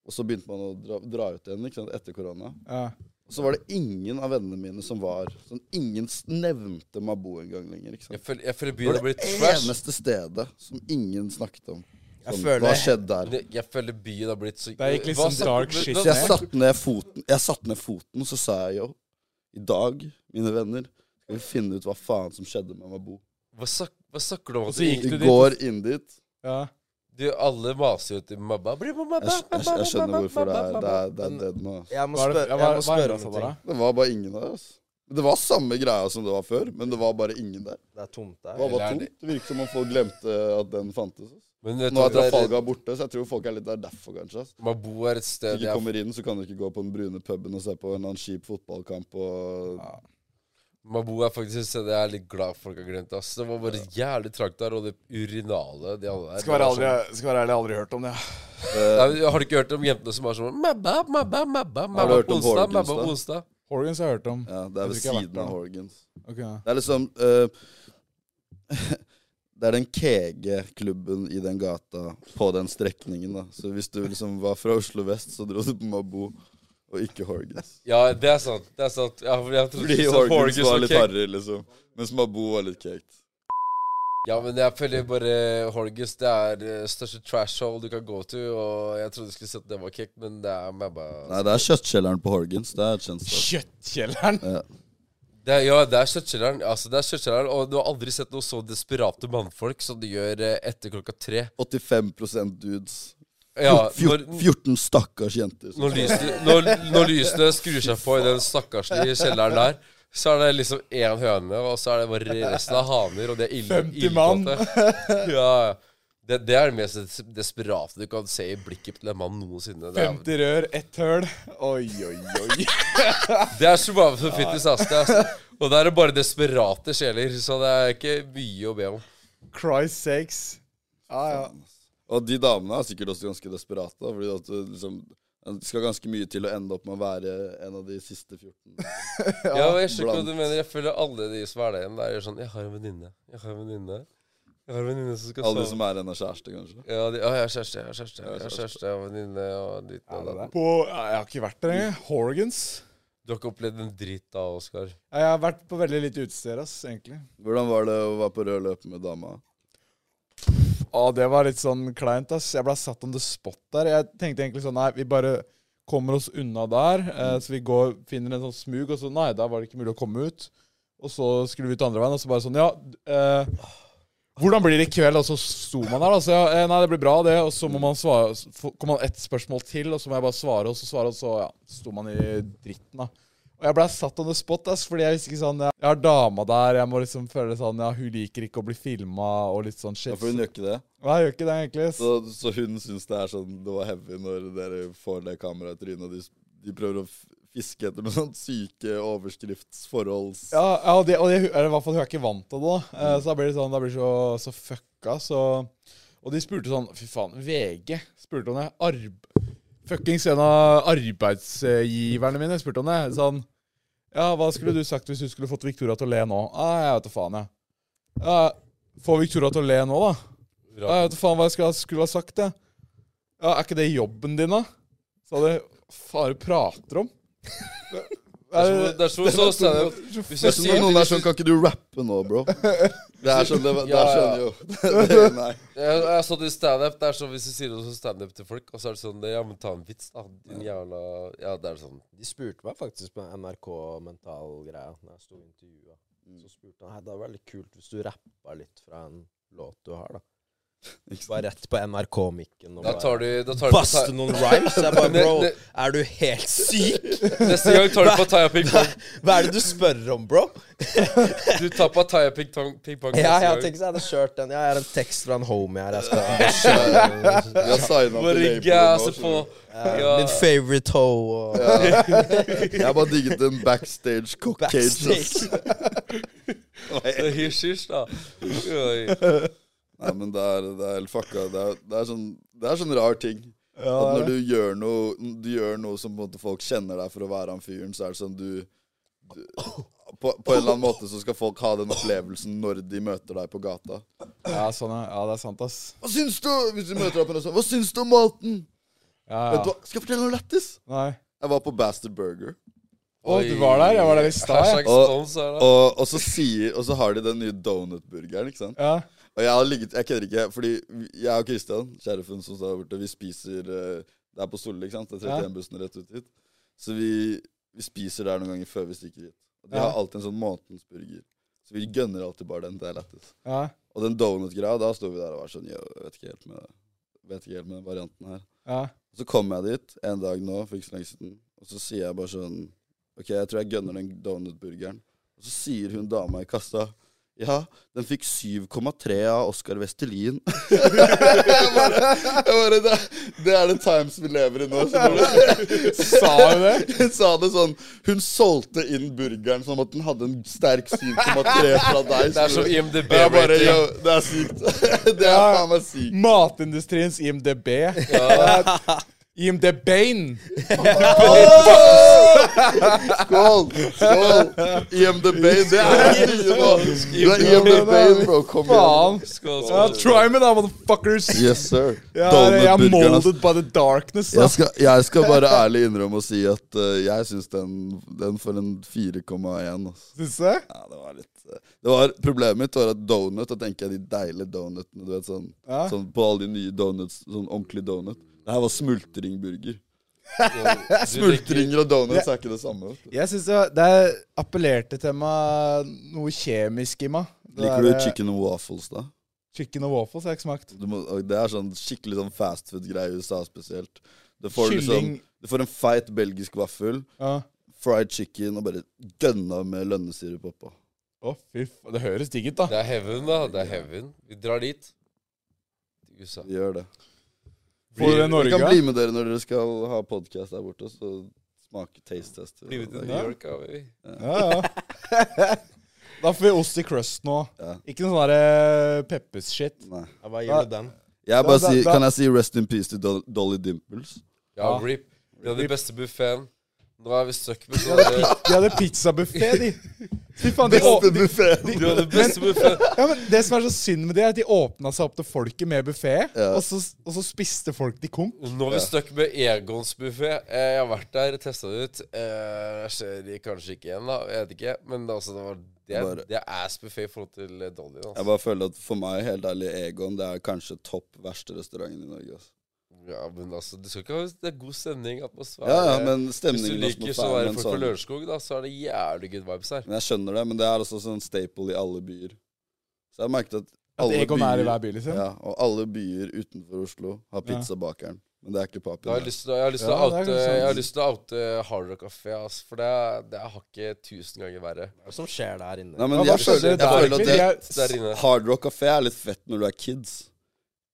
Og så begynte man å dra, dra ut igjen ikke sant, etter korona.
Ja.
Og så var det ingen av vennene mine som var sånn, Ingen s- nevnte Mabo engang lenger. ikke
Jeg
sant?
føler, jeg føler
Det
byen har
var
blitt
det
trash.
eneste stedet som ingen snakket om.
Jeg
Sånn,
føler-
Hva skjedde der?
Det- Jeg føler byen har blitt
Det
så
gikk litt
Hva
sånn
sa-
dark
hva-
shit
hva-
Så jeg satte ned foten, jeg satte ned foten så sa jeg jo I dag, mine venner, skal vi finne ut hva faen som skjedde med Mabo.
Hva, sak, hva snakker du om?
Og
At
så gikk
du,
Vi
du dit.
går inn dit.
ja.
du, alle maser jo til mamma. Bli med mamma,
Jeg, skj- jeg, skj- jeg skjønner hvorfor det er, det er, det er dead nå. ass.
Jeg må
Hva er det,
spørre,
ja, hva,
jeg
hva
må
er
spørre
det
om
for
en ting.
deg?
Det var bare ingen der. Altså. Det var samme greia som det var før, men det var bare ingen der.
Det er tomt
Det
der.
var bare tomt. Det virket som om folk glemte at den fantes. ass.
Men vet du
Nå
hva
er
det er?
Trafalgar borte, så jeg tror folk er litt der derfor, kanskje. ass.
Mabo er et
Hvis
sted
du
jeg
ikke kommer inn, så kan du ikke gå på den brune puben og se på en eller annen kjip fotballkamp. Og...
Mabo er faktisk et sted jeg er litt glad folk har glemt. Ass. Det var bare jævlig trangt der, og det urinale de alle der.
Skal være,
det var
ærlig, skal være ærlig, jeg har aldri hørt om det.
sånn- Nei, Har du ikke hørt om jentene som var sånn Mabba, mabba, mabba,
Har du
mabba
hørt
på
om
onsdag,
Horgans,
mabba på
da?
onsdag?
Horgans har jeg hørt om.
Ja, det er
Jeg tror
ved
ikke jeg har vært
siden av
der.
Horgans.
Ok, ja.
Det er liksom eh, Det er den KG-klubben i den gata på den strekningen, da. Så hvis du liksom var fra Oslo vest, så dro du på Mabo og ikke Horgans.
Ja, det er sant. Det er sant. Ja, for jeg trodde
Fordi
ikke sånn
Horgans
Horgans
var
og
litt
Keg-
harry, liksom. Mens Mabo var litt caked.
Ja, men jeg føler bare Horgus det er eh, største trash hole du kan gå til. Og jeg trodde du skulle si at det var kick, men det er mabba.
Nei, det er kjøttkjelleren på Horgans. Det er et kjent sted.
Kjøttkjelleren!
Ja.
Det er, ja, det er kjøttkjelleren. Altså, det er kjøttkjelleren, og du har aldri sett noe så desperate mannfolk som de gjør eh, etter klokka tre.
85 dudes.
Ja,
Fjor-
når,
14 stakkars jenter. som
når, lysene, når, når lysene skrur seg på i den stakkarslige kjelleren der, så er det liksom én høne, og så er det bare resten av haner, og det er ille,
50 mann.
ildkåte. Ja, ja. det, det er det mest des- desperate du kan se i blikket til en mann noensinne. Det er,
50 rør, ett høl. Oi, oi, oi.
det er Shubham for fitness, ass. Det er, ass. og der er det bare desperate sjeler, så det er ikke mye å be om.
Christ sakes. Ja, ja.
Og de damene er sikkert også ganske desperate, da, fordi at du liksom det skal ganske mye til å ende opp med å være en av de siste 14.
Ja, jeg skjønner ikke hva
blant-
du mener. Jeg føler alle de som er der igjen, der gjør sånn Jeg har en venninne. Jeg har en venninne. Jeg har en venninne som skal
Alle
sove.
de som er hennes kjæreste, kanskje.
Ja, de, ja, jeg har kjæreste, jeg har kjæreste, jeg har kjæreste, jeg har venninne og ditt og datt.
På, ja, jeg har ikke vært der engang. Horgans.
Du har ikke opplevd en dritt da, Oskar.
Ja, Jeg har vært på veldig lite utesteder, ass, egentlig.
Hvordan var det å være på rød løper med dama?
Å, det var litt sånn kleint, ass. Jeg ble satt on the spot der. Jeg tenkte egentlig sånn, nei, vi bare kommer oss unna der. Eh,
Mm.
så vi går, finner en sånn smug, og så nei, der var det ikke mulig å komme ut. Og så skulle vi ut andre veien, og så bare sånn, ja, d- eh, hvordan blir det i kveld? Og så sto man der, altså, ja, eh, nei, det blir bra det. Og så må man svare, s- få- kom man ett spørsmål til, og så må jeg bare svare, og så svare, og så, ja, sto man i dritten da. Og jeg ble satt on the spot, ass, fordi jeg visste ikke sånn, jeg, jeg har dama der, jeg må liksom føle sånn, ja, hun liker ikke å bli filmet, og litt sånn shit.
Ja, for hun gjør ikke det.
Nei, jeg gjør ikke det, egentlig. ass.
Så, så hun syns det er sånn det var heavy når dere får det kameraet i trynet, og de, de prøver å f- fiske etter noen sånne syke overskriftsforholds...
Ja, ja og, det, og det, eller i hvert fall hun er ikke vant til det. da. Eh, Så da blir det sånn, da blir det så, så fucka. Så, og de spurte sånn Fy faen, VG spurte om det. Arb Fuckings en av arbeidsgiverne mine spurte om det. Sånn Ja, hva skulle du sagt hvis du skulle fått Victoria til å le nå? Ah, jeg vet da faen, jeg. Ja, få Victoria til å le nå, da. Ja, jeg vet da faen hva jeg skulle, ha- skulle ha sagt, jeg. Ja, er ikke det jobben din, da? Så hadde jeg Hva er det du prater om?
Det er som- det er som så standup. Hvis du
Det er som
sier
når noen er sånn, kan ikke du rappe nå, bro? Det er sånn, det, det er
Ja,
sånn
ja.
jo. Det, det, nei.
Jeg jeg har stått i standup. Det er sånn hvis du sier noe som standup til folk, og så er det sånn Ja, men ta en vits, da, din jævla Ja, det er sånn.
De spurte meg faktisk på NRK Mental-greia Når jeg sto i
Mm.
intervjuet. Så spurte han Hei, det hadde vært litt kult hvis du rappa litt fra en låt du har, da. Bare rett på NRK-mikken og
Da
bare
tar du, da tar du på
Baste noen rhymes. Jeg bare
Det-
Bro,
det-
er du helt syk?
thai- Neste gang tar du på Thaya Ping Pong.
Hva er det du spør om, bro?
Du tar på Thaya Ping Tong- Ping Pong.
Ja,
neste
jeg
gang.
tenker jeg hadde kjørt den. Ja, jeg har en tekst fra en homie her. Jeg
Vi
skal
har signa til
Bare
labelen
gasse
nå,
altså på.
skjønner du.
Ja.
Min favorite hoe og
Jeg bare digget den backstage cock cage. ass.
backstage.
Så Hysj, hysj, da. Oi.
Nei, men det er, det er helt fucka. Det er, det, er sånn, det er sånn rar ting. At når du gjør noe Du gjør noe som på en måte folk kjenner deg for å være han fyren, så er det sånn du, du på, på en eller annen måte så skal folk ha den opplevelsen når de møter deg på gata.
Ja, sånn, er- ja, det er sant, ass.
Hva syns du Hvis du møter deg på noe sånt Hva syns du om maten?
Ja,
Vet du
ja.
hva? Skal jeg fortelle noe lættis?
Nei.
Jeg var på Bastard Burger.
Å, du var der? Jeg var der i stad, jeg.
Hashtag spons her, da.
Og, og, så sier, og så har de den nye donutburgeren, ikke sant?
Ja.
Og jeg har ligget Jeg kødder ikke, fordi jeg og Christian, sheriffen som står der borte, vi spiser eh, Det er på Solle, ikke sant? Det er
Ja.
31-bussen rett ut hit. Så vi, vi spiser der noen ganger før vi stikker hit. Og de
Ja.
har alltid en sånn månedsburger. Så vi gønner alltid bare den. Det er lettest.
ja.
Og den donut-greia, da sto vi der og var sånn Jeg vet ikke helt med, vet ikke helt med varianten her.
Ja.
Så kom jeg dit en dag nå, for ikke så lenge siden, og så sier jeg bare sånn Ok, jeg tror jeg gønner den donutburgeren. Og så sier hun dama i kassa ja, den fikk 7,3 av Oskar Vestelin. jeg bare, jeg bare det, det er the times vi lever i nå. Sa hun det? Hun sa det sånn Hun solgte inn burgeren som at den hadde en sterk 7,3 fra deg.
Det er som
skjønner du?
IMDb
Jeg bare,
rating.
«Yo, Det er sykt. Det er faen meg sykt.
Matindustriens IMDb. IMDb-en.
Skål! Skål! IMDb, det er det nye nå! Du er IMDb, bro. Kom igjen.
Faen.
Skål,
Ja,
skål.
try me, da, motherfuckers.
Yes, sir.
Jeg er, jeg er
Donutburgeren, ass.
molded by the darkness. Da.
Jeg skal, jeg skal bare ærlig innrømme og si at eh, jeg syns den, den får en 4,1. ass.
Syns du?
Ja, det var litt eh, altså. det var, Problemet mitt var at donut, da tenker jeg de deilige donutene. Du vet, sånn,
Ja.
sånn På alle de nye donuts, sånn ordentlig donut. Det her var smultringburger. Smultringer og donuts er ikke det samme. vet du.
Jeg syns det, det er appellerte til meg noe kjemisk i meg. Det
Liker du
der, eh,
chicken and waffles, da?
chicken og waffles? har jeg ikke smakt.
Du må, og det er sånn skikkelig sånn fastfood-greie i USA spesielt. Du får, liksom,
Kylling
du får en feit belgisk vaffel,
ja.
fried chicken og bare gønna med lønnesirup oppå.
Å, fy faen. Det høres digg ut, da.
Det er heaven, da. Det er heaven. Vi drar dit. Til USA.
Vi gjør det.
Får dere
Vi
Norge?
kan
da?
bli med dere når dere skal ha podkast der borte, så smake taste-tester.
Livet til
Det
New
er-
York, ja, baby.
Ja, ja. da får vi ost i crust nå.
Ja.
Ikke noe sånn derre peppers-shit.
Nei.
Ja, Hva gir du den?
Jeg bare
Da- da-
sier,
da-
kan jeg si rest in peace til Dol- Dolly Dimples?
Ja,
Ja.
RIP. Vi hadde den beste buffeen. Nå er vi stuck med
De hadde,
sånne
pi- de hadde pizzabuffé, de. Fy faen, de å-
Beste buffeen!
Du hadde beste buffeen.
ja, men det som er så synd med det, er at de åpna seg opp til folket med buffé,
Ja.
og, så- og så spiste folk de konk.
Nå er vi stuck med Egons buffé. Eh, Jeg har vært der, testa det ut. Eh, Jeg ser de kanskje ikke igjen, da. Jeg vet ikke. Men det, altså, det, var, det, er,
Bare-
det er ass buffé i forhold til eh, Dolly.
Jeg
Altså.
bare føler at For meg, helt ærlig, Egon det er kanskje topp verste restauranten i Norge. altså. ass.
Ja, men altså, du skal ikke ha Det er god stemning, atmosfære.
Ja, ja, men
Hvis du
stemningen og
liker sånn der
atmosfæren, men
folk på
sånn
Lørenskog, da, så er det jævlig good vibes her.
Men jeg skjønner det, men det er også sånn staple i alle byer. Så jeg har merket at
At
alle
Egon er i hver by, liksom.
ja, og alle byer utenfor Oslo har
Ja.
pizzabakeren. Men det er ikke
Da har
papir.
jeg lyst til, jeg har lyst
Ja,
til
det
å
er
oute,
kanskje sant.
jeg har lyst til å oute Hard Rock Café, ass, for det er, det er hakket tusen ganger verre.
Hva er det som skjer der
Nei,
inne?
men
Ja, hva
jeg føler,
skjedde
jeg
der,
føler
egentlig?
at
De
det,
er
Der inne.
Hard Rock Café er litt fett når du er kids.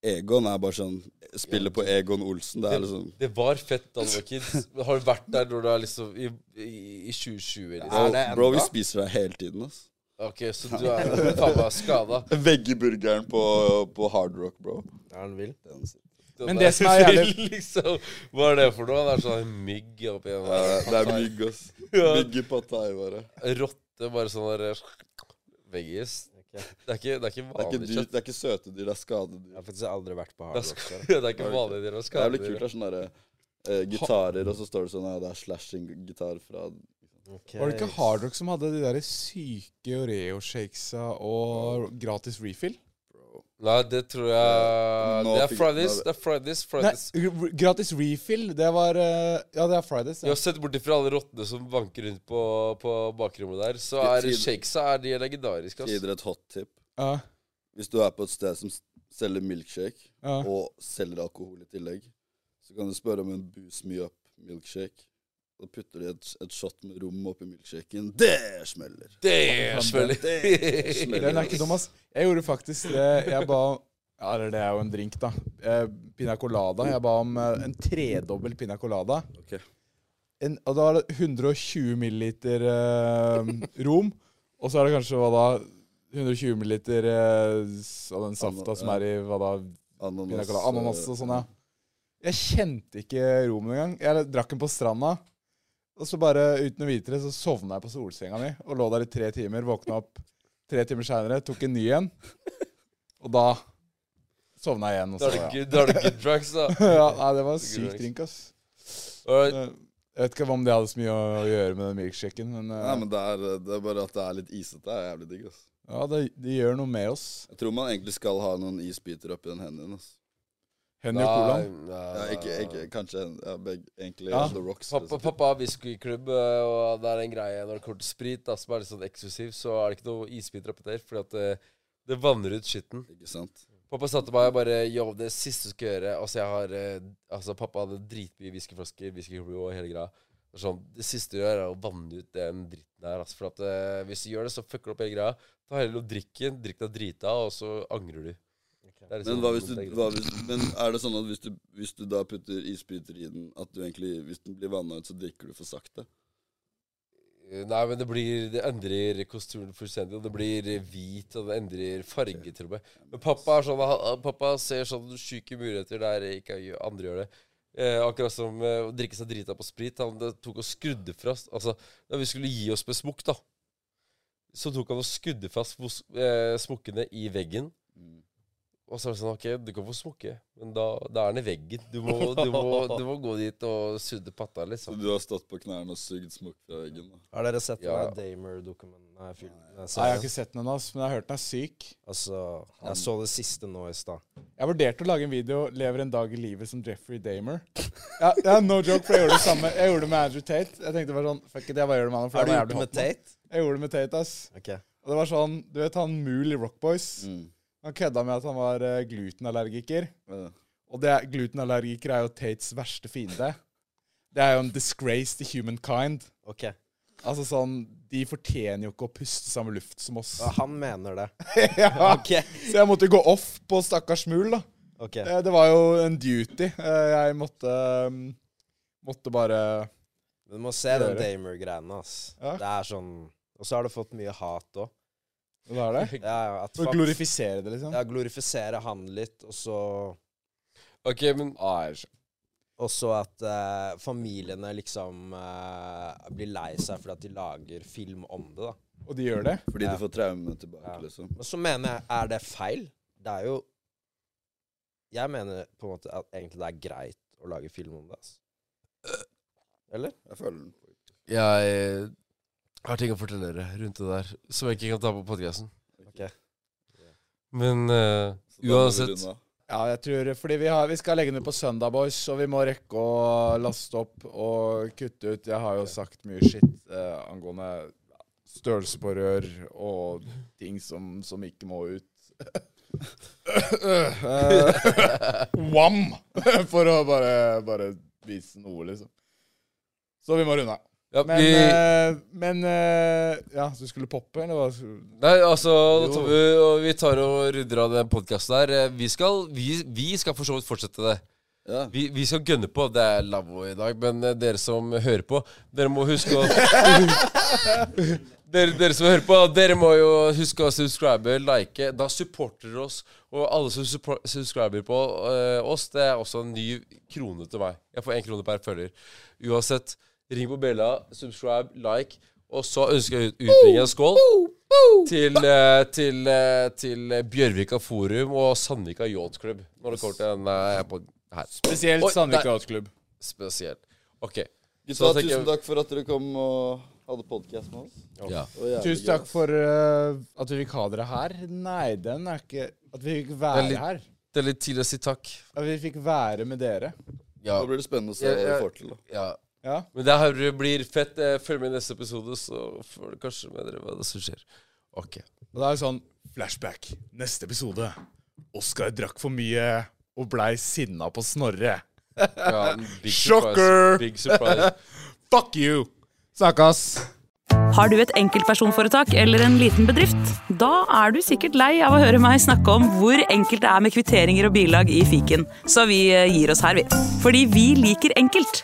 Egon er bare sånn Spiller på Egon Olsen. Det er liksom
Det var fett da du var kids. Men Har du vært der når du er liksom i, i, i 2020?
Bro,
Liksom?
bro vi spiser deg hele tiden, ass.
Ok, så du er faen meg skada.
Veggeburgeren på, på Hard Rock, bro.
Er den vill?
Men det som er jævlig-
liksom, Hva er det for noe? Det er sånn mygg oppi en
Eh, Det er mygg, ass.
Ja.
Mygg i pattai, bare.
rotte, bare sånn der Veggis. Det er ikke, det er ikke
Det er ikke,
vanlig
dyr,
kjøtt.
det er ikke søte dyr, det er skadedyr.
Jeg har faktisk aldri vært på
Det
Hard
er
Rock før.
sk- det er ikke vanlig dere har
Det er jævlig kult.
skader.
Det er sånne der, eh, gitarer, og så står det sånn ja, Det er slashing-gitar fra
Ok.
Var det ikke Hard Rock som hadde de der syke Oreo-shakesa og gratis refill?
Nei, det tror jeg
Nå
Det er
fikk-
Fridays.
nå-
Det er Fridays.
Nei,
Fridays.
r- gratis refill, det var eh, Ja, det er Fridays.
Jeg
Ja.
har sett bort ifra alle rottene som vanker rundt på, på bakrommet der, så
Tid-
er
tid-
shakesa er de legendariske. ass.
Tidligere et hot tip.
Ja.
Hvis du er på et sted som s- selger milkshake
Ja.
og selger alkohol i tillegg, så kan du spørre om en Boost Me Up milkshake. Da putter de et, et shot med rom oppi milkshaken. Det smeller!
Det er selvfølgelig
Det
Den er
smeller.
ikke dum, ass. Jeg gjorde faktisk det. Jeg ba ja, Eller det er jo en drink, da. Eh, Pina colada. Jeg ba om eh, en tredobbel pina colada.
Ok.
En, og da er det 120 milliliter eh, rom, og så er det kanskje hva da 120 milliliter eh, s- av den safta som er i hva da, pina
Ananas. eh,
colada, ananas og sånn, ja. Jeg kjente ikke romen engang. Jeg drakk den på stranda. Og så bare, uten å vite det, så sovna jeg på solsenga mi og lå der i tre timer. Våkna opp tre timer seinere, tok en ny en. Og da sovna jeg igjen. Og
Da
så,
er det
ja.
good, da er det good drugs, da.
ja, nei, det var en syk drink, ass.
Og
Jeg vet ikke om det hadde så mye å, å gjøre med den milkshaken, men, eh,
Nei, men det er, det er bare at det er litt isete. Det er jævlig digg. ass.
ja, det, det gjør noe med oss.
Jeg tror man egentlig skal ha noen isbiter oppi den hendene. ass.
Henry og Colaen.
Ja, ikke, ikke, kanskje ja, begge, egentlig
Ja.
The Rocks.
Pappa,
liksom.
pappa har whiskyklubb, eh, og det er en greie når det kommer til sprit da, som er litt sånn eksklusiv, så er det ikke noe isbiter oppi der, fordi at det, det vanner ut skitten.
Ikke sant?
Pappa sa til meg bare Yo, det siste du skal gjøre Altså, jeg har eh, Altså, pappa hadde dritmye whiskyflasker, whiskyklubber og hele greia. Og Sånn, det siste du gjør, er å vanne ut den dritten der. Altså, for at eh, hvis du gjør det, så fucker du opp hele greia. Ta heller noe drikk igjen, drikk deg drita, og så angrer du. Det er liksom-
Men, hva hvis du,
det er greit.
hva hvis, men er det sånn at hvis du, hvis du da putter isbiter i den, at du egentlig, hvis den blir vanna ut, så drikker du for sakte?
Nei, men det blir Det endrer kostymen fullstendig. Og det blir hvit, og det endrer farge, tror jeg. Men pappa er sånn han- Pappa ser sånn sjuke muligheter der ikke jeg- andre gjør det. Eh, akkurat som eh, å drikke seg drita på sprit. Han det tok og skrudde fast Altså, da vi skulle gi oss med smokk, da, så tok han og skudde fast hos- eh, smokkene i veggen. Og så er det sånn OK, du kan få smokke, men da, da er den i veggen. Du må, du, må, du må gå dit og sudde patta,
Så
liksom.
du har stått på knærne og sugd smokk fra veggen? Da.
Har dere sett
Ja.
den der Damer-dokumenten? Nei, film- nei,
Nei, jeg har
serien.
ikke sett den ennå, ass, men jeg har hørt den er syk.
Altså, jeg så det siste nå i stad.
Jeg vurderte å lage en video 'Lever en dag i livet som Jeffrey Damer'. Ja, ja, No joke, for jeg gjorde det samme. Jeg gjorde det med Andrew Tate. Jeg tenkte bare sånn, fuck it, jeg bare gjør det med han. for
Har du
han er
gjort
jævlig
det
hot
med
nå.
Tate?
Jeg gjorde det med Tate, ass.
Ok.
Og det var sånn, Du vet han Mool i Rock Boys?
Mm.
Han kødda med at han var eh, glutenallergiker.
Ja.
Og det er, glutenallergiker er jo Tates verste fiende. Det er jo en disgrace to humankind.
ok.
Altså sånn, De fortjener jo ikke å puste samme luft som oss.
Ja, Han mener det.
Ja.
Ah, Ok.
Så jeg måtte jo gå off på stakkars Mool, da.
Ok.
Eh, Det var jo en duty. Eh, Jeg måtte um, Måtte bare
Du må se den
Gjøre.
Damer-greiene, ass.
Ja.
Det er sånn Og så har du fått mye hat òg.
Hva er det?
Ja, ja, at
For å
folk-
glorifisere det, liksom.
ja, glorifisere han litt, og så
OK, men
Og så at eh, familiene liksom eh, blir lei seg fordi at de lager film om det, da.
Og de gjør det.
Fordi
Ja.
du får traume tilbake,
Ja.
liksom.
Men så mener jeg, er det feil? Det er jo Jeg mener på en måte at egentlig det er greit å lage film om det, ass. Eller?
Jeg føler den.
Jeg eh, har ting å fortelle dere rundt det der som jeg ikke kan ta på podkasten.
Ok.
Men eh,
Så da må vi
uansett
runde av.
Ja, jeg tror Fordi vi, har, vi skal legge den ut på søndag, boys, og vi må rekke å laste opp og kutte ut. Jeg har jo sagt mye skitt eh, angående størrelse på rør og ting som, som ikke må ut. Eh, Wam! For å bare, bare vise noe, liksom. Så vi må runde av.
ja,
Men,
vi,
eh, men eh, Ja, så du skulle poppe, eller hva? skulle-
Nei, altså da
Jo.
tar vi, og vi tar og runder av den podkasten der. Eh, Vi skal, vi, vi skal for så vidt fortsette det.
Ja.
Vi, vi skal gønne på. Det er lavvo i dag, men eh, dere som hører på, dere må huske å dere, dere som hører på, dere må jo huske å subscribe, like. Da supporter dere oss. Og alle som suppor- subscriber på eh, oss, det er også en ny krone til meg. Jeg får én krone per følger. Uansett, ring på bjella, subscribe, like. Og så ønsker jeg ut- utbringe en skål til, eh, til, eh, til eh, Bjørvika Forum og Sandvika Yacht Club. Når det kommer til den eh, pod- her. Oi,
Spesielt Sandvika
der.
Outklubb.
Spesielt. OK.
Gutta,
Så tenker jeg-
tusen takk for at dere kom og hadde podkast med oss.
Ja.
Det var jævlig
Tusen
gøy,
takk
ass.
for eh, at vi fikk ha dere her. Nei, den er ikke At vi fikk være
Det er litt-
her.
Det er litt tidlig å si takk.
At vi fikk være med dere.
Ja.
Da blir det spennende å se
Jeg-
hva vi
jeg-
får til. da.
ja.
Ja.
Men det her blir fett. Eh, Følg med i neste episode, så får du kanskje med dere hva det som skjer. Ok.
Og det er sånn flashback. Neste episode. Oskar drakk for mye og blei sinna på Snorre.
Ja, en big
Shocker!
Surprise. Big surprise.
Fuck you! Snakkes!
Har du et enkeltpersonforetak eller en liten bedrift? Da er du sikkert lei av å høre meg snakke om hvor enkelt det er med kvitteringer og bilag i fiken, så vi eh, gir oss her, vi. Fordi vi liker enkelt.